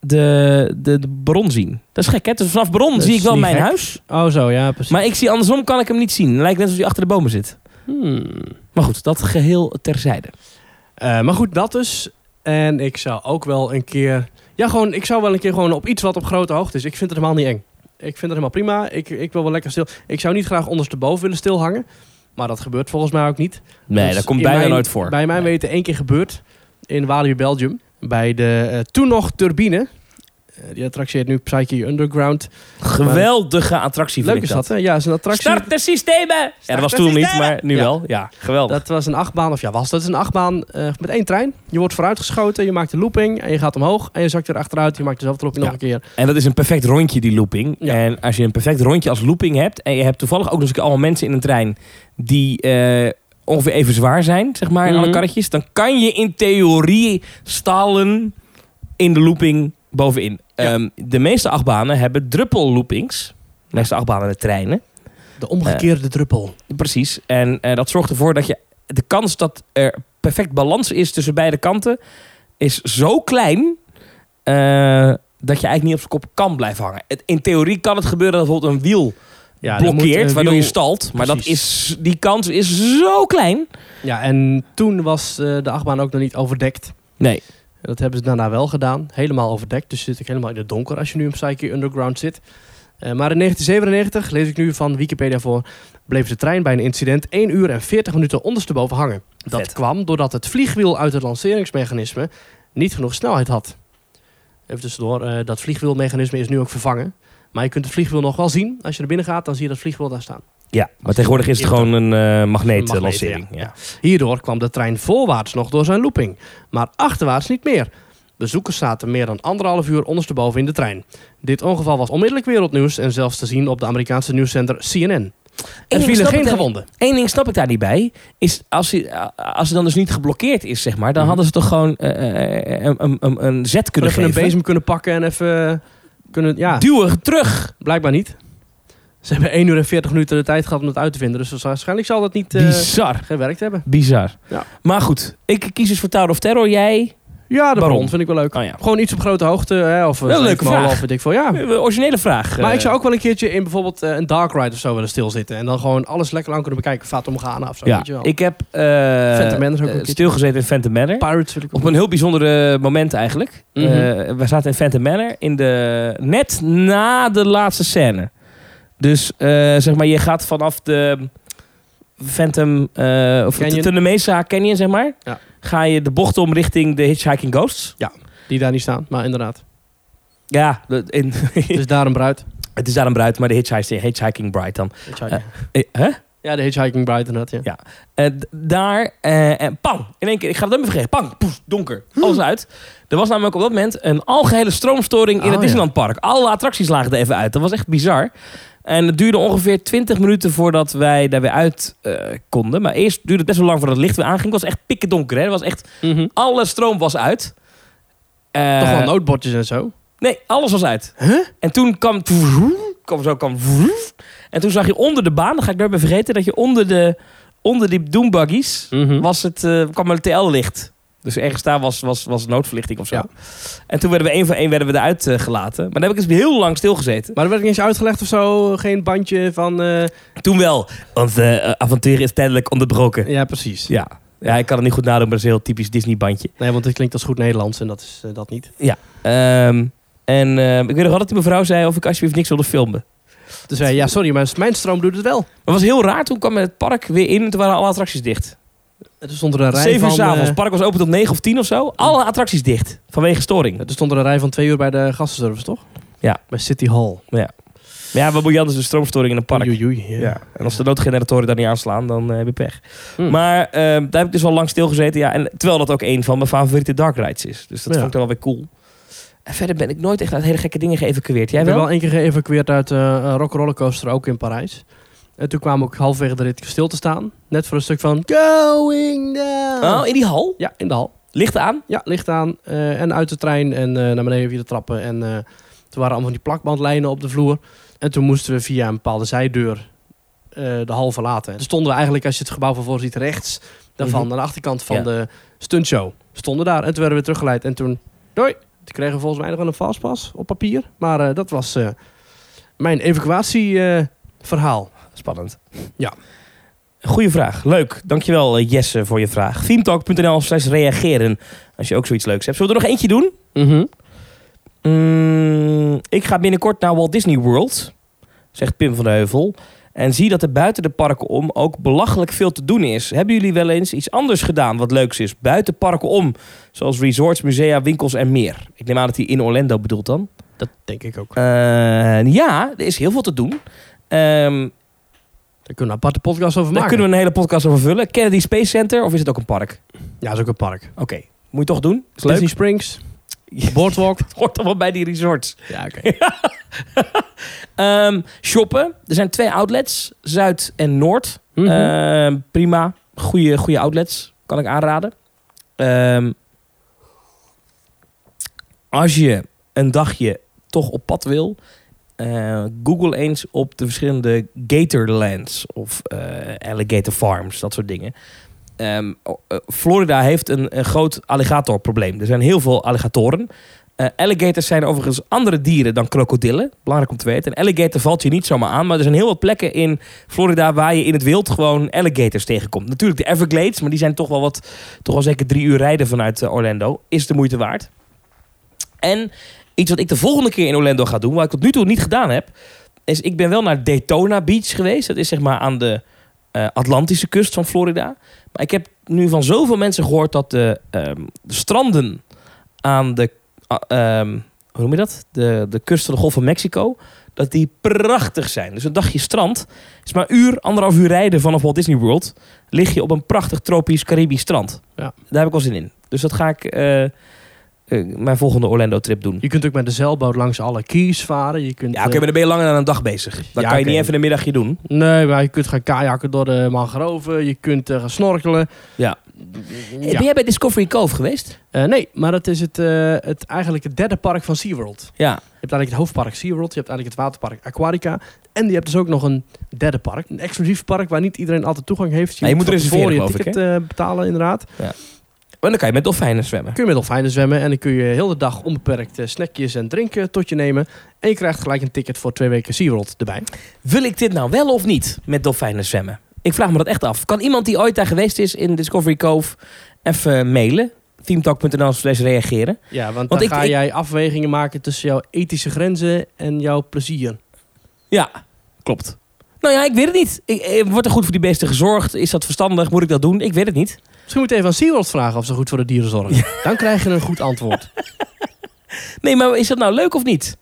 [SPEAKER 2] de, de, de bron zien. Dat is gek, hè? Dus vanaf bron
[SPEAKER 1] Dat
[SPEAKER 2] zie ik
[SPEAKER 1] is
[SPEAKER 2] wel
[SPEAKER 1] niet
[SPEAKER 2] mijn
[SPEAKER 1] gek.
[SPEAKER 2] huis.
[SPEAKER 1] Oh zo, ja, precies.
[SPEAKER 2] Maar ik zie andersom kan ik hem niet zien. Lijkt net alsof hij achter de bomen zit.
[SPEAKER 1] Hmm.
[SPEAKER 2] Maar goed, dat geheel terzijde.
[SPEAKER 1] Eh, maar goed, dat dus. En ik zou ook wel een keer... Ja, gewoon, ik zou wel een keer gewoon op iets wat op grote hoogte is. Ik vind het helemaal niet eng. Ik vind het helemaal prima. Ik, ik wil wel lekker stil. Ik zou niet graag ondersteboven willen stilhangen. Maar dat gebeurt volgens mij ook niet.
[SPEAKER 2] Nee,
[SPEAKER 1] Dus
[SPEAKER 2] dat komt
[SPEAKER 1] in
[SPEAKER 2] bijna
[SPEAKER 1] mijn-
[SPEAKER 2] nooit voor.
[SPEAKER 1] Bij mijn
[SPEAKER 2] Nee.
[SPEAKER 1] weten één keer gebeurd in Walibi Belgium. Bij de eh, toen nog Turbine. Eh, die attractie heet nu Psyche Underground.
[SPEAKER 2] Geweldige attractie vind
[SPEAKER 1] Leuk
[SPEAKER 2] ik
[SPEAKER 1] is dat, hè? Ja, is een attractie.
[SPEAKER 2] Start de systemen! ja, dat was
[SPEAKER 1] de
[SPEAKER 2] toen niet,
[SPEAKER 1] systemen!
[SPEAKER 2] maar nu
[SPEAKER 1] Ja.
[SPEAKER 2] wel. Ja, geweldig.
[SPEAKER 1] Dat was een achtbaan, of ja, was dat is een achtbaan eh, met één trein. Je wordt vooruitgeschoten, je maakt een looping en je gaat omhoog en je zakt weer achteruit. Je maakt dezelfde looping
[SPEAKER 2] Ja.
[SPEAKER 1] nog een keer.
[SPEAKER 2] En dat is een perfect rondje, die looping.
[SPEAKER 1] Ja.
[SPEAKER 2] En als je een perfect rondje als looping hebt... en je hebt toevallig ook nog eens allemaal mensen in een trein... die eh, ongeveer even zwaar zijn, zeg maar, in alle
[SPEAKER 1] Mhm.
[SPEAKER 2] karretjes... dan kan je in theorie stallen in de looping bovenin.
[SPEAKER 1] Ja.
[SPEAKER 2] Ehm, de meeste achtbanen hebben druppelloopings. De meeste achtbanen met treinen,
[SPEAKER 1] De omgekeerde druppel.
[SPEAKER 2] precies. En eh, dat zorgt ervoor dat je... de kans dat er perfect balans is tussen beide kanten... is zo klein... eh, dat je eigenlijk niet op zijn kop kan blijven hangen. Het- In theorie kan het gebeuren dat bijvoorbeeld een wiel blokkeert,
[SPEAKER 1] eh,
[SPEAKER 2] waardoor je stalt. Maar dat
[SPEAKER 1] Precies.
[SPEAKER 2] is, die kans is zo klein.
[SPEAKER 1] Ja, en toen was eh, de achtbaan ook nog niet overdekt.
[SPEAKER 2] Nee.
[SPEAKER 1] En Dat hebben ze daarna wel gedaan. Helemaal overdekt. Dus zit ik helemaal in het donker als je nu op Psyche Underground zit. Eh, maar in 1997, lees ik nu van Wikipedia voor, bleef de trein bij een incident 1 uur en 40 minuten ondersteboven hangen. Dat
[SPEAKER 2] Vet.
[SPEAKER 1] kwam doordat het vliegwiel uit het lanceringsmechanisme niet genoeg snelheid had. Even tussendoor, eh, dat vliegwielmechanisme is nu ook vervangen. Maar je kunt het vliegwiel nog wel zien. Als je naar binnen gaat, dan zie je dat vliegwiel daar staan.
[SPEAKER 2] Ja, maar tegenwoordig is het gewoon een eh magneetlancering.
[SPEAKER 1] Magneet, ja.
[SPEAKER 2] ja.
[SPEAKER 1] Hierdoor kwam de trein voorwaarts nog door zijn looping, maar achterwaarts niet meer. Bezoekers zaten meer dan anderhalf uur ondersteboven in de trein. Dit ongeval was onmiddellijk wereldnieuws en zelfs te zien op de Amerikaanse nieuwszender CNN. Er
[SPEAKER 2] ding
[SPEAKER 1] vielen
[SPEAKER 2] snap ik
[SPEAKER 1] geen
[SPEAKER 2] daar-
[SPEAKER 1] gewonden.
[SPEAKER 2] Eén ding snap ik daar niet bij. Is als hij, als hij dan dus niet geblokkeerd is, zeg maar, dan
[SPEAKER 1] Mhm.
[SPEAKER 2] hadden ze toch gewoon eh, eh, een, een, een, een zet kunnen
[SPEAKER 1] even
[SPEAKER 2] geven.
[SPEAKER 1] een bezem kunnen pakken en even... eh, Kunnen, ja,
[SPEAKER 2] Duwen terug.
[SPEAKER 1] blijkbaar niet. Ze hebben 1 uur en 40 minuten de tijd gehad om het uit te vinden. Dus waarschijnlijk zal dat niet eh,
[SPEAKER 2] Bizar.
[SPEAKER 1] gewerkt hebben.
[SPEAKER 2] Bizar.
[SPEAKER 1] Ja.
[SPEAKER 2] Maar goed, ik kies dus voor Tower of Terror. Jij?
[SPEAKER 1] Ja, de
[SPEAKER 2] Waarom?
[SPEAKER 1] bron vind ik wel leuk.
[SPEAKER 2] Oh ja.
[SPEAKER 1] Gewoon iets op grote hoogte. Hè, of eh,
[SPEAKER 2] Wel een leuke
[SPEAKER 1] zweefmolen
[SPEAKER 2] vraag.
[SPEAKER 1] Of weet ik veel. Ja,
[SPEAKER 2] Eh, Originele vraag.
[SPEAKER 1] Maar
[SPEAKER 2] eh.
[SPEAKER 1] ik zou ook wel een keertje in bijvoorbeeld eh, een dark ride of zo willen stilzitten. En dan gewoon alles lekker lang kunnen bekijken. Fatum Ghana of zo.
[SPEAKER 2] Ja,
[SPEAKER 1] weet je wel.
[SPEAKER 2] ik heb eh,
[SPEAKER 1] Phantom Manor ook een
[SPEAKER 2] eh,
[SPEAKER 1] keer.
[SPEAKER 2] stilgezeten in Phantom Manor.
[SPEAKER 1] Pirates wil ik
[SPEAKER 2] Op een heel bijzonder eh, moment eigenlijk.
[SPEAKER 1] Mhm.
[SPEAKER 2] Eh, we zaten in Phantom Manor in de, net na de laatste scène. Dus eh, zeg maar, je gaat vanaf de Phantom, eh of
[SPEAKER 1] Canyon.
[SPEAKER 2] de Tuna Mesa Canyon, zeg maar.
[SPEAKER 1] Ja.
[SPEAKER 2] Ga je de bocht om richting de Hitchhiking Ghosts.
[SPEAKER 1] Die daar niet staan, maar inderdaad.
[SPEAKER 2] Ja, de- in,
[SPEAKER 1] Dus daar een bruid.
[SPEAKER 2] het is daar een bruid, maar de Hitchhiking, Hitchhiking Bride dan.
[SPEAKER 1] Hitchhiking.
[SPEAKER 2] Eh, hè?
[SPEAKER 1] Ja, de hitchhiking bruid inderdaad, ja.
[SPEAKER 2] Ja. Eh, d- daar, eh, en pang, in één keer, ik ga het even vergeten, pang, poes, donker, alles uit. Er was namelijk op dat moment een algehele stroomstoring in
[SPEAKER 1] Oh,
[SPEAKER 2] het
[SPEAKER 1] ja.
[SPEAKER 2] Disneylandpark. Alle attracties lagen er even uit, dat was echt bizar. En het duurde ongeveer 20 minuten voordat wij daar weer uit eh, konden. Maar eerst duurde het best wel lang voordat het licht weer aanging. Het was echt pikken donker, hè. Het was echt,
[SPEAKER 1] Mhm.
[SPEAKER 2] alle stroom was uit. Eh,
[SPEAKER 1] Toch wel noodbordjes en zo.
[SPEAKER 2] Nee, alles was uit. En toen kwam... kwam zo, kwam... En toen zag je onder de baan, dat ga ik nooit meer vergeten... dat je onder, de, onder die doombuggies...
[SPEAKER 1] Mhm.
[SPEAKER 2] was het, eh, kwam er TL-licht. Dus ergens daar was, was, was noodverlichting of zo.
[SPEAKER 1] Ja.
[SPEAKER 2] En toen werden we één voor één werden we eruit eh, gelaten. Maar daar heb ik eens heel lang stilgezeten.
[SPEAKER 1] Maar er werd niet eens uitgelegd of zo. Geen bandje van... eh,
[SPEAKER 2] Toen wel, want eh, avontuur is tijdelijk onderbroken.
[SPEAKER 1] Ja, precies.
[SPEAKER 2] Ja. ja, ik kan het niet goed nadoen, maar dat is een heel typisch Disney-bandje.
[SPEAKER 1] Nee, want dit klinkt als goed Nederlands en dat is eh, dat niet.
[SPEAKER 2] Ehm, en ehm, ik weet nog wel dat die mevrouw zei of ik alsjeblieft niks wilde filmen.
[SPEAKER 1] Dus zei ja, sorry, maar mijn stroom doet het wel.
[SPEAKER 2] Maar het was heel raar, toen kwam het park weer in en toen waren alle attracties dicht.
[SPEAKER 1] En toen stond er een rij
[SPEAKER 2] Zeven uur
[SPEAKER 1] van...
[SPEAKER 2] s'avonds,
[SPEAKER 1] eh,
[SPEAKER 2] het park was open tot negen of tien of zo. Alle attracties dicht, vanwege storing.
[SPEAKER 1] toen stond er een rij van twee uur bij de gastenservice, toch?
[SPEAKER 2] Ja.
[SPEAKER 1] Bij City Hall.
[SPEAKER 2] Ja. Maar ja, wat moet je anders? Een stroomstoring in een park.
[SPEAKER 1] Oei, oei, oei, ja.
[SPEAKER 2] Ja. En als de noodgeneratoren daar niet aanslaan, dan eh, heb je pech.
[SPEAKER 1] Hmm.
[SPEAKER 2] Maar eh, daar heb ik dus al lang stilgezeten. Ja, en, terwijl dat ook een van mijn favoriete dark rides is. Dus dat
[SPEAKER 1] Ja.
[SPEAKER 2] vond ik dan wel weer cool. En verder ben ik nooit echt uit hele gekke dingen geëvacueerd. Jij
[SPEAKER 1] Ik ben
[SPEAKER 2] wel?
[SPEAKER 1] wel één keer geëvacueerd uit eh Rock Rollercoaster, ook in Parijs. En toen kwamen we ook halverwege de rit stil te staan. Net voor een stuk van Going Down.
[SPEAKER 2] Oh, in die hal?
[SPEAKER 1] Ja, in de hal.
[SPEAKER 2] Licht aan?
[SPEAKER 1] Ja, licht aan. eh, en uit de trein en eh, naar beneden via de trappen. En eh, toen waren allemaal van die plakbandlijnen op de vloer. En toen moesten we via een bepaalde zijdeur eh, de hal verlaten. En toen stonden we eigenlijk, als je het gebouw van voor ziet, rechts daarvan.
[SPEAKER 2] Mhm.
[SPEAKER 1] Aan de achterkant van
[SPEAKER 2] Ja.
[SPEAKER 1] de stuntshow. Stonden daar. En toen werden we teruggeleid. En toen, doei. Toen kregen we volgens mij nog wel een fastpass op papier. Maar eh, dat was eh, mijn eh, evacuatieverhaal.
[SPEAKER 2] Spannend.
[SPEAKER 1] Ja.
[SPEAKER 2] Goeie vraag. Leuk. Dankjewel eh, Jesse voor je vraag. Themetalk.nl slash reageren. Als je ook zoiets leuks hebt. Zullen we er nog eentje doen?
[SPEAKER 1] Mhm.
[SPEAKER 2] Mm, ik ga binnenkort naar Walt Disney World, zegt Pim van de Heuvel. En zie dat er buiten de parken om ook belachelijk veel te doen is. Hebben jullie wel eens iets anders gedaan wat leuks is? Buiten parken om, zoals resorts, musea, winkels en meer. Ik neem aan dat hij in Orlando bedoelt dan.
[SPEAKER 1] Denk ik ook.
[SPEAKER 2] Eh, ja, er is heel veel te doen. Ehm
[SPEAKER 1] Daar kunnen we een aparte podcast over
[SPEAKER 2] daar
[SPEAKER 1] maken.
[SPEAKER 2] kunnen we een hele podcast over vullen. Kennedy Space Center of is het ook een park?
[SPEAKER 1] Ja, is ook een park.
[SPEAKER 2] Oké, moet je toch doen? Is leuk.
[SPEAKER 1] Disney Springs. Boardwalk.
[SPEAKER 2] Hoort allemaal bij die resorts.
[SPEAKER 1] ja, oké.
[SPEAKER 2] Ehm, shoppen. Er zijn twee outlets, Zuid en Noord.
[SPEAKER 1] Mhm.
[SPEAKER 2] Ehm, prima. Goede, goede outlets. Kan ik aanraden. Ehm, als je een dagje toch op pad wil. eh, Google eens op de verschillende Gatorlands of eh, Alligator Farms, dat soort dingen. Ehm, o- eh, Florida heeft een, een groot alligatorprobleem. Er zijn heel veel alligatoren. Eh, alligators zijn overigens andere dieren dan krokodillen. Belangrijk om te weten. Een alligator valt je niet zomaar aan, maar er zijn heel wat plekken in Florida waar je in het wild gewoon alligators tegenkomt. Natuurlijk de Everglades, maar die zijn toch wel wat, toch wel zeker drie uur rijden vanuit eh, Orlando. Is de moeite waard. En iets wat ik de volgende keer in Orlando ga doen, wat ik tot nu toe niet gedaan heb, is ik ben wel naar Daytona Beach geweest. Dat is zeg maar aan de eh, Atlantische kust van Florida. Maar ik heb nu van zoveel mensen gehoord dat de, ehm, de stranden aan de, ah, ehm, hoe noem je dat? De, de kust van de Golf van Mexico, dat die prachtig zijn. Dus een dagje strand is maar een uur, anderhalf uur rijden vanaf Walt Disney World. Lig je op een prachtig tropisch Caribisch strand.
[SPEAKER 1] Ja.
[SPEAKER 2] Daar heb ik wel zin in. Dus dat ga ik eh, eh, mijn volgende Orlando-trip doen.
[SPEAKER 1] Je kunt ook met de zeilboot langs alle keys varen. Je kunt, eh,
[SPEAKER 2] Ja, oké, maar dan ben je langer dan een dag bezig. Dan kan
[SPEAKER 1] Ja,
[SPEAKER 2] je
[SPEAKER 1] oké.
[SPEAKER 2] niet even een middagje doen.
[SPEAKER 1] eh, Nee, maar je kunt gaan kajakken door de mangroven. Je kunt eh, gaan snorkelen.
[SPEAKER 2] Ja.
[SPEAKER 1] Ja.
[SPEAKER 2] Ben jij bij Discovery Cove geweest?
[SPEAKER 1] Eh, nee, maar dat is het, eh, het, eigenlijk het derde park van SeaWorld.
[SPEAKER 2] Ja.
[SPEAKER 1] Je hebt eigenlijk het hoofdpark SeaWorld. Je hebt eigenlijk het waterpark Aquarica. En je hebt dus ook nog een derde park. Een exclusief park waar niet iedereen altijd toegang heeft.
[SPEAKER 2] Ja, je moet
[SPEAKER 1] van tevoren
[SPEAKER 2] reserveren,
[SPEAKER 1] je
[SPEAKER 2] geloof ik,
[SPEAKER 1] ticket eh, betalen inderdaad.
[SPEAKER 2] Maar dan kan je met dolfijnen zwemmen.
[SPEAKER 1] Kun je met dolfijnen zwemmen. En dan kun je heel de dag onbeperkt eh, snackjes en drinken tot je nemen. En je krijgt gelijk een ticket voor twee weken SeaWorld erbij.
[SPEAKER 2] Wil ik dit nou wel of niet met dolfijnen zwemmen? Ik vraag me dat echt af. Kan iemand die ooit daar geweest is in Discovery Cove even eh, mailen? teamtalk.nl slash reageren.
[SPEAKER 1] Ja, want,
[SPEAKER 2] Want
[SPEAKER 1] dan
[SPEAKER 2] ik-
[SPEAKER 1] ga
[SPEAKER 2] ik-
[SPEAKER 1] jij afwegingen maken tussen jouw ethische grenzen en jouw plezier.
[SPEAKER 2] Ja, klopt. Nou ja, ik weet het niet. Ik, eh, wordt er goed voor die beesten gezorgd? Is dat verstandig? Moet ik dat doen? Ik weet het niet.
[SPEAKER 1] Misschien moet je even aan SeaWorld vragen of ze goed voor de dieren zorgen. Dan krijg je een goed antwoord.
[SPEAKER 2] Nee, maar is dat nou leuk of niet?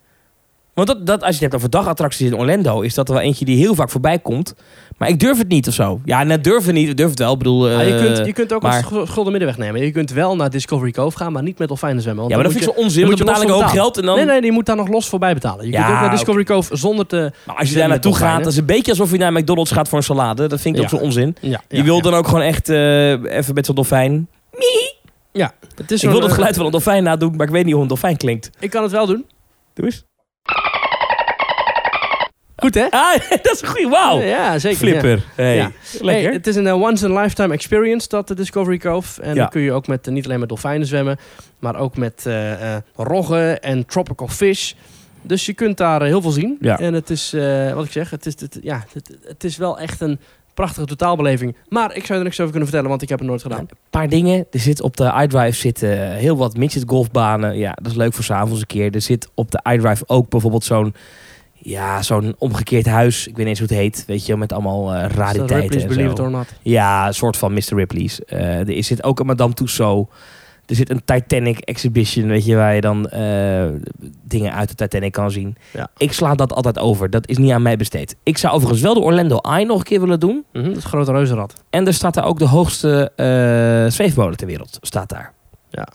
[SPEAKER 2] Want dat, dat, als je het hebt over dagattracties in Orlando, is dat er wel eentje die heel vaak voorbij komt. Maar ik durf het niet of zo. Ja, net durven niet. Ik durf het wel. Ik bedoel,
[SPEAKER 1] Ja, Ah, je,
[SPEAKER 2] eh,
[SPEAKER 1] kunt, je kunt ook
[SPEAKER 2] maar-
[SPEAKER 1] een scho- gulden middenweg nemen. Je kunt wel naar Discovery Cove gaan, maar niet met dolfijnen zwemmen.
[SPEAKER 2] ja,
[SPEAKER 1] want
[SPEAKER 2] maar dat
[SPEAKER 1] dan
[SPEAKER 2] vind ik
[SPEAKER 1] moet
[SPEAKER 2] zo onzin.
[SPEAKER 1] dan
[SPEAKER 2] Want
[SPEAKER 1] moet
[SPEAKER 2] je
[SPEAKER 1] je
[SPEAKER 2] betaalt een
[SPEAKER 1] los voor
[SPEAKER 2] hoop geld en dan...
[SPEAKER 1] Nee, nee, je moet daar nog los voor bijbetalen. Je
[SPEAKER 2] Ja,
[SPEAKER 1] kunt ook naar Discovery Cove zonder te...
[SPEAKER 2] Maar als je daar naartoe
[SPEAKER 1] Dolfijnen.
[SPEAKER 2] gaat, dat is een beetje alsof je naar McDonald's gaat voor een salade. Dat vind ik ook
[SPEAKER 1] Ja.
[SPEAKER 2] zo onzin.
[SPEAKER 1] Ja,
[SPEAKER 2] Je
[SPEAKER 1] ja,
[SPEAKER 2] wil
[SPEAKER 1] ja.
[SPEAKER 2] dan ook gewoon echt eh, even met zo'n dolfijn.
[SPEAKER 1] Het is
[SPEAKER 2] ik wil
[SPEAKER 1] zo'n,
[SPEAKER 2] dat
[SPEAKER 1] eh,
[SPEAKER 2] geluid van een dolfijn nadoen, maar ik weet niet hoe een dolfijn klinkt.
[SPEAKER 1] Ik kan het wel doen.
[SPEAKER 2] Doe eens.
[SPEAKER 1] Goed, hè?
[SPEAKER 2] Ah, dat is een goeie. Wauw.
[SPEAKER 1] Ja, zeker. ja.
[SPEAKER 2] Flipper. Hey.
[SPEAKER 1] Ja.
[SPEAKER 2] Lekker.
[SPEAKER 1] Nee, het is een eh, once-in-lifetime experience, dat de Discovery Cove. En
[SPEAKER 2] Ja.
[SPEAKER 1] dan kun je ook met, eh, niet alleen met dolfijnen zwemmen, maar ook met eh, eh, roggen en tropical fish. Dus je kunt daar eh, heel veel zien.
[SPEAKER 2] Ja.
[SPEAKER 1] En het is, eh, wat ik zeg, het is, het, ja, het, het is wel echt een prachtige totaalbeleving. Maar ik zou er niks over kunnen vertellen, want ik heb het nooit gedaan.
[SPEAKER 2] paar dingen. Er zit op de iDrive zitten heel wat midget golfbanen. Ja, dat is leuk voor s'avonds een keer. Er zit op de iDrive ook bijvoorbeeld zo'n ja, zo'n omgekeerd huis. Ik weet niet eens hoe het heet. Weet je, wel, met allemaal eh
[SPEAKER 1] Is Dus dat
[SPEAKER 2] rariteiten
[SPEAKER 1] Ripley's
[SPEAKER 2] en
[SPEAKER 1] Believe
[SPEAKER 2] zo.
[SPEAKER 1] It or Not.
[SPEAKER 2] Ja, een soort van Mr. Ripley's. Eh, er zit ook een Madame Tussauds. Er zit een Titanic exhibition, weet je, waar je dan eh, dingen uit de Titanic kan zien.
[SPEAKER 1] Ja.
[SPEAKER 2] Ik sla dat altijd over. Dat is niet aan mij besteed. Ik zou overigens wel de Orlando Eye nog een keer willen doen.
[SPEAKER 1] Mhm, dat is een grote reuzenrad.
[SPEAKER 2] En er staat daar ook de hoogste eh zweefmolen ter wereld. Staat daar.
[SPEAKER 1] Ja.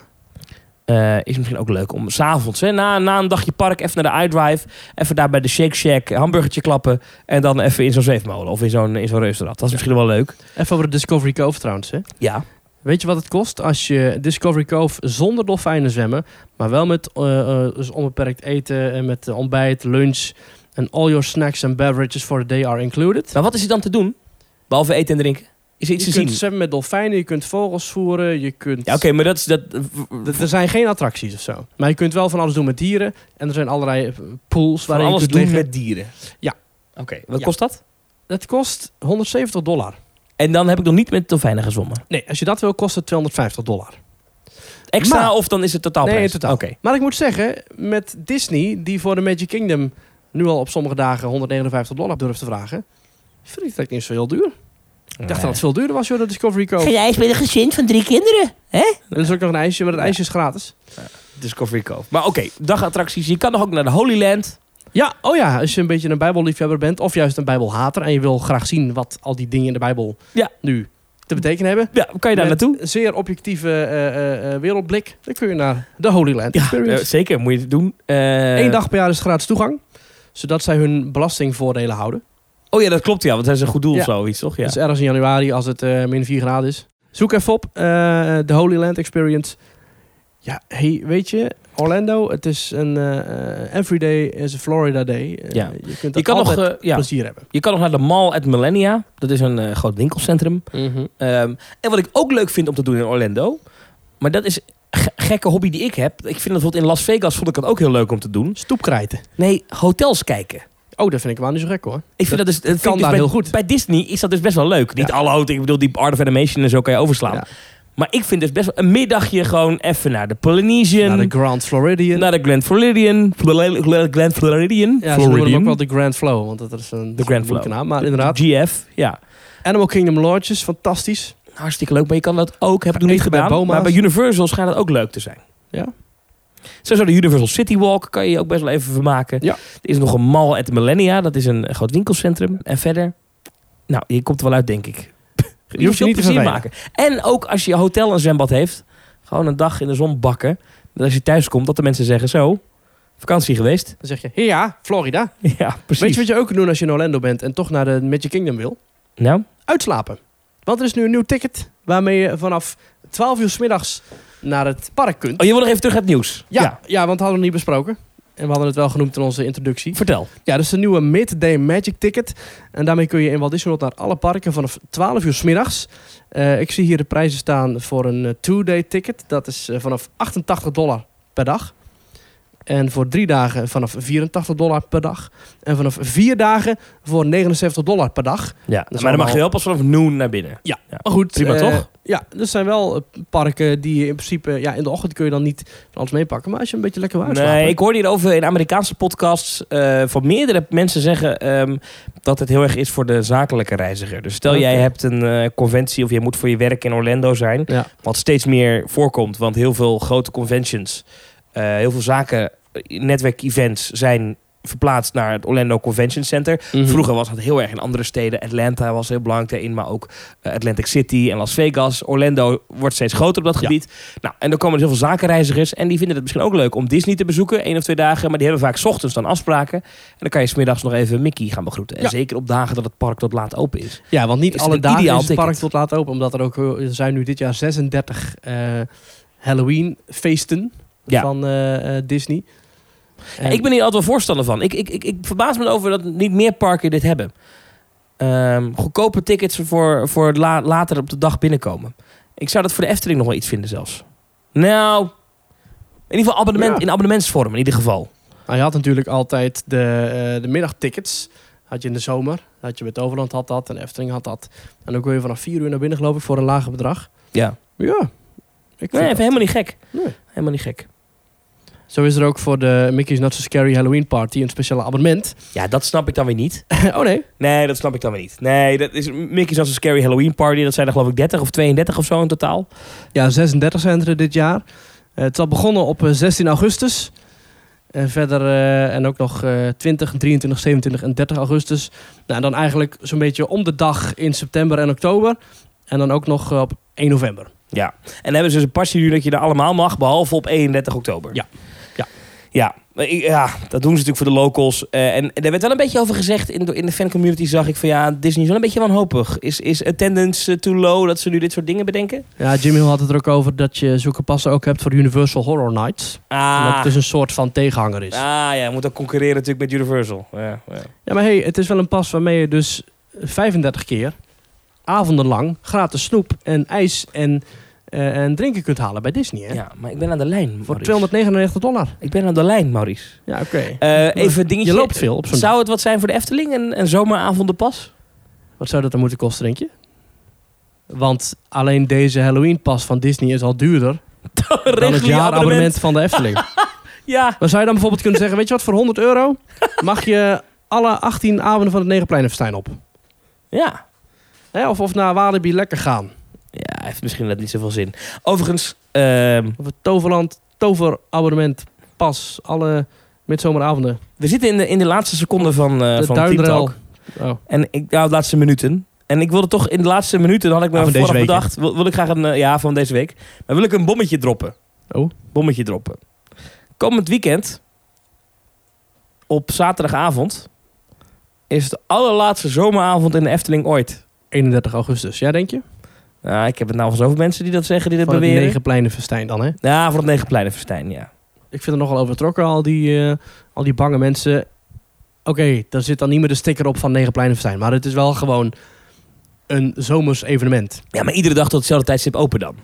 [SPEAKER 2] Eh, is misschien ook leuk om s'avonds, hè, na, na een dagje park, even naar de iDrive. Even daar bij de Shake Shack een hamburgertje klappen. En dan even in zo'n zweefmolen of in zo'n, in zo'n reuzenrad. Dat is misschien wel leuk.
[SPEAKER 1] Even over de Discovery Cove trouwens. Hè.
[SPEAKER 2] Ja.
[SPEAKER 1] Weet je wat het kost als je Discovery Cove zonder dolfijnen zwemmen, maar wel met eh, eh, dus onbeperkt eten en met eh, ontbijt, lunch en all your snacks and beverages for the day are included?
[SPEAKER 2] Maar wat is er dan te doen? Behalve eten en drinken. Is er iets
[SPEAKER 1] je
[SPEAKER 2] te zien?
[SPEAKER 1] kunt zwemmen met dolfijnen, je kunt vogels voeren, je kunt...
[SPEAKER 2] Ja, oké, maar dat is dat.
[SPEAKER 1] D- Er zijn geen attracties of zo. Maar je kunt wel van alles doen met dieren. En er zijn allerlei eh, pools waar
[SPEAKER 2] Van
[SPEAKER 1] je
[SPEAKER 2] alles
[SPEAKER 1] kunt
[SPEAKER 2] doen
[SPEAKER 1] liggen.
[SPEAKER 2] met dieren.
[SPEAKER 1] Ja.
[SPEAKER 2] Oké, wat
[SPEAKER 1] Ja.
[SPEAKER 2] kost dat?
[SPEAKER 1] Het kost 170 dollar.
[SPEAKER 2] En dan heb ik nog niet met dolfijnen gezwommen.
[SPEAKER 1] Nee, als je dat wil, kost het 250 dollar.
[SPEAKER 2] Extra
[SPEAKER 1] Maar-
[SPEAKER 2] of dan is het totaalprijs?
[SPEAKER 1] Nee, in totaal.
[SPEAKER 2] Oké.
[SPEAKER 1] Maar ik moet zeggen, met Disney, die voor de Magic Kingdom nu al op sommige dagen 159 dollar durft te vragen, vind ik dat niet zo heel duur. Ik dacht dat het veel duurder was, joh, de Discovery Cove.
[SPEAKER 2] jij eens met een gezin van drie kinderen?
[SPEAKER 1] Er is ook nog een ijsje, maar dat ijsje is gratis.
[SPEAKER 2] Discovery Cove. Maar oké, dagattracties. Je kan nog ook naar de Holy Land.
[SPEAKER 1] Ja, oh ja, als je een beetje een bijbelliefhebber bent, of juist een bijbelhater, en je wil graag zien wat al die dingen in de bijbel
[SPEAKER 2] Ja.
[SPEAKER 1] nu te betekenen hebben.
[SPEAKER 2] Ja, kan je daar
[SPEAKER 1] Met
[SPEAKER 2] naartoe?
[SPEAKER 1] een zeer objectieve eh, eh, eh, wereldblik. Dan kun je naar de Holy Land
[SPEAKER 2] Ja, eh,
[SPEAKER 1] Experience.
[SPEAKER 2] zeker. Moet je het doen. Eh,
[SPEAKER 1] Eén dag per jaar is gratis toegang. Zodat zij hun belastingvoordelen houden.
[SPEAKER 2] Oh ja, dat klopt ja, want dat is een goed doel
[SPEAKER 1] Ja.
[SPEAKER 2] of zoiets, toch? Ja.
[SPEAKER 1] Dus ergens in januari als het eh, min 4 graden is. Zoek even op eh, de Holy Land Experience. Ja, hey, weet je, Orlando, het is een eh, eh, everyday is a Florida day. Eh,
[SPEAKER 2] Ja.
[SPEAKER 1] Je kunt
[SPEAKER 2] Je
[SPEAKER 1] er
[SPEAKER 2] kan, nog,
[SPEAKER 1] altijd
[SPEAKER 2] eh, ja,
[SPEAKER 1] plezier hebben.
[SPEAKER 2] je kan nog naar de Mall at Millennia. Dat is een eh, groot winkelcentrum. Ehm, en wat ik ook leuk vind om te doen in Orlando, maar dat is een ge- gekke hobby die ik heb. Ik vind dat bijvoorbeeld in Las Vegas vond ik dat ook heel leuk om te doen.
[SPEAKER 1] Stoepkrijten.
[SPEAKER 2] Nee, hotels kijken.
[SPEAKER 1] Oh, dat vind ik wel niet zo gek hoor.
[SPEAKER 2] Ik vind dat, dus, dat vind
[SPEAKER 1] kan
[SPEAKER 2] ik dus
[SPEAKER 1] daar
[SPEAKER 2] bij,
[SPEAKER 1] heel goed.
[SPEAKER 2] Bij Disney is dat dus best wel leuk. Niet
[SPEAKER 1] Ja.
[SPEAKER 2] alle hotels, ik bedoel die Art of Animation en zo kan je overslaan.
[SPEAKER 1] Ja.
[SPEAKER 2] Maar ik vind dus best wel een middagje gewoon even naar de Polynesian,
[SPEAKER 1] Naar de Grand Floridian.
[SPEAKER 2] naar de Grand Floridian, Flor- Flor- Grand Floridian,
[SPEAKER 1] ja, ze noemen hem
[SPEAKER 2] Floridian.
[SPEAKER 1] ook wel de Grand Flow, want dat is een
[SPEAKER 2] De Grand
[SPEAKER 1] moeilijke
[SPEAKER 2] Flow.
[SPEAKER 1] naam. Maar inderdaad,
[SPEAKER 2] GF, ja.
[SPEAKER 1] Animal Kingdom Lodges, fantastisch.
[SPEAKER 2] Hartstikke leuk, maar je kan dat ook, heb ik nog niet
[SPEAKER 1] Eten bij
[SPEAKER 2] gedaan.
[SPEAKER 1] Boma's.
[SPEAKER 2] maar bij Universal schijnt dat ook leuk te zijn.
[SPEAKER 1] Ja.
[SPEAKER 2] Sowieso de Universal City Walk kan je je ook best wel even vermaken.
[SPEAKER 1] Ja.
[SPEAKER 2] Er is nog een Mall at Millennia, dat is een groot winkelcentrum. En verder, nou, je komt er wel uit, denk ik.
[SPEAKER 1] Je hoeft je
[SPEAKER 2] wil
[SPEAKER 1] niet te
[SPEAKER 2] plezier
[SPEAKER 1] vervelen.
[SPEAKER 2] maken. En ook als je hotel een zwembad heeft, gewoon een dag in de zon bakken. Dat als je thuis komt, dat de mensen zeggen, zo, vakantie geweest.
[SPEAKER 1] Dan zeg je, "Hey, ja, Florida.
[SPEAKER 2] Ja, precies.
[SPEAKER 1] Weet je wat je ook kan doen als je in Orlando bent en toch naar de Magic Kingdom wil?
[SPEAKER 2] Nou,
[SPEAKER 1] Uitslapen. Want er is nu een nieuw ticket waarmee je vanaf 12 uur 's middags naar het park kunt.
[SPEAKER 2] oh, je wil nog even terug naar het nieuws.
[SPEAKER 1] Ja, ja. want dat hadden we niet besproken. En we hadden het wel genoemd in onze introductie.
[SPEAKER 2] Vertel.
[SPEAKER 1] Ja, dat is een nieuwe Midday Magic Ticket. En daarmee kun je in Walt Disney World naar alle parken vanaf 12 uur 's middags. Eh, ik zie hier de prijzen staan voor een eh, two-day ticket. Dat is eh, vanaf 88 dollar per dag. En voor drie dagen vanaf 84 dollar per dag. En vanaf vier dagen voor 79 dollar per dag.
[SPEAKER 2] Ja,
[SPEAKER 1] is
[SPEAKER 2] maar dan mag je
[SPEAKER 1] allemaal-
[SPEAKER 2] wel pas vanaf noon naar binnen.
[SPEAKER 1] Maar goed,
[SPEAKER 2] Oh, Prima,
[SPEAKER 1] eh,
[SPEAKER 2] toch?
[SPEAKER 1] Ja, er zijn wel eh, parken die je in principe... Ja, in de ochtend kun je dan niet van alles meepakken. Maar als je een beetje lekker wil uitslapen...
[SPEAKER 2] Nee, ik hoorde hierover in Amerikaanse podcasts eh, van meerdere mensen zeggen ehm, dat het heel erg is voor de zakelijke reiziger. Dus stel
[SPEAKER 1] Oké.
[SPEAKER 2] jij hebt een eh, conventie of je moet voor je werk in Orlando zijn,
[SPEAKER 1] Ja.
[SPEAKER 2] wat steeds meer voorkomt, want heel veel grote conventions, eh, heel veel zaken, netwerkevents zijn verplaatst naar het Orlando Convention Center.
[SPEAKER 1] Mhm.
[SPEAKER 2] Vroeger was dat heel erg in andere steden. Atlanta was heel belangrijk daarin, maar ook eh, Atlantic City en Las Vegas. Orlando wordt steeds groter op dat
[SPEAKER 1] Ja.
[SPEAKER 2] gebied. Nou, en dan komen er heel veel zakenreizigers en die vinden het misschien ook leuk om Disney te bezoeken, één of twee dagen. Maar die hebben vaak 's ochtends dan afspraken. En dan kan je smiddags nog even Mickey gaan begroeten. En
[SPEAKER 1] Ja.
[SPEAKER 2] zeker op dagen dat het park tot laat open is.
[SPEAKER 1] Ja, want niet
[SPEAKER 2] Is
[SPEAKER 1] alle
[SPEAKER 2] het een
[SPEAKER 1] dagen is
[SPEAKER 2] ideaal
[SPEAKER 1] het park
[SPEAKER 2] ticket?
[SPEAKER 1] tot laat open. Omdat er ook eh, er zijn nu dit jaar 36 eh, Halloween feesten
[SPEAKER 2] Ja.
[SPEAKER 1] van eh, eh, Disney. En-
[SPEAKER 2] Ik ben hier altijd wel voorstander van. Ik, ik, ik, ik verbaas me over dat niet meer parken dit hebben. Ehm, goedkope tickets voor, voor het la- later op de dag binnenkomen. Ik zou dat voor de Efteling nog wel iets vinden zelfs. Nou, in ieder geval abonnement,
[SPEAKER 1] Ja.
[SPEAKER 2] in abonnementsvorm in ieder geval.
[SPEAKER 1] Nou, je had natuurlijk altijd de, eh, de middagtickets. Had je in de zomer. Had je bij Toverland had dat en Efteling had dat. En dan kon je vanaf 4 uur naar binnen geloof ik voor een lager bedrag.
[SPEAKER 2] Ja.
[SPEAKER 1] Ja, ik
[SPEAKER 2] Nee,
[SPEAKER 1] vind
[SPEAKER 2] even helemaal niet gek.
[SPEAKER 1] Nee.
[SPEAKER 2] Helemaal niet gek.
[SPEAKER 1] Zo is er ook voor de Mickey's Not So Scary Halloween Party een speciaal abonnement.
[SPEAKER 2] Ja, dat snap ik dan weer niet.
[SPEAKER 1] oh nee,
[SPEAKER 2] Nee, dat snap ik dan weer niet. Nee, dat is Mickey's als een scary Halloween party. Dat zijn er geloof ik 30 of 32 of zo in totaal.
[SPEAKER 1] ja, 36 zijn er dit jaar. Eh, het is al begonnen op eh, 16 augustus. En verder, eh, en ook nog eh 20, 23, 27 en 30 augustus. Nou, dan eigenlijk zo'n beetje om de dag in september en oktober. En dan ook nog eh, op 1 november.
[SPEAKER 2] Ja. En dan hebben ze dus een pasje nu dat je er allemaal mag, behalve op 31 oktober.
[SPEAKER 1] Ja. Ja.
[SPEAKER 2] Ja. Maar ik- Ja, dat doen ze natuurlijk voor de locals. Eh, en, en er werd wel een beetje over gezegd in de, in de fancommunity. Zag ik van ja, Disney is wel een beetje wanhopig. Is, is attendance eh, too low dat ze nu dit soort dingen bedenken?
[SPEAKER 1] Ja, Jimmy Hill had het er ook over dat je zulke passen ook hebt voor Universal Horror Nights. Omdat
[SPEAKER 2] Ah,
[SPEAKER 1] het dus een soort van tegenhanger is.
[SPEAKER 2] ah ja, moet ook concurreren natuurlijk met Universal. Ja, ja.
[SPEAKER 1] Ja, maar hey, het is wel een pas waarmee je dus 35 keer avondenlang gratis snoep en ijs en, eh, en drinken kunt halen bij Disney. Hè?
[SPEAKER 2] Ja, maar ik ben aan de lijn,
[SPEAKER 1] Voor
[SPEAKER 2] Maurice.
[SPEAKER 1] 299 dollar.
[SPEAKER 2] Ik ben aan de lijn, Maurice.
[SPEAKER 1] Ja, oké.
[SPEAKER 2] Eh, even een dingetje.
[SPEAKER 1] Je loopt veel op zo'n
[SPEAKER 2] Zou het wat zijn voor de Efteling? Een, een zomeravondenpas?
[SPEAKER 1] Wat zou dat dan moeten kosten, denk je? Want alleen deze Halloween pas van Disney is al duurder dan het jaarabonnement van de Efteling.
[SPEAKER 2] Ja.
[SPEAKER 1] maar zou je dan bijvoorbeeld kunnen zeggen, weet je wat, voor 100 euro mag je alle 18 avonden van het Negenpleinenfestijn op.
[SPEAKER 2] Ja.
[SPEAKER 1] Hè, of, of naar Walibi lekker gaan.
[SPEAKER 2] Ja, heeft misschien net niet zoveel zin. Overigens, ehm,
[SPEAKER 1] Of het Toverland, Toverabonnement, pas, alle midzomeravonden.
[SPEAKER 2] we zitten in de, in de laatste seconde van, eh
[SPEAKER 1] de Oh,
[SPEAKER 2] van Team
[SPEAKER 1] duinrel.
[SPEAKER 2] Talk. En ik, nou, de laatste minuten. En ik wilde toch in de laatste minuten, dan had ik
[SPEAKER 1] Ah,
[SPEAKER 2] me
[SPEAKER 1] van
[SPEAKER 2] vooraf
[SPEAKER 1] deze week, hè?
[SPEAKER 2] bedacht, wil, wil ik graag een, eh, ja, van deze week. Maar wil ik een bommetje droppen.
[SPEAKER 1] Oh.
[SPEAKER 2] Bommetje droppen. Komend weekend, op zaterdagavond, is de allerlaatste zomeravond in de Efteling ooit.
[SPEAKER 1] 31 augustus, ja denk je?
[SPEAKER 2] Nou, ik heb het nou van zoveel mensen die dat zeggen, die dat
[SPEAKER 1] Van het
[SPEAKER 2] beweren.
[SPEAKER 1] Negenpleinenfestijn dan, hè?
[SPEAKER 2] Ja, voor het Negenpleinenfestijn, ja.
[SPEAKER 1] Ik vind het nogal overtrokken, al die, eh, al die bange mensen. Oké, daar zit dan niet meer de sticker op van Negenpleinenfestijn. Maar het is wel gewoon een zomers evenement.
[SPEAKER 2] Ja, maar iedere dag tot hetzelfde tijdstip open dan.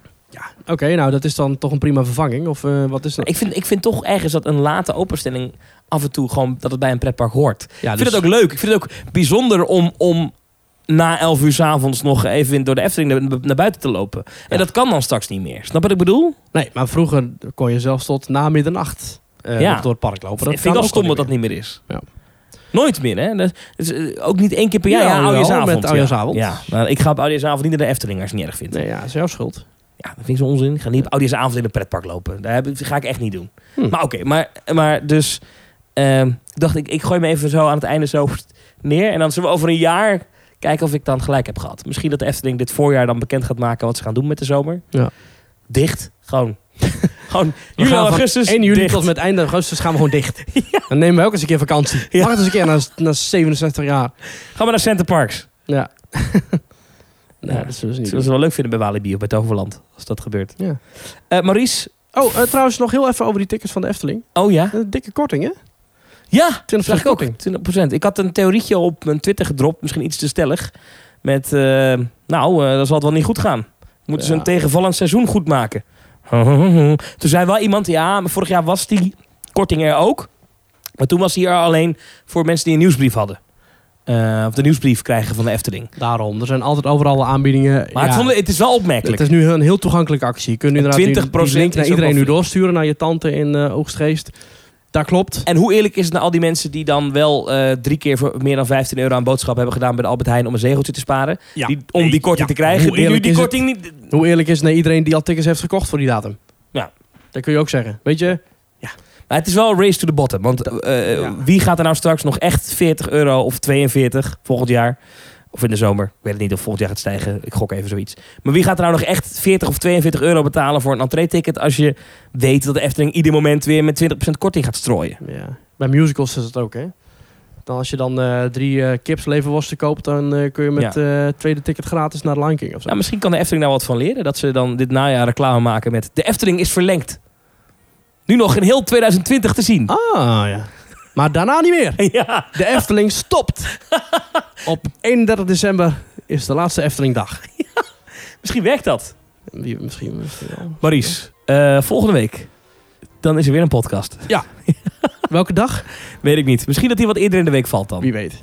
[SPEAKER 1] Oké, nou dat is dan toch een prima vervanging? Of eh, wat is dat?
[SPEAKER 2] Ik vind, ik vind toch ergens dat een late openstelling af en toe gewoon dat het bij een pretpark hoort.
[SPEAKER 1] ja, dus-
[SPEAKER 2] ik vind het ook leuk. Ik vind het ook bijzonder om, om na 11 uur 's avonds nog even door de Efteling naar, naar buiten te lopen.
[SPEAKER 1] Ja.
[SPEAKER 2] En dat kan dan straks niet meer. Snap wat ik bedoel?
[SPEAKER 1] Nee, maar vroeger kon je zelfs tot na middernacht eh,
[SPEAKER 2] Ja.
[SPEAKER 1] nog door het park lopen. Dat
[SPEAKER 2] ik vind
[SPEAKER 1] kan
[SPEAKER 2] het wel
[SPEAKER 1] ook al
[SPEAKER 2] stom dat
[SPEAKER 1] niet
[SPEAKER 2] dat
[SPEAKER 1] meer.
[SPEAKER 2] niet meer is.
[SPEAKER 1] Ja.
[SPEAKER 2] Nooit meer, hè? Dat is, eh, ook niet één keer per
[SPEAKER 1] Ja,
[SPEAKER 2] jaar. Ja,
[SPEAKER 1] jawel,
[SPEAKER 2] Oudjaarsavond.
[SPEAKER 1] met Oudjaarsavond.
[SPEAKER 2] Ja, Ja, maar ik ga op Oudjaarsavond niet naar de Efteling als ik het niet erg vind.
[SPEAKER 1] Nee, ja, dat is jouw schuld.
[SPEAKER 2] Ja, dat vind ik zo onzin. Ik ga niet op oudejaarsavond in een pretpark lopen. Daar heb ik- ga ik echt niet doen.
[SPEAKER 1] Hm.
[SPEAKER 2] Maar oké, maar, maar dus... ehm, ik dacht, ik, ik gooi me even zo aan het einde zo neer. En dan zullen we over een jaar kijken of ik dan gelijk heb gehad. Misschien dat de Efteling dit voorjaar dan bekend gaat maken... wat ze gaan doen met de zomer.
[SPEAKER 1] Ja.
[SPEAKER 2] Dicht. Gewoon. gewoon
[SPEAKER 1] We
[SPEAKER 2] juli,
[SPEAKER 1] gaan van
[SPEAKER 2] augustus,
[SPEAKER 1] 1 juli
[SPEAKER 2] dicht.
[SPEAKER 1] tot met einde augustus gaan we gewoon dicht. Dan nemen we ook eens een keer vakantie.
[SPEAKER 2] Ja.
[SPEAKER 1] Wacht eens een keer na, na 67 jaar.
[SPEAKER 2] Gaan we naar Center Parks.
[SPEAKER 1] Ja. nee,
[SPEAKER 2] Ja.
[SPEAKER 1] dat zullen ze niet
[SPEAKER 2] Zullen
[SPEAKER 1] doen.
[SPEAKER 2] ze wel leuk vinden bij Walibi of bij Toverland. Als dat gebeurt.
[SPEAKER 1] Ja.
[SPEAKER 2] Eh, Maurice.
[SPEAKER 1] Oh, eh, trouwens nog heel even over die tickets van de Efteling.
[SPEAKER 2] Oh ja.
[SPEAKER 1] Een Eh, dikke korting, hè?
[SPEAKER 2] Ja,
[SPEAKER 1] 20%
[SPEAKER 2] zag ik ook.
[SPEAKER 1] korting.
[SPEAKER 2] 20%. Ik had een theorietje op mijn Twitter gedropt, misschien iets te stellig. Met, eh, nou, eh dat zal het wel niet goed gaan. Moeten ze
[SPEAKER 1] Ja.
[SPEAKER 2] een tegenvallend seizoen goed maken. Toen zei wel iemand, ja, maar vorig jaar was die korting er ook. Maar toen was die er alleen voor mensen die een nieuwsbrief hadden. Eh, of de nieuwsbrief krijgen van de Efteling.
[SPEAKER 1] Daarom. Er zijn altijd overal wel aanbiedingen.
[SPEAKER 2] Maar
[SPEAKER 1] Ja,
[SPEAKER 2] het, vond, het is wel opmerkelijk.
[SPEAKER 1] het is nu een heel toegankelijke actie. Je kunt nu
[SPEAKER 2] En
[SPEAKER 1] inderdaad die-
[SPEAKER 2] 20%
[SPEAKER 1] die link naar
[SPEAKER 2] is ook
[SPEAKER 1] iedereen nu
[SPEAKER 2] wel-
[SPEAKER 1] doorsturen. Naar je tante in eh, Oogstgeest. Dat klopt.
[SPEAKER 2] En hoe eerlijk is het naar al die mensen die dan wel eh, drie keer voor meer dan 15 euro aan boodschap hebben gedaan bij de Albert Heijn om een zegeltje te sparen?
[SPEAKER 1] Ja.
[SPEAKER 2] Die, om die korting
[SPEAKER 1] Ja.
[SPEAKER 2] te krijgen.
[SPEAKER 1] Hoe
[SPEAKER 2] Die nu
[SPEAKER 1] eerlijk
[SPEAKER 2] die
[SPEAKER 1] is
[SPEAKER 2] korting niet.
[SPEAKER 1] Hoe eerlijk is het naar iedereen die al tickets heeft gekocht voor die datum?
[SPEAKER 2] Ja.
[SPEAKER 1] Dat kun je ook zeggen. Weet je?
[SPEAKER 2] Maar het is wel een race to the bottom. Want eh, eh,
[SPEAKER 1] Ja.
[SPEAKER 2] wie gaat er nou straks nog echt 40 euro of 42 volgend jaar? Of in de zomer. Ik weet het niet of volgend jaar gaat stijgen. Ik gok even zoiets. Maar wie gaat er nou nog echt 40 of 42 euro betalen voor een entree-ticket... als je weet dat de Efteling ieder moment weer met 20% korting gaat strooien?
[SPEAKER 1] Ja. Bij musicals is het ook, hè? Dan als je dan eh, drie eh kips leverworsten koopt, dan eh, kun je met eh, tweede ticket gratis naar de Lion King of zo.
[SPEAKER 2] Nou, misschien kan de Efteling daar wat van leren. Dat ze dan dit najaar reclame maken met... De Efteling is verlengd. Nu nog in heel 2020 te zien.
[SPEAKER 1] Ah, ja. Maar daarna niet meer.
[SPEAKER 2] Ja.
[SPEAKER 1] De Efteling stopt. Op 31 december is de laatste Eftelingdag.
[SPEAKER 2] Misschien werkt dat.
[SPEAKER 1] Wie- Misschien, misschien wel.
[SPEAKER 2] Maries, eh, volgende week. Dan is er weer een podcast.
[SPEAKER 1] Welke dag? Oh.
[SPEAKER 2] Weet ik niet. Misschien dat die wat eerder in de week valt dan.
[SPEAKER 1] Wie weet.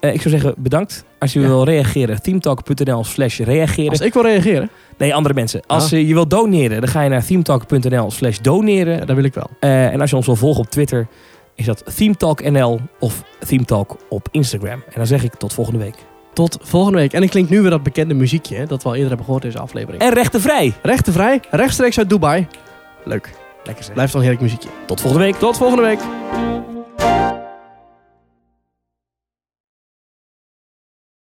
[SPEAKER 2] Eh, ik zou zeggen, bedankt. Als je
[SPEAKER 1] Ja.
[SPEAKER 2] wil reageren, teamtalk.nl slash reageren.
[SPEAKER 1] Als ik wil reageren,
[SPEAKER 2] Nee, andere mensen.
[SPEAKER 1] Ah.
[SPEAKER 2] Als eh, je wil doneren, dan ga je naar teamtalk.nl slash doneren.
[SPEAKER 1] ja, dat wil ik wel.
[SPEAKER 2] Eh, en als je ons wil volgen op Twitter, is dat themetalknl of themetalk op Instagram. En dan zeg ik tot volgende week.
[SPEAKER 1] Tot volgende week. En ik klink nu weer dat bekende muziekje hè, dat we al eerder hebben gehoord in deze aflevering.
[SPEAKER 2] En rechtenvrij.
[SPEAKER 1] Rechtenvrij, rechtstreeks uit Dubai. Leuk.
[SPEAKER 2] Lekker zeg.
[SPEAKER 1] Blijft dan heerlijk muziekje.
[SPEAKER 2] Tot volgende week.
[SPEAKER 1] Tot volgende week.